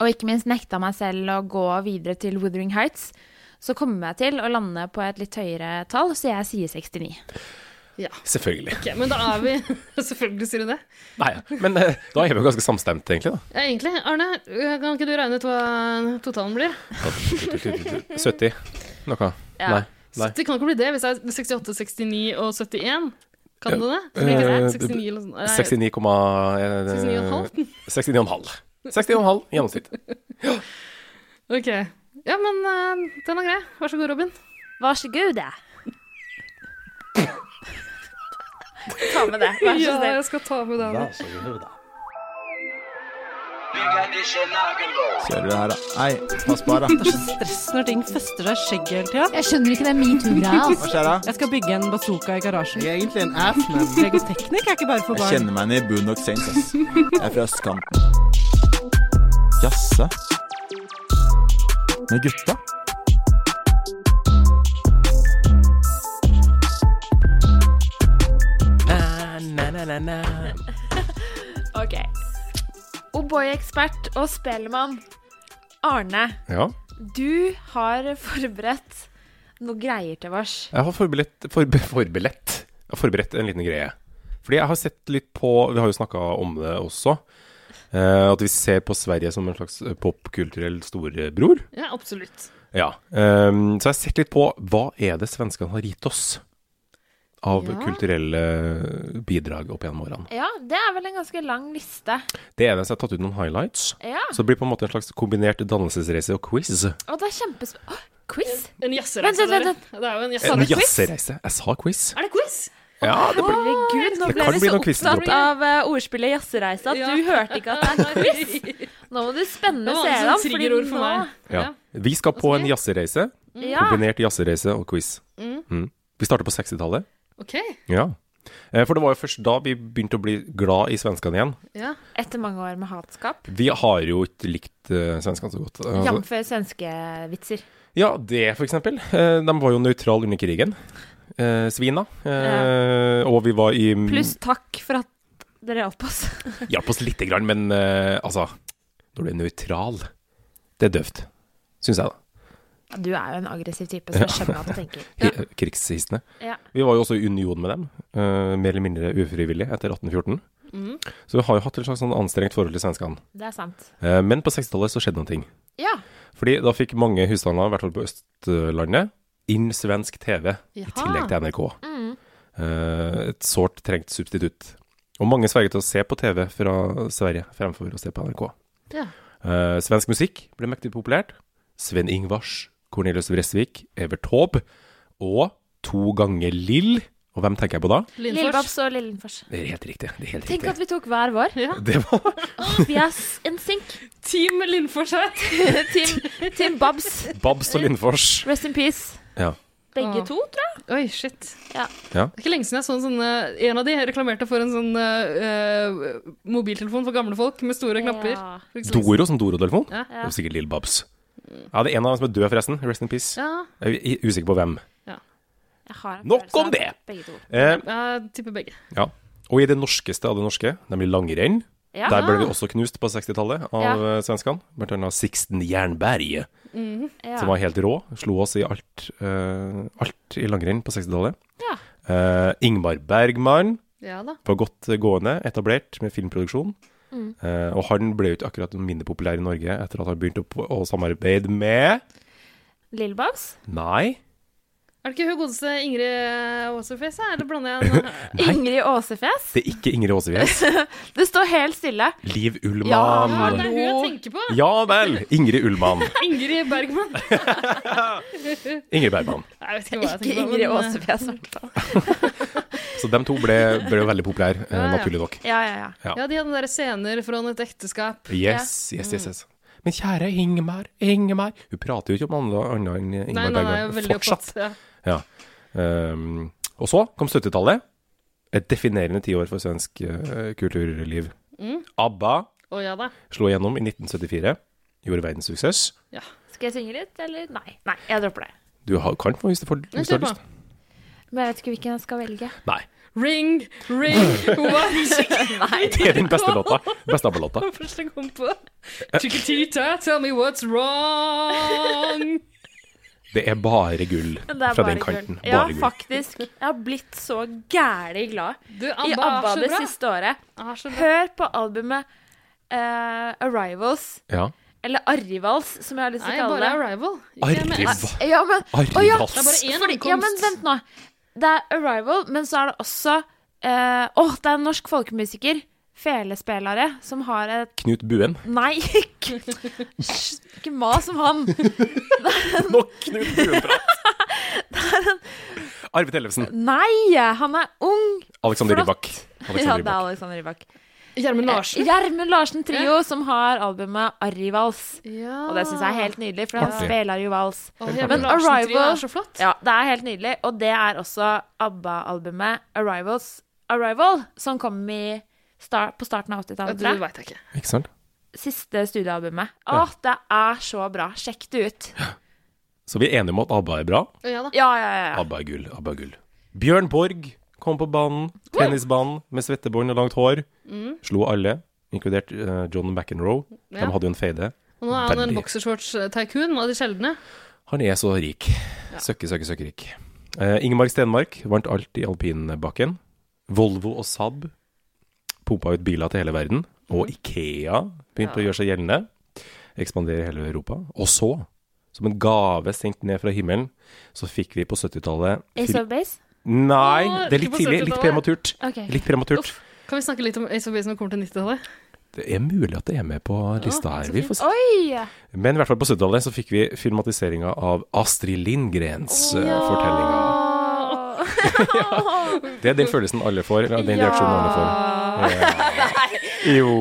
C: og ikke minst nekta meg selv å gå videre til Wuthering Heights, så kommer jeg til å lande på et litt høyere tall, så jeg sier 69.
A: Ja.
B: Selvfølgelig.
A: Ok, men da er vi <laughs> Selvfølgelig sier du det.
B: Nei, men eh, da er vi jo ganske samstemte, egentlig.
A: Ja, egentlig, Arne, kan ikke du regne ut hva totalen blir?
B: da 70? Noe?
A: Ja.
B: Nei. Nei.
A: Det kan ikke bli det hvis det er 68, 69 og 71. Kan det det? Så blir ikke
B: Eh,
A: det 69 eller noe sånt. Nei,
B: 69, komma, eh,
A: 69,5.
B: 69,5. 69,5 i gjennomsnitt.
A: Ok. Ja, men eh, den er grei. Vær så god, Robin.
C: Vær så god, da. Ta med det. Vær så
A: Ja,
C: snill.
A: jeg skal ta med den.
L: Kjører det her, da. Nei, pass på her, da.
M: Det er så stress når ting fester seg i skjegget hele tida.
N: Jeg skjønner ikke den metoo-greia, ass.
L: Hva skjer da?
M: Jeg skal bygge en bazooka i garasjen.
L: Jeg er egentlig en ass, men-
M: Legoteknikk er ikke bare for
L: Jeg
M: barn.
L: kjenner meg igjen i Boondock Saints, ass. Jeg er fra østkanten. Jasse? Med gutta?
C: Ok. O'boy-ekspert og spellemann Arne,
B: Ja.
C: du har forberedt noe greier til oss.
B: Jeg har forberedt, forbe, forberedt, jeg har forberedt en liten greie. Fordi jeg har sett litt på Vi har jo snakka om det også. eh, at vi ser på Sverige som en slags eh, popkulturell storebror.
A: Ja, absolutt.
B: Ja. ehm, så jeg har sett litt på hva er det svenskene har gitt oss av
C: Ja.
B: kulturelle bidrag opp gjennom årene.
C: Ja, det er vel en ganske lang liste.
B: Det ene er at jeg har tatt ut noen highlights.
C: Ja.
B: Så det blir på en måte en slags kombinert dannelsesreise og quiz.
C: Og det er kjempespennende. Quiz?
A: En jazzereise.
C: Vent, vent,
A: dere.
C: vent,
A: Det er jo en
B: En
A: jazzereise.
B: jazzereise. Eh, Jeg sa quiz.
A: Er det quiz?
B: Ja, det blir
C: Herregud, nå
B: Det
C: ble
B: kan
C: du
B: bli
C: så
B: noe quiz
C: opptatt
B: borte.
C: av eh, ordspillet Jazzereise at du hørte ikke at det er quiz. Nå må du spenne <laughs>
A: Det var
C: seerne,
A: altså
C: fordi
A: triggerord for
C: nå
A: meg.
B: Ja. Vi skal på en jazzereise.
C: Ja.
B: Kombinert jazzereise og quiz.
A: Mm.
B: Mm. Vi starter på 60-tallet.
A: Ok.
B: Ja. Eh, For det var jo først da vi begynte å bli glad i svenskene igjen.
C: Etter mange år med hatskap.
B: Vi har jo ikke likt eh, svenskene så godt. Eh,
C: Jamfør svenskevitser.
B: Ja, det for eksempel. Eh, de var jo nøytrale under krigen. Eh, svina. Eh, Og vi var i
C: Pluss takk for at dere hjalp oss.
B: Hjalp oss lite grann, men eh, altså Når du er nøytral, det er døvt. Syns jeg, da.
C: Du er jo en aggressiv type, så jeg skjønner at du <laughs> tenker.
B: Hi- Krigshissene.
C: Ja.
B: Vi var jo også i union med dem, eh, mer eller mindre ufrivillig, etter 1814.
A: Mm.
B: Så vi har jo hatt et slags sånn anstrengt forhold til svenskene.
C: Det er sant.
B: Eh, Men på 60-tallet så skjedde noen ting.
C: Ja.
B: Fordi da fikk mange husstander, i hvert fall på Østlandet, inn svensk TV i
C: Jaha.
B: tillegg til NRK.
C: Mm.
B: Eh, Et sårt trengt substitutt. Og mange sverget til å se på TV fra Sverige fremfor å se på NRK.
A: Ja.
B: Eh, svensk musikk ble mektig populært. Sven Ingvars, Cornelius Vresvik, Evert Taube og to ganger Lill. Og hvem tenker jeg på da?
C: Lillebabs og Lillenfors.
B: Det er helt riktig. Det er helt
C: Tenk
B: riktig.
C: at vi tok hver vår.
B: Det var
C: Vi er s- en synk.
A: Team Lindfors her.
C: team, team Babs.
B: Babs og
C: <laughs>
B: Lindfors.
C: Rest in peace.
B: Ja.
C: Begge
A: Åh.
C: to, tror jeg.
A: Oi, shit.
C: Ja.
B: ja.
A: Det er ikke lenge siden jeg så en sånn eh, En av de reklamerte for en sånn eh, eh, mobiltelefon for gamle folk med store knapper. For ikke så lenge siden.
B: Doro som Doro-telefon?
A: Ja.
B: Det var sikkert Lill Babs. Ja, det er en av dem som er død, forresten. Rest in peace.
A: Ja.
B: Jeg er usikker på hvem.
C: Jeg har en
B: Nok
C: følelse
B: om
C: av
B: det!
C: Begge to.
B: Eh,
A: Jeg tipper begge.
B: ja. Og i det norskeste av det norske, nemlig langrenn,
A: Ja.
B: der ble vi også knust på 60-tallet av
A: Ja.
B: eh, svenskene. Blant annet Sixten Jernberg,
A: Mhm.
B: som var helt rå. Slo oss i alt, eh, alt i langrenn på 60-tallet. Eh, Ingmar Bergman
A: Ja da.
B: var godt gående, etablert med filmproduksjon.
A: Mm.
B: Eh, og han ble jo ikke akkurat mindre populær i Norge etter at han begynte å, å samarbeide med
C: Lillebabs?
B: Nei.
A: Er det ikke hun godeste Ingrid Aaserfjes, eller blander jeg <laughs> en
C: Ingrid Åsefjes?
B: Det er ikke Ingrid Aasefjes.
C: det står helt stille.
B: Liv
C: Ja, det
B: Ullmann.
C: er
A: Hun jeg tenker på.
B: Ja, vel! Ingrid Ullmann.
A: Ingrid <laughs> Bergman.
B: Ingrid Bergman.
A: Jeg vet ikke hva jeg
C: Ikke
A: tenker på. men,
C: Ingrid
A: eh,
C: Åsefjes, i hvert fall.
B: Så de to ble, ble jo veldig populære, eh,
A: Ja, ja.
B: naturlig nok.
C: Ja, ja,
B: Ja.
A: Ja, de hadde der scener fra et ekteskap.
B: Yes, yes, yes,
A: Mm.
B: yes. Men kjære Ingemar, Ingemar Hun prater jo ikke om andre- annet enn
A: Nei, nei,
B: Ingemar
A: nei, jeg er
B: Bergman.
A: veldig
B: Fortsatt.
A: opptatt. Ja.
B: Ja. Ehm, og så kom 70-tallet. Et definerende tiår for svensk eh, kulturliv.
A: Mm.
B: ABBA
A: Å ja da.
B: slo igjennom i 1974. Gjorde verdenssuksess.
A: Ja.
C: Skal jeg synge litt, eller? Nei, Nei jeg dropper det.
B: Du har, kan få hvis du får hvis du har lyst.
C: Men jeg vet ikke hvilken jeg skal velge.
B: Nei.
A: Ring, ring, what?
C: Nei.
B: Det er den beste låta. Beste ABBA-låta.
A: Det var første jeg kom på. Chiquitita, tell me what's wrong.
B: Det er bare gull
C: Det er
B: fra
C: bare
B: den kanten.
C: gull. Ja,
B: Bare gull.
C: faktisk. Jeg har blitt så gæli glad
A: Du,
C: i
A: ABBA er
C: ABBA
A: så
C: det
A: bra.
C: siste året.
A: Er så bra.
C: Hør på albumet eh, Arrivals,
B: Ja.
C: eller Arrivals, som jeg har lyst til
A: Nei,
C: å kalle det.
A: bare Arrival.
B: Arriva-
C: Ja, men,
B: Arrivals.
C: å ja,
B: Det er bare
A: én
C: fordi-
A: ankomst.
C: Ja, men vent nå. Det er Arrival, men så er det også eh, Åh, det er en norsk folkemusiker. Felespillere som har et
B: Knut Buen.
C: Nei, ikke, Hysj, ikke mas om han.
B: Nok Knut Buen-prat. Arve Tellefsen.
C: Nei, han er ung.
B: Alexander
C: Flott.
B: Rybak.
C: ja,
B: Alexander
C: det er
B: Rybak.
C: Alexander Rybak.
A: Gjermund Larsen.
C: Eh, Gjermund Larsen Trio, som har albumet Arrivals.
A: Ja.
C: Og det syns jeg er helt nydelig, for han
B: Artig.
C: spiller jo vals.
A: Å, Gjermund Larsen Trio er så flott.
C: Ja, det er helt nydelig. Og det er også ABBA-albumet Arrivals Arrival, som kom i star på starten av 80-tallet.
A: Ja,
C: tror
A: du
C: jeg.
A: vet jeg ikke.
B: Ikke sant?
C: Siste studioalbumet. Å,
B: Ja.
C: det er så bra. Sjekk det ut.
B: Så vi er enige om at ABBA er bra.
A: Ja da.
C: Ja, ja, ja.
B: ABBA er gull. ABBA er gull. Bjørn Borg kom på banen. Tennisbanen med svettebånd og langt hår.
A: Mm.
B: Slo alle, inkludert eh, John McEnroe.
A: Ja.
B: De hadde jo en feide.
A: Og nå er han en
B: Veldig.
A: boksershorts-tycoon av de sjeldne.
B: Han er så rik. Søkke, søkke, søkke rik. Eh, Ingemarg Stenmark vant alt i alpinbakken. Volvo og Saab pumpa ut biler til hele verden. Og Ikea begynte å
A: Mm. Ja.
B: gjøre seg gjeldende. Ekspandere i hele Europa. Og så, som en gave sendt ned fra himmelen, så fikk vi på 70-tallet
C: Ace of Base.
B: Nei,
A: Å,
B: det
A: ikke
B: er litt
A: på
B: tidlig. Litt
A: 70-tallet.
B: prematurt.
C: Ok.
B: Litt prematurt.
A: Kan vi snakke litt om Ace of Base når vi kommer til 90-tallet?
B: Det er mulig at det er med på lista her. Vi får se.
C: Oi!
B: Men i hvert fall på 70-tallet så fikk vi filmatiseringa av Astrid Lindgrens oh,
C: <laughs>
B: fortellinger. Det er den følelsen alle får. eller Den reaksjonen alle får. Ja. Jo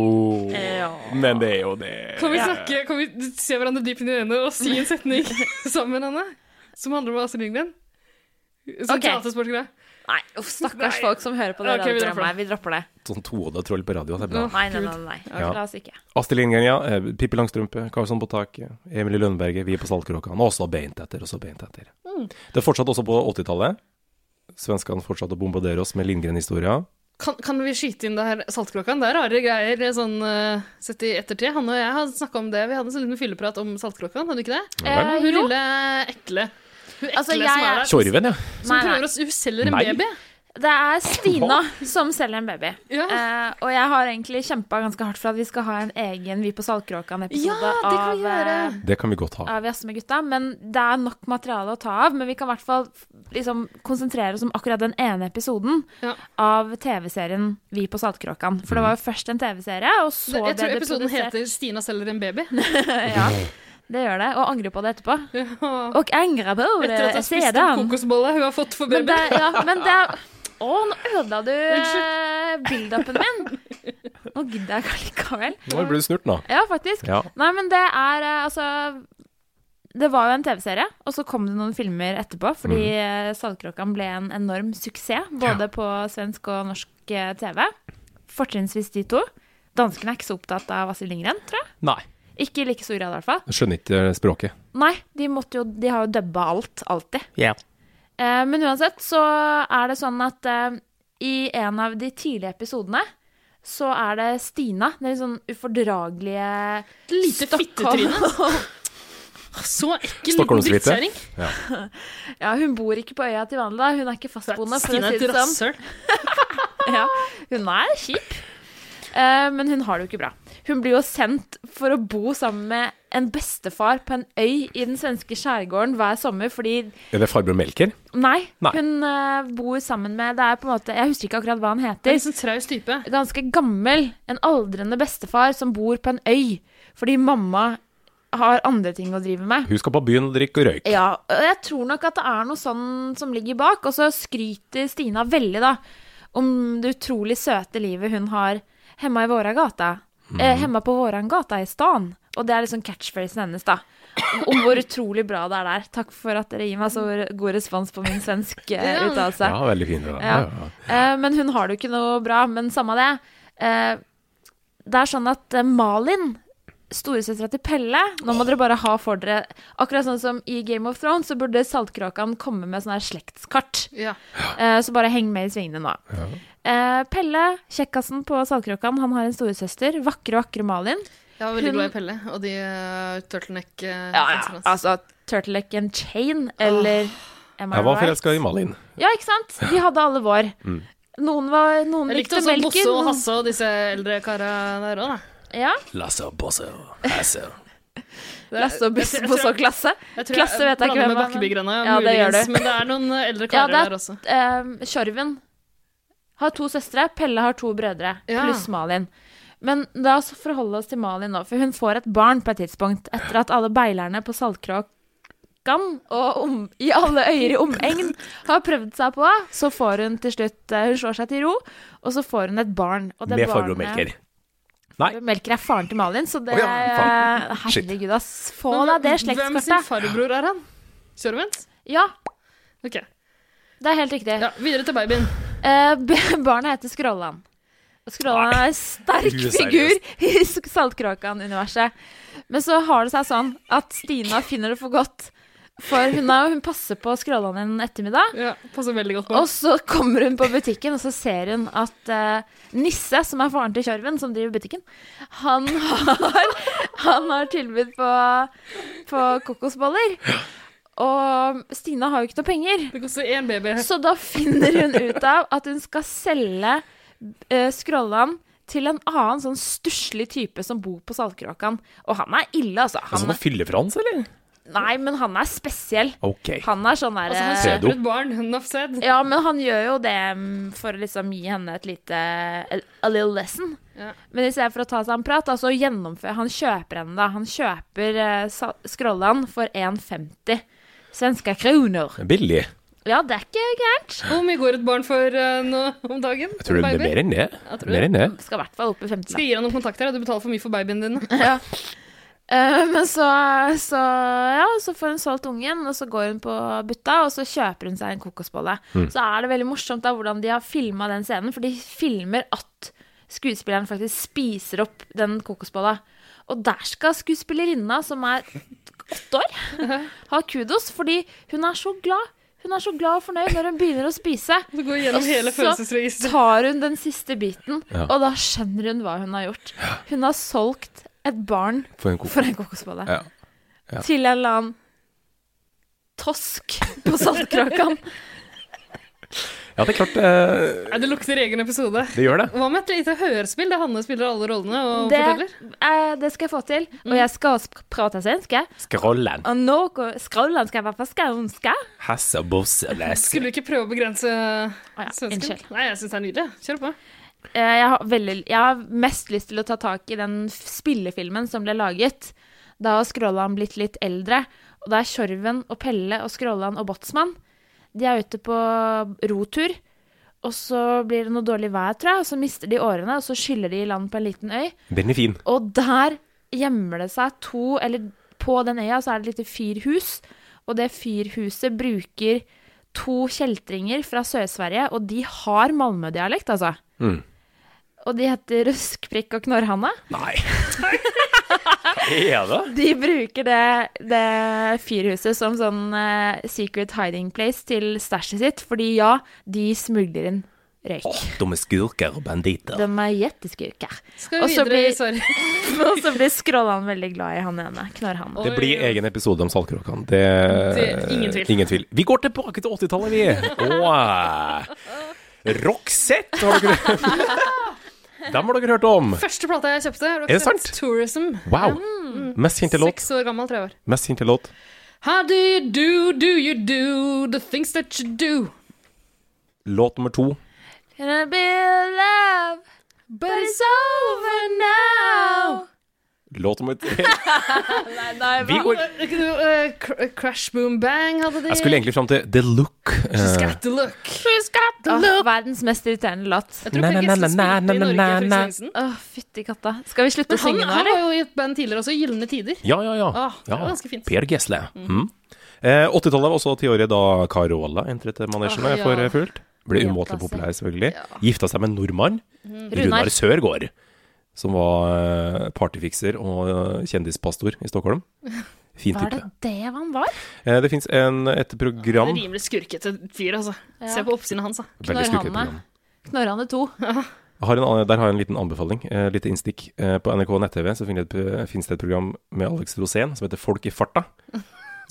B: Men det er jo det.
A: Kan vi snakke, kan vi se hverandre dypt inn i øynene og si en <laughs> setning sammen, Anne? Som handler om Astrid Lindgren? Som
C: Ok.
A: teatersportgreie.
C: Nei, uff, stakkars
A: Nei.
C: folk som hører på det
A: Ok, vi dropper
C: radioprogrammet. Vi dropper det.
B: Sånn toåda troll på radio. Det er
C: Nei,
B: bra.
C: nei, nei. nei.
B: Ja.
C: La oss ikke.
B: Astrid Lindgren, ja. Eh, Pippi Langstrømpe, Karlsson på taket, Emilie Lønneberget, Vi på Saltkråkan. Og så beint etter, og så beint etter.
A: Mm.
B: Det fortsatte også på 80-tallet. Svenskene fortsatte å bombardere oss med Lindgren-historia.
A: Kan, kan vi skyte inn det her Saltkråkan? Det er rare greier sånn eh, sett i ettertid. Han og jeg har snakka om det. Vi hadde en sånn liten fylleprat om Saltkråkan, hadde vi ikke det?
B: Ja vel.
A: hun lille ekle. Hun ekle
C: Eh, Altså, jeg
A: som er
C: er-
A: der.
B: Tjorven, ja.
A: Som
C: Nei, nei.
A: prøver å Hun selger en
B: Nei.
A: baby.
C: Det er Stina som selger en baby. Eh, og jeg har egentlig kjempa ganske hardt for at vi skal ha en egen Vi på Saltkråkan-episode
A: Ja, det kan vi
C: av, eh,
B: Det kan vi godt ha.
C: av Jazz med gutta. Men det er nok materiale å ta av. Men vi kan i hvert fall liksom, konsentrere oss om akkurat den ene episoden av TV-serien Vi på Saltkråkan. For det var jo først en TV-serie, og så
A: Jeg
C: ble
A: tror
C: det
A: episoden
C: produsert
A: heter 'Stina selger en baby'.
C: ja, det gjør det. Og angrer på det etterpå. Og angrer på det
A: Etter at jeg spiste
C: sedan.
A: opp kokosbolle hun har fått for
C: Men det,
A: babyen.
C: ja, men det er Å, nå ødela du eh, build-upen min! <laughs> Nå gidder jeg ikke allikevel.
B: Nå ble du snurt nå.
C: Ja, faktisk.
B: Ja.
C: Nei, men det er eh, altså Det var jo en TV-serie, og så kom det noen filmer etterpå, fordi
B: Mhm.
C: mm. Saltkråkan ble en enorm suksess, både på svensk og norsk eh, TV. Fortrinnsvis de to. Danskene er ikke så opptatt av Astrid Lindgren, tror jeg.
B: Nei.
C: Ikke i like stor grad, i hvert fall.
B: Jeg skjønner ikke eh, språket.
C: Nei, de, måtte jo, de har jo dubba alt, alltid.
B: Ja.
C: Eh, men uansett så er det sånn at eh, i en av de tidlige episodene så er det Stina, den litt sånn ufordragelige
A: Lite fittetryne. Så ekkel liten
B: Stockholmsvite.
A: drittkjerring.
B: Ja.
C: <laughs> ja, hun bor ikke på øya til vanlig, da. Hun er ikke fastboende, for
A: Stina
C: å
A: er
C: si
A: et
C: det sånn.
A: rasshøl.
C: Ja, hun er kjip. Eh, men hun har det jo ikke bra. Hun blir jo sendt for å bo sammen med en bestefar på en øy i den svenske skjærgården hver sommer fordi
B: Er det farbror Melker?
C: Nei,
B: Nei.
C: hun eh, bor sammen med Det er på en måte, Jeg husker ikke akkurat hva han heter. Ganske gammel. En aldrende bestefar som bor på en øy fordi mamma har andre ting å drive med.
B: Hun skal på byen og drikke og røyke.
C: Ja, og jeg tror nok at det er noe sånn som ligger bak. Og så skryter Stina veldig, da, om det utrolig søte livet hun har hemma i våra gata. Eh, hemma på våran gata i stan. Og det er liksom catchphrasen hennes, da. Om hvor utrolig bra det er der. Takk for at dere gir meg så god respons på min svenske eh,
B: Ja.
C: uttalelse.
B: Ja, veldig fin. det da.
C: Ja.
B: Ja. Ja,
C: Eh, men hun har det jo ikke noe bra, men samme det. Eh, det er sånn at eh, Malin, storesøstera til Pelle Nå må dere bare ha for dere Akkurat sånn som i Game of Thrones, så burde Saltkråkan komme med sånn her slektskart. Eh, så bare heng med i svingene nå. Eh, Pelle, kjekkasen på Saltkråkan, han har en storesøster. Vakre, vakre Malin.
A: Jeg var veldig
C: Hun-
A: glad i Pelle og de uh, turtleneck-danserne
C: Ja, ja, altså Turtleneck and Chain, eller Am I
B: Jeg var
C: right?
B: forelska i Malin.
C: Ja, ikke sant? De hadde alle vår.
B: Mm.
C: Noen, var, noen
A: Jeg likte
C: likte,
A: også
C: melken.
A: Bosse og
C: noen-
A: Hasse og disse eldre kara der òg, da.
C: Ja.
B: Lasse og Bosse og Hasse.
A: <laughs>
C: Lasse og Bosse Bosse og Klasse.
A: Jeg tror
C: Klasse vet jeg ikke
A: blander
C: hvem
A: med Bakkebygrønna,
C: Ja, det gjør du.
A: muligens, men det er noen eldre
C: Ja,
A: karer
C: det
A: der også.
C: er eh, Tjorven har to søstre, Pelle har to brødre,
A: Ja.
C: pluss Malin. Men la oss forholde oss til Malin nå, for hun får et barn på et tidspunkt etter at alle beilerne på Saltkråkan og om, i alle øyer i omegn har prøvd seg på, så får hun til slutt eh, Hun slår seg til ro, og så får hun et barn. Og det
B: Med farbror
C: barnet-
B: Melker.
C: Farbror Melker er faren til Malin, så det
B: Å ja,
C: eh,
B: faen. Shit.
C: Herregud, ass. Få deg det
A: Hvem
C: slektskortet.
A: sin farbror er han? Sørvent?
C: Ja.
A: Ok.
C: Det er helt riktig.
A: videre til babyen.
C: Eh, <laughs> barnet heter Skrålan. Og Skrålan er en sterk
A: Gud,
C: figur i Saltkråkan-universet. Men så har det seg sånn at Stina finner det for godt. For hun, er, hun passer på Skrålan en ettermiddag.
A: Ja, passer veldig godt på.
C: Og så kommer hun på butikken, og så ser hun at eh, Nisse, som er faren til Kjørven, som driver butikken, han har, <laughs> han har tilbud på, på kokosboller. Og Stina har jo ikke noe penger.
A: Det koster én baby. Altså,
C: Så da finner hun ut av at hun skal selge uh, Skrollan til en annen sånn stusslig type som bor på Saltkråkan. Og han er ille, altså.
B: Er det
C: Han
B: sånn
C: er,
B: fyllefrans, eller?
C: nei, men han er spesiell.
B: Ok.
C: Han er sånn
A: Altså,
C: derre
B: han kjøper Pedo. et
A: barn, enough said.
C: Ja, men han gjør jo det mm, for å liksom gi henne et lite eh, A little lesson.
A: Ja.
C: Men i stedet for å ta seg en prat, da, så gjennomfører han kjøper henne, da. Han kjøper uh, Skrollan for 1,50 svenske kroner.
B: Billig.
C: Ja, det er ikke gærent.
A: Hvor mye går et barn for eh, nå om dagen?
B: Jeg tror det
A: Baby?
B: blir mer enn det.
A: Ja, tror du
B: Mer enn det.
C: Skal i hvert fall opp i 15.
A: Skal jeg gi deg noen kontakter? Du betaler for mye for babyen din.
C: Ja. Eh, men så, så, ja, så får hun solgt ungen, og så går hun på butta, og så kjøper hun seg en kokosbolle.
K: Mm.
C: Så er det veldig morsomt da hvordan de har filma den scenen, for de filmer at skuespilleren faktisk spiser opp den kokosbolla. Og der skal skuespillerinna, som er åtte år, ha kudos, fordi hun er så glad. Hun er så glad og fornøyd når hun begynner å spise.
A: går gjennom hele følelsesregisteret.
C: så tar hun den siste biten,
B: Ja.
C: og da skjønner hun hva hun har gjort. Hun har solgt et barn
B: For en kokos-
C: kokosbolle.
B: Ja. Ja.
C: Til en eller annen tosk på Saltkråkan.
B: Ja, det er klart eh,
A: Nei, det lukter egen episode.
B: Det gjør det.
A: Hva med et lite hørespill der Hanne spiller alle rollene og
C: Det,
A: forteller?
C: eh, det skal jeg få til. Og jeg skal også prate svensk. jeg.
B: Skrollen.
C: Og noe skrollen skal være på skånska.
B: Hasse og bosse og lese.
A: Skulle du ikke prøve å begrense svensken?
C: unnskyld.
A: Nei, jeg syns det er nydelig. Kjør på.
C: Eh, Jeg har, veldig, jeg har mest lyst til å ta tak i den f- spillefilmen som ble laget. Da har Skrålan blitt litt eldre, og da er Tjorven og Pelle og Skrålan og Båtsmann De er ute på rotur, og så blir det noe dårlig vær, tror jeg, og så mister de årene, og så skyller de i land på en liten øy.
B: Den er fin.
C: Og der gjemmer det seg to Eller på den øya så er det et lite fyrhus, og det fyrhuset bruker to kjeltringer fra Sør-Sverige, og de har malmødialekt, altså.
B: Mm.
C: Og de heter Røskprikk og Knorrhanne.
B: Nei. Er det?
C: De bruker det, det fyrhuset som sånn eh, secret hiding place til stæsjet sitt, fordi ja, de smugler inn røyk.
B: Dumme skurker og banditter.
C: De er jetteskurker.
A: Skal vi
C: Og så
A: videre,
C: blir-
A: sorry.
C: Og så blir Skrålan veldig glad i han ene, Knorrhanne.
B: Det blir egen episode om Saltkråkan. Det,
C: Det- ingen tvil.
B: Vi går tilbake til 80-tallet, vi. Åh. Roxette, har dere
A: <laughs>
B: Dem har dere hørt om.
A: Første plata jeg kjøpte,
B: Er det sant?
A: Roxette Tourism.
B: Wow.
A: Mm.
B: Mest kjente låt.
A: Seks år gammel, tre år.
B: Mest kjente låt.
A: How do you do, do you do the things that you do?
B: Låt nummer to.
C: Can I be love, but it's over now.
B: Låt nummer tre.
A: <laughs> Nei,
C: nei,
B: Vi går-
A: Eh, Crash Boom Bang hadde de.
B: Jeg skulle egentlig fram til The Look. eh,
A: She's got the look. She's got
C: Åh, verdens mest irriterende låt.
A: Jeg tror Fredrik Jensen spilte i Norge for ikke så lenge siden.
C: Åh, fytti katta. Skal vi slutte
A: Men
C: å
A: han,
C: synge nå,
A: han
C: eller?
A: var jo i et band tidligere også, Gylne tider.
B: Ja, ja, ja.
A: Åh, det var ganske fint.
B: Per Gessle. Mm. Eh, 80-tallet var også tiåret da Carola entret manesjen
A: Åh, ja.
B: for eh, fullt. Ble
A: Jenta
B: umåtelig
A: si.
B: populær, selvfølgelig. Gifta seg med en nordmann, Runar. Sørgaard, som var eh, partyfikser og eh, kjendispastor i Stockholm. Fin
C: Var
B: type.
C: det det han var?
B: Eh, det fins et program
A: Rimelig skurkete fyr, altså.
C: Ja.
A: Se på oppsynet hans, da.
B: Veldig skurkete program.
C: Knorrhanne 2.
B: Jeg har en, annen- der har jeg en liten anbefaling, eh, lite innstikk. Eh, på NRK nett-TV så finner jeg et- finnes det et program med Alex Rosén som heter Folk i farta.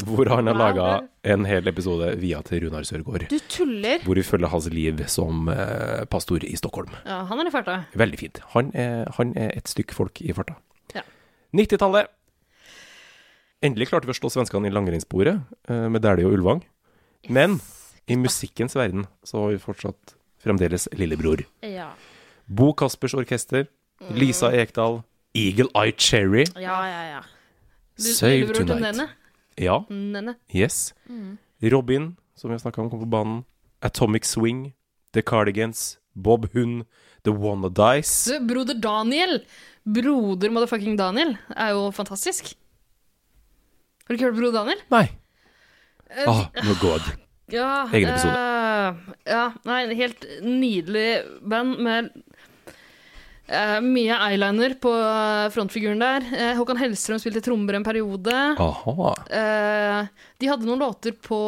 B: Hvor han har
C: Wow.
B: laga en hel episode via til Runar Sørgaard.
C: Du tuller.
B: Hvor vi følger hans liv som eh, pastor i Stockholm.
A: Ja, han er i farta.
B: Veldig fint. Han er, han er et stykk folk i farta.
A: Ja.
B: 90-tallet. Endelig klarte vi å slå svenskene i langrennssporet eh, med Dæhlie og Ulvang. Men i musikkens verden så har vi fortsatt fremdeles lillebror.
C: Ja.
B: Bo Kaspers orkester,
A: Mm.
B: Lisa Ekdal, Eagle Eye Cherry,
C: Ja, ja, ja.
B: Save
A: lillebror til
B: Tonight.
A: Nene.
B: Ja.
A: Nene.
B: Yes.
A: Mm.
B: Robin, som vi har snakka om, kom på banen. Atomic Swing, The Cardigans, Bob Hund, The Wanna Dice.
A: Så broder Daniel, broder motherfucking Daniel, er jo fantastisk. Har du ikke hørt Broder Daniel?
B: Nei.
A: Eh,
B: Ah, my god.
A: Ja,
B: Egen episode.
A: eh, ja, nei, en helt nydelig band med eh, mye eyeliner på eh, frontfiguren der. Eh, Håkan Hellstrøm spilte trommer en periode.
B: Ah. Aha.
A: Eh, de hadde noen låter på,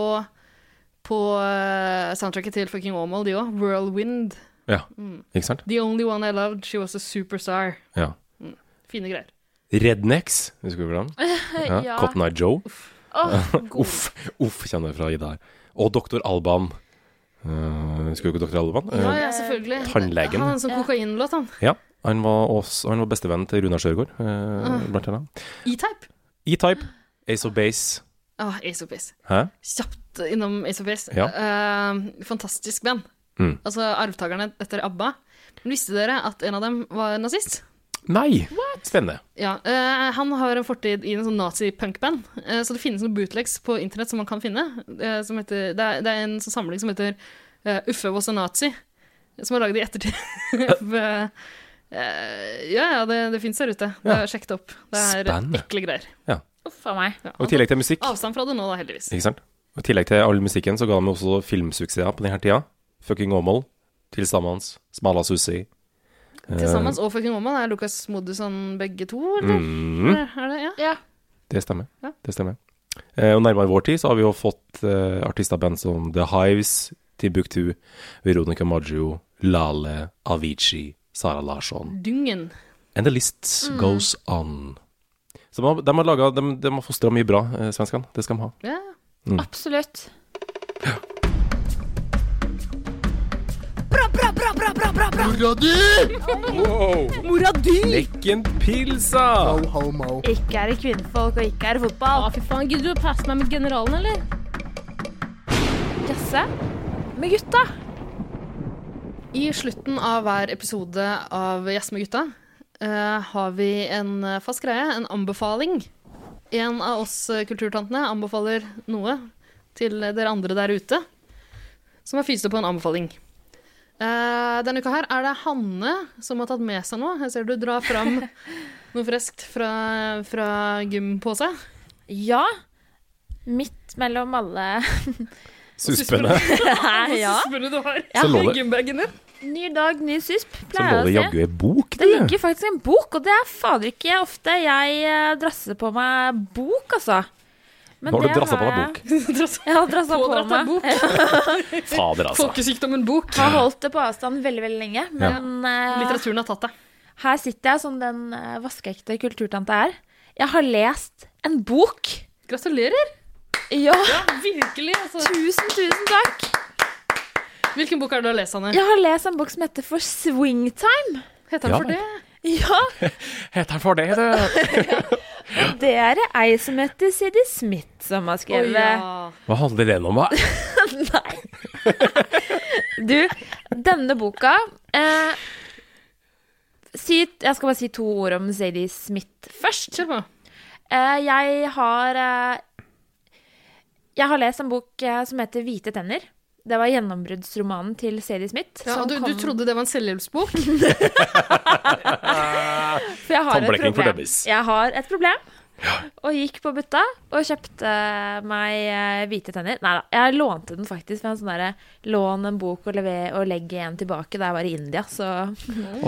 A: på eh, soundtracket til fucking Åmål, de òg. Whirlwind.
B: Ja,
A: Mm.
B: ikke sant?
A: The only one I loved, she was a superstar.
B: Ja.
A: Mm. Fine greier.
B: Rednecks, husker
A: <laughs>
B: du hvordan? Ja.
A: Ja.
B: Cotton Eye Joe.
A: Åh, god.
B: uff, uff, kjenner jeg fra Ida her. Og Dr. Alban. Eh, husker du ikke Dr. Alban? Eh,
A: Ja, ja, selvfølgelig.
B: Tannlegen.
A: Han hadde en sånn kokainlåt, han.
B: Ja, han var, også, han var bestevennen til Runar Sørgaard, eh,
A: Ah.
B: blant annet.
A: E-type.
B: E-Type, Ace of Base.
A: Ah, Ace of Base.
B: Hæ?
A: Kjapt innom Ace of Base.
B: Ja.
A: Eh, fantastisk band.
B: Mm.
A: Altså arvtakerne etter ABBA. Men visste dere at en av dem var nazist?
B: Nei! Spennende.
A: Ja, eh, Han har en fortid i en sånn nazi-punkband, eh, så det finnes noen bootlegs på internett som man kan finne. eh, som heter, det, er, det er en sånn samling som heter eh, Uffe was a nazi, som har laget i ettertid. <laughs> Eh, ja, ja, det, det fins der ute. Det har jeg sjekket opp. Det er
B: Spennende.
A: ekle greier.
B: Ja.
C: Uff a meg.
A: Ja,
B: Og i tillegg til musikk,
A: Avstand fra det nå, da, heldigvis.
B: ikke sant? Og I tillegg til all musikken så ga de også filmsuksesser på denne tida. Fucking Åmål, Tilsammans, Smala Susi. Eh,
A: Tilsammens og Fucking Woman er Lucas Moodysson begge to, eller?
B: Mm.
A: Er er det, ja?
B: Det stemmer.
A: Ja.
B: Det stemmer. Eh, og nærmere vår tid så har vi jo fått eh, artister av band som The Hives, Timbuktu, Veronica Maggio, Lale, Avicii, Sara Larsson.
A: Dungen.
B: And the list
A: Mm.
B: goes on. Så de har, de har, laget- de, de har fostra mye bra, eh, svenskene. Det skal de ha.
A: Ja.
B: Mm.
C: Absolutt.
E: bra, bra, bra!
O: Mora di!
B: Wow.
E: Mora di!
B: Lekk en pilsa!
O: Ho, ho, mo.
C: Ikke er det kvinnfolk, og ikke er det fotball.
E: Å, fy faen, Gidder du å passe meg med generalen, eller?
C: Jazze med gutta.
A: I slutten av hver episode av Jazz med gutta eh, har vi en fast greie, en anbefaling. En av oss eh, kulturtantene anbefaler noe til dere andre der ute som har fyst opp på en anbefaling. Eh, denne uka her er det Hanne som har tatt med seg noe. Jeg ser du drar fram noe friskt fra, fra gympose.
C: Ja. Midt mellom alle
B: Suspene.
C: Nei, ja.
A: Suspene du har
B: Så lå det-
A: i gymbagen din.
C: <laughs> Ny dag, ny susp,
B: Så
C: pleier
B: lå det
C: jeg å si.
B: jaggu ei bok
C: Det
B: der.
C: ligger faktisk en bok, og det er fader ikke ofte jeg eh, drasser på meg bok, altså. Men
B: Nå har du
C: det
B: drasset på deg
C: jeg-
B: bok.
C: Jeg har drassa på
A: Pådratt av
C: meg.
A: bok.
B: Fader, altså.
A: Folkesykdommen bok.
C: Har holdt det på avstand veldig, veldig lenge.
B: Ja.
C: Men eh,
A: Litteraturen har tatt deg.
C: her sitter jeg som den eh, vaskeekte kulturtante jeg er. Jeg har lest en bok.
A: Gratulerer.
C: Ja,
A: Virkelig. Altså.
C: tusen, tusen takk.
A: Hvilken bok er det du har lest, Hanne?
C: Jeg har lest en bok som heter For Swingtime.
A: Heter den
B: Ja.
A: for det?
C: Ja,
B: Heter han for det, du?
C: det er det ei som heter Siddy Smith som har
A: Å,
C: skrevet.
A: ja.
B: Hva handler den
C: <laughs>
B: om, da?
C: Du, denne boka eh, si, Jeg skal bare si to ord om Zadie Smith først.
A: Kjør på.
C: Eh, jeg har eh, Jeg har lest en bok eh, som heter Hvite tenner. Det var gjennombruddsromanen til Sadie Smith.
A: Ja,
C: som
A: du, du
C: kom-
A: trodde det var en selvhjelpsbok?
C: For jeg har et
B: Tannblekking for
C: problem.
B: dummies.
C: Jeg har et problem. Og gikk på butta og kjøpte meg eh, hvite tenner. Nei da, jeg lånte den faktisk fra en sånn derre lån en bok og, leve, og legge en tilbake da jeg var i India, så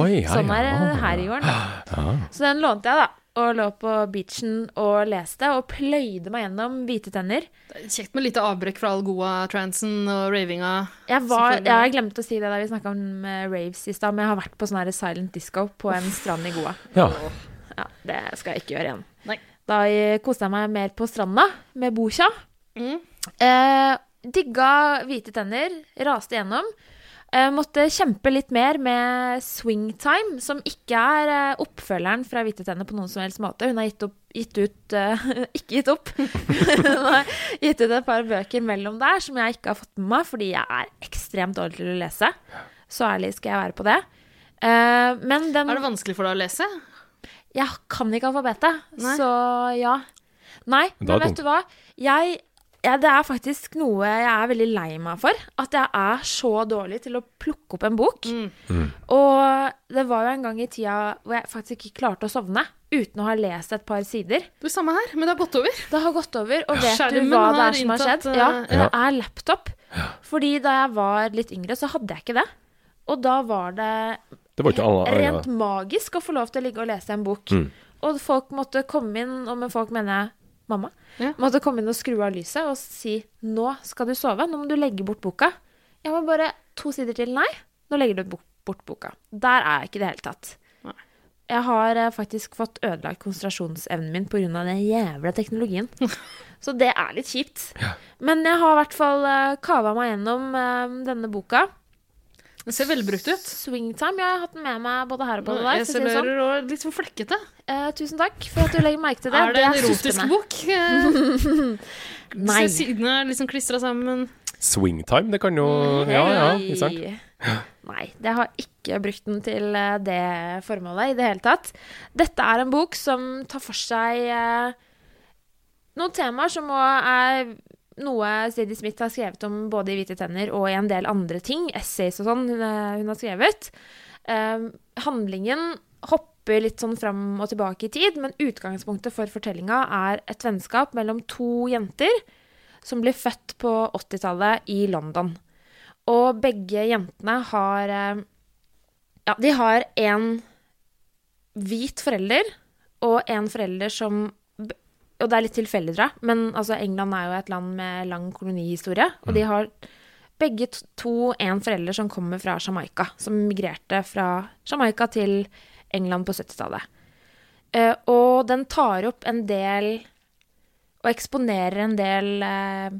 B: Oi, ja,
C: sånn er det
B: ja.
C: her i gården.
B: <gasps>
C: da. Så den lånte jeg, da. Og lå på beachen og leste og pløyde meg gjennom hvite tenner.
A: Kjekt med lite avbrekk fra Algoa-transen og ravinga.
C: Jeg, var,
A: Selvfølgelig.
C: jeg glemte å si det da vi snakka om eh, raves i stad, men jeg har vært på sånn her silent disco på en strand i Goa.
B: Ja.
C: Ja, det skal jeg ikke gjøre igjen.
A: Nei.
C: Da eh, koste jeg meg mer på stranda med bokja.
A: Mm.
C: Eh, digga hvite tenner, raste gjennom. Eh, måtte kjempe litt mer med Swingtime, som ikke er eh, oppfølgeren fra Hvite tenner på noen som helst måte. Hun har gitt, opp, gitt ut eh, <laughs> Ikke gitt opp. Hun har gitt ut et par bøker mellom der som jeg ikke har fått med meg, fordi jeg er ekstremt dårlig til å lese. Så ærlig skal jeg være på det. Eh, men den
A: Er det vanskelig for deg å lese?
C: jeg kan ikke alfabetet,
A: Nei.
C: så ja. Nei,
B: Da er
C: men
B: det
C: vet du hva? Jeg, ja, det er faktisk noe jeg er veldig lei meg for. At jeg er så dårlig til å plukke opp en bok.
A: Mm.
B: Mm.
C: Og det var jo en gang i tida hvor jeg faktisk ikke klarte å sovne uten å ha lest et par sider.
A: Du, samme her, men det har gått over.
C: Det har gått over, og vet
A: Skjermen
C: du hva det
A: har
C: er som har
A: inntatt,
C: skjedd?
A: eh,
C: Ja,
B: ja.
C: det er laptop. Fordi da jeg var litt yngre, så hadde jeg ikke det. Og da var det
B: Det var ikke alle
C: rent magisk å få lov til å ligge og lese en bok.
B: Mm.
C: Og folk måtte komme inn, og med folk mener jeg mamma,
A: Ja.
C: måtte komme inn og skru av lyset og si 'nå skal du sove, nå må du legge bort boka'. Jeg var bare to sider til, nei, nå legger du bok- bort boka. Der er jeg ikke i det hele tatt.
A: Nei.
C: Jeg har eh, faktisk fått ødelagt konsentrasjonsevnen min pga. den
A: <laughs>
C: jævla teknologien. Så det er litt kjipt. Men jeg har i hvert fall eh, kava meg gjennom eh, denne boka.
A: Den ser velbrukt ut.
C: Swingtime. Jeg har hatt den med meg både her og både der.
A: Jeg
C: for å si det sånn.
A: serverer og litt sånn flekkete.
C: Eh, tusen takk for at du legger merke til det.
A: er det en erotisk
C: suspende.
A: bok? Eh,
C: Nei.
A: Se sidene er liksom klistra sammen.
B: Swingtime, det kan jo Ja, Mm, ja,
C: Nei.
B: ikke sant?
C: Nei, jeg har ikke brukt den til eh, det formålet i det hele tatt. Dette er en bok som tar for seg eh, noen temaer som også er noe Sadie Smith har skrevet om både i 'Hvite tenner' og i en del andre ting, essays og sånn, hun, eh, hun har skrevet. Eh, handlingen hopper litt sånn fram og tilbake i tid, men utgangspunktet for fortellinga er et vennskap mellom to jenter som blir født på 80-tallet i London. Og begge jentene har eh, Ja, de har en hvit forelder og en forelder som b- Og det er litt tilfeldig, tror jeg, men altså, England er jo et land med lang kolonihistorie. Og de har begge t- to en forelder som kommer fra Jamaica. Som migrerte fra Jamaica til England på 70-tallet. Eh, og den tar opp en del Og eksponerer en del eh,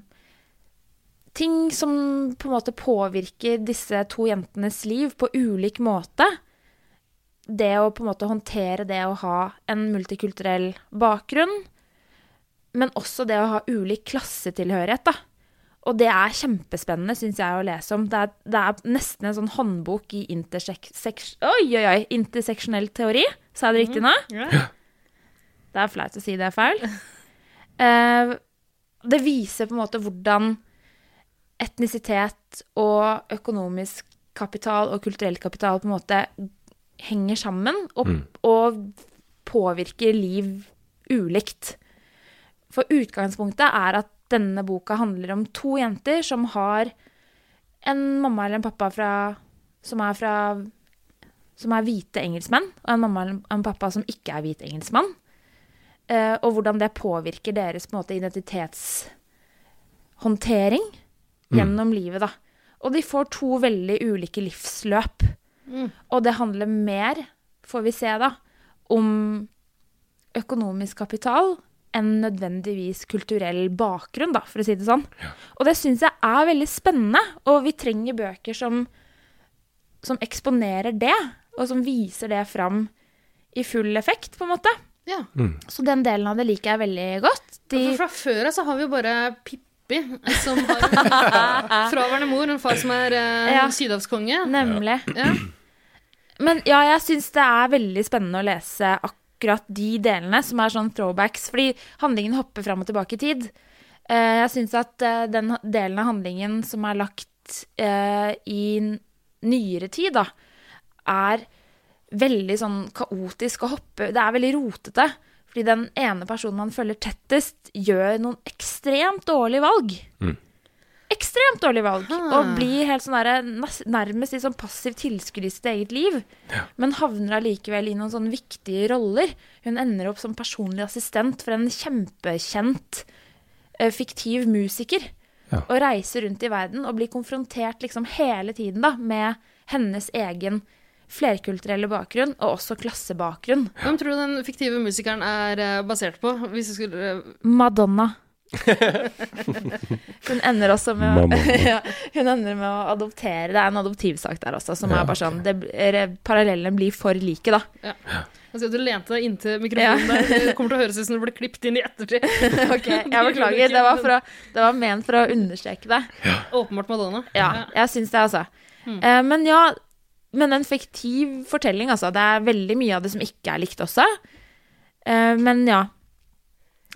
C: ting som på en måte påvirker disse to jentenes liv på ulik måte. Det å på en måte håndtere det å ha en multikulturell bakgrunn, men også det å ha ulik klassetilhørighet, da. Og det er kjempespennende, syns jeg, å lese om. Det er, det er nesten en sånn håndbok i intersek seks- oi, oi, oi, interseksjonell teori. Sa jeg det riktig nå? Det er flaut å si det er feil. Eh, det viser på en måte hvordan etnisitet og økonomisk kapital og kulturell kapital på en måte henger sammen og,
B: Mm.
C: og påvirker liv ulikt. For utgangspunktet er at denne boka handler om to jenter som har en mamma eller en pappa fra, som er fra som er hvite engelskmenn, og en mamma eller en pappa som ikke er hvit engelskmann. Eh, og hvordan det påvirker deres på en måte, identitetshåndtering
K: Mm.
C: gjennom livet. Da. Og de får to veldig ulike livsløp.
K: Mm.
C: Og det handler mer, får vi se da, om økonomisk kapital enn nødvendigvis kulturell bakgrunn, da, for å si det sånn. Og det syns jeg er veldig spennende, og vi trenger bøker som, som eksponerer det, og som viser det fram i full effekt, på en måte.
B: Mm.
C: Så den delen av det liker jeg veldig godt. De,
A: For fra før av så har vi jo bare Pippi, som har <laughs> en fraværende mor, en far som er eh,
C: Ja.
A: sydhavskonge.
C: Nemlig.
A: Ja.
C: Men ja, jeg syns det er veldig spennende å lese akkurat de delene som er sånn throwbacks, fordi handlingen hopper fram og tilbake i tid. Eh, Jeg syns at eh, den ha- delen av handlingen som er lagt eh, i n- nyere tid, da, er veldig sånn kaotisk å hoppe Det er veldig rotete. Fordi den ene personen man følger tettest, gjør noen ekstremt dårlige valg.
B: Mm.
C: Ekstremt dårlige valg.
A: Ah.
C: Og blir helt sånn derre nas- nærmest litt sånn passiv tilskuer i sitt eget liv. Men havner allikevel i noen sånne viktige roller. Hun ender opp som personlig assistent for en kjempekjent eh, fiktiv musiker. Og reiser rundt i verden og blir konfrontert liksom hele tiden da, med hennes egen flerkulturelle bakgrunn, og også klassebakgrunn.
A: Hvem tror du den fiktive musikeren er eh, basert på? Hvis du skulle eh,
C: Madonna. Hun ender også med å,
A: Mamma.
C: ja, hun ender med å adoptere. Det er en adoptivsak der også, som
A: Ja,
C: er bare sånn det, er- Parallellene blir for like, da.
A: Ja. Jeg ser altså, at du lente deg inntil mikrofonen
C: Ja.
A: der. Det kommer til å høres ut som du ble klippet inn i ettertid.
C: Ok, jeg beklager. Det var, for å, det var ment for å understreke det.
A: Åpenbart Madonna.
C: Ja, jeg syns det, altså. Eh, men ja, men en fiktiv fortelling, altså. Det er veldig mye av det som ikke er likt også. Eh, men ja.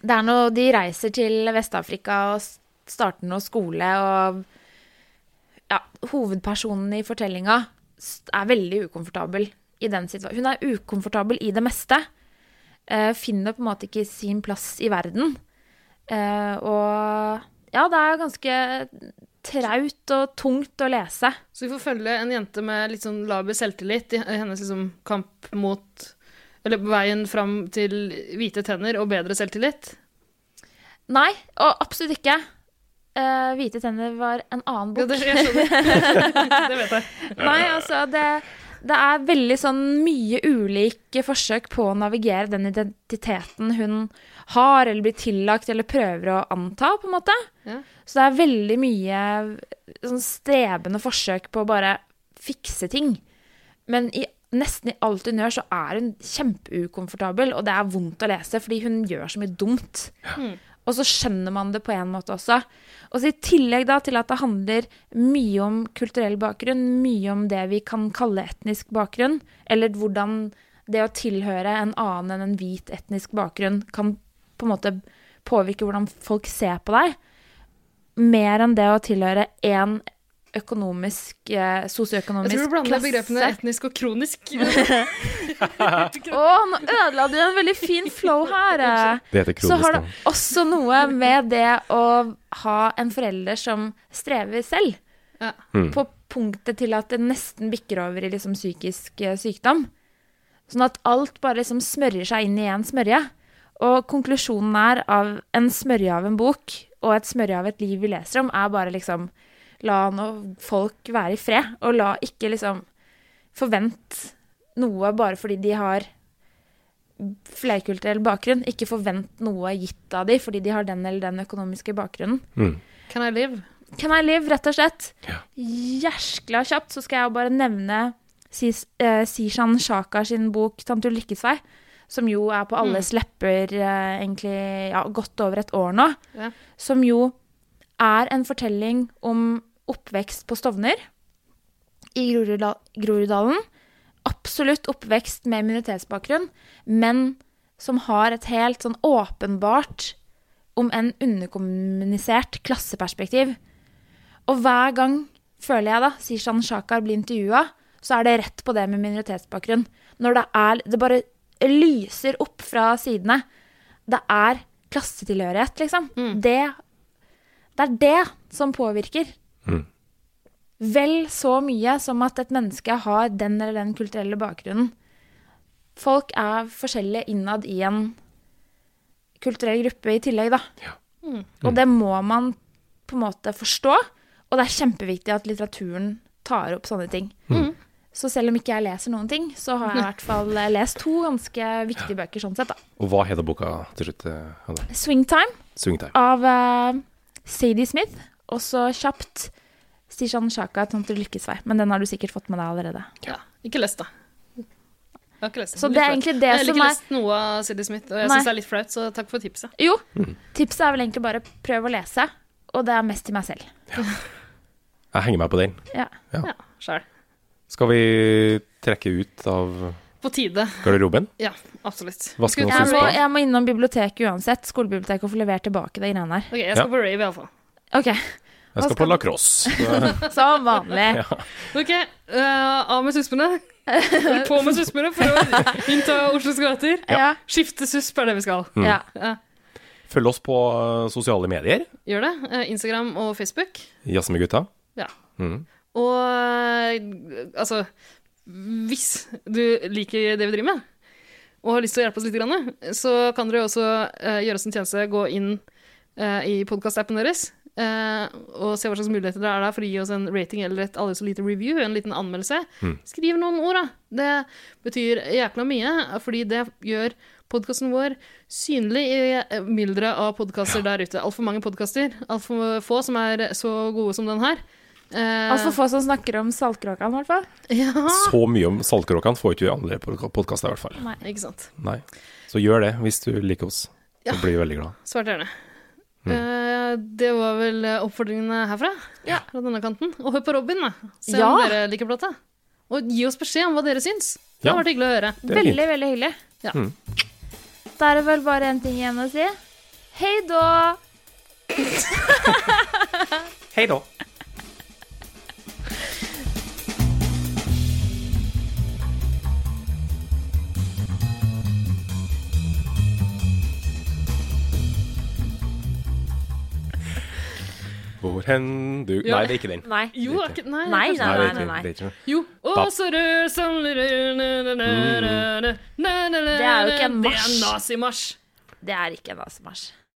C: Det er noe De reiser til Vest-Afrika og s- starter noe skole, og ja, hovedpersonen i fortellinga s- er veldig ukomfortabel i den situasjonen. Hun er ukomfortabel i det meste. eh, finner på en måte ikke sin plass i verden. Eh, og ja, det er ganske traut og tungt å lese.
A: Så vi får følge en jente med litt sånn laber selvtillit i hennes liksom kamp mot Eller veien fram til hvite tenner og bedre selvtillit.
C: Nei, og absolutt ikke. Eh, hvite tenner var en annen bok.
A: Ja, det- jeg skjønner. <laughs> Det vet jeg.
C: Nei, altså, det, det er veldig sånn mye ulike forsøk på å navigere den identiteten hun har, eller blir tillagt, eller prøver å anta, på en måte.
A: Ja.
C: Så det er veldig mye sånn strebende forsøk på å bare fikse ting. Men i, nesten i alt hun gjør, så er hun kjempeukomfortabel, og det er vondt å lese, fordi hun gjør så mye dumt.
K: Mm.
C: Og så skjønner man det på en måte også. Og så I tillegg da til at det handler mye om kulturell bakgrunn, mye om det vi kan kalle etnisk bakgrunn, eller hvordan det å tilhøre en annen enn en hvit etnisk bakgrunn kan på en måte påvirke hvordan folk ser på deg, mer enn det å tilhøre én økonomisk, eh, sosioøkonomisk
A: Jeg tror
C: klasse.
A: du blander begrepene etnisk og kronisk.
C: Å, nå ødela du en veldig fin flow her. eh.
B: Det heter
C: Så har det
B: kronisk,
C: også noe med det å ha en forelder som strever selv.
B: Mm.
C: På punktet til at det nesten bikker over i liksom psykisk eh, sykdom. Sånn at alt bare liksom smører seg inn i en smørje. Og konklusjonen er av en smørje av en bok og et smørje av et liv vi leser om, er bare liksom La nå folk være i fred, og la ikke liksom forvent noe bare fordi de har flerkulturell bakgrunn. Ikke forvent noe gitt av de fordi de har den eller den økonomiske bakgrunnen.
B: Mm.
A: Can I live?
C: Can I Live, rett og slett. Gjerskla kjapt så skal jeg jo bare nevne Sis- eh, Sishan Shaka sin bok 'Tante Ulykkes vei', som jo er på alles lepper eh, egentlig ja, godt over et år nå.
A: Ja.
C: Som jo er en fortelling om oppvekst på Stovner i Groruddal- Groruddalen. Absolutt oppvekst med minoritetsbakgrunn, men som har et helt sånn åpenbart, om enn underkommunisert, klasseperspektiv. Og hver gang, føler jeg da, Sishan Shakar blir intervjua, så er det rett på det med minoritetsbakgrunn. Når det er Det bare lyser opp fra sidene. Det er klassetilhørighet, liksom. Det, det er det som påvirker.
B: Mm.
C: Vel så mye som at et menneske har den eller den kulturelle bakgrunnen. Folk er forskjellige innad i en kulturell gruppe i tillegg, da.
A: Mm.
C: Og det må man på en måte forstå, og det er kjempeviktig at litteraturen tar opp sånne ting.
B: Mm.
C: Så selv om ikke jeg leser noen ting, så har jeg i hvert fall eh, lest to ganske viktige bøker sånn sett, da.
B: <laughs> Og hva heter boka til slutt, eh, Hanne?
C: Swingtime
B: Swingtime.
C: av eh, Sadie Smith, og så kjapt Stishan Shaka, Tante Lykkes vei. Men den har du sikkert fått med deg allerede.
A: Ja. Ikke lest, da. Jeg har ikke lest den.
C: Så det
A: Litt
C: er
A: flaut.
C: egentlig det
A: Jeg har
C: som
A: ikke
C: er-
A: lest noe av Sidney Smith, og jeg
C: Nei.
A: syns det er litt flaut, så takk for tipset.
C: Jo,
B: Mm.
C: tipset er vel egentlig bare prøv å lese, og det er mest til meg selv.
B: Jeg henger meg på den.
C: Ja.
B: Ja.
A: Sjæl.
B: Skal vi trekke ut av
A: På tide.
B: garderoben?
A: Ja, absolutt.
B: Vaske noen
C: Jeg må,
B: fyrstein?
C: jeg må innom biblioteket uansett, skolebiblioteket, og få levert tilbake de greiene der.
A: Ok, jeg skal
B: Ja.
A: på rave, iallfall.
C: <laughs> Ok.
B: Jeg skal på lacrosse. så-
C: Som vanlig.
B: Ja.
A: Ok, eh, av med
C: <laughs>
A: suspene. På med suspene for å innta Oslos gater.
B: Ja.
A: Skifte susp er det vi skal.
B: Mm. Ja.
A: Ja.
B: Følg oss på eh, sosiale medier.
A: Gjør det. Eh, Instagram og Facebook.
B: Jazze med gutta.
A: Ja.
B: Mm.
A: Og eh, altså Hvis du liker det vi driver med, og har lyst til å hjelpe oss litt, grann, så kan dere jo også eh, gjøre oss en tjeneste, gå inn eh, i podkastappen deres eh, og se hva slags muligheter det er der for å gi oss en rating eller et aldri så lite review, en liten anmeldelse.
K: Mm.
A: Skriv noen ord, da. Det betyr jækla mye, fordi det gjør podkasten vår synlig i eh, mylderet av podkaster der ute. Altfor mange podkaster, altfor få som er så gode som den her. Eh,
C: Altfor Altså, få som snakker om Saltkråkan, i hvert fall.
B: Så mye om Saltkråkan får ikke du i andre podkaster, i hvert fall.
C: Nei,
A: <laughs> ikke sant.
B: Nei. Så gjør det hvis du liker oss.
A: Ja.
B: Så blir vi veldig glad.
A: Svært gjerne.
B: Mm.
A: Eh, det var vel eh, oppfordringene herfra. Fra denne kanten. Og hør på Robin, da. Se om
C: Ja.
A: dere liker plata. Og gi oss beskjed om hva dere syns. Det har
B: Ja.
A: vært hyggelig å høre.
B: Det er fint.
C: Veldig, veldig hyggelig.
A: Ja.
B: Mm.
C: Da er det vel bare én ting igjen å si. Hei da!
B: Hei da. Hvor hen du
A: Ja.
B: Nei, det er ikke den.
A: Nei. Jo,
B: Det er
A: ikke- nei, det er
B: Nei, det er
A: kanskje-
B: ikke-
A: nei, nei,
B: det er ikke
A: Jo. Å,
B: Ba-
A: så rød som rød
B: Mm.
A: Det
C: Det er jo ikke en marsj.
A: Det er en nazimarsj.
C: Det er ikke en nazimarsj.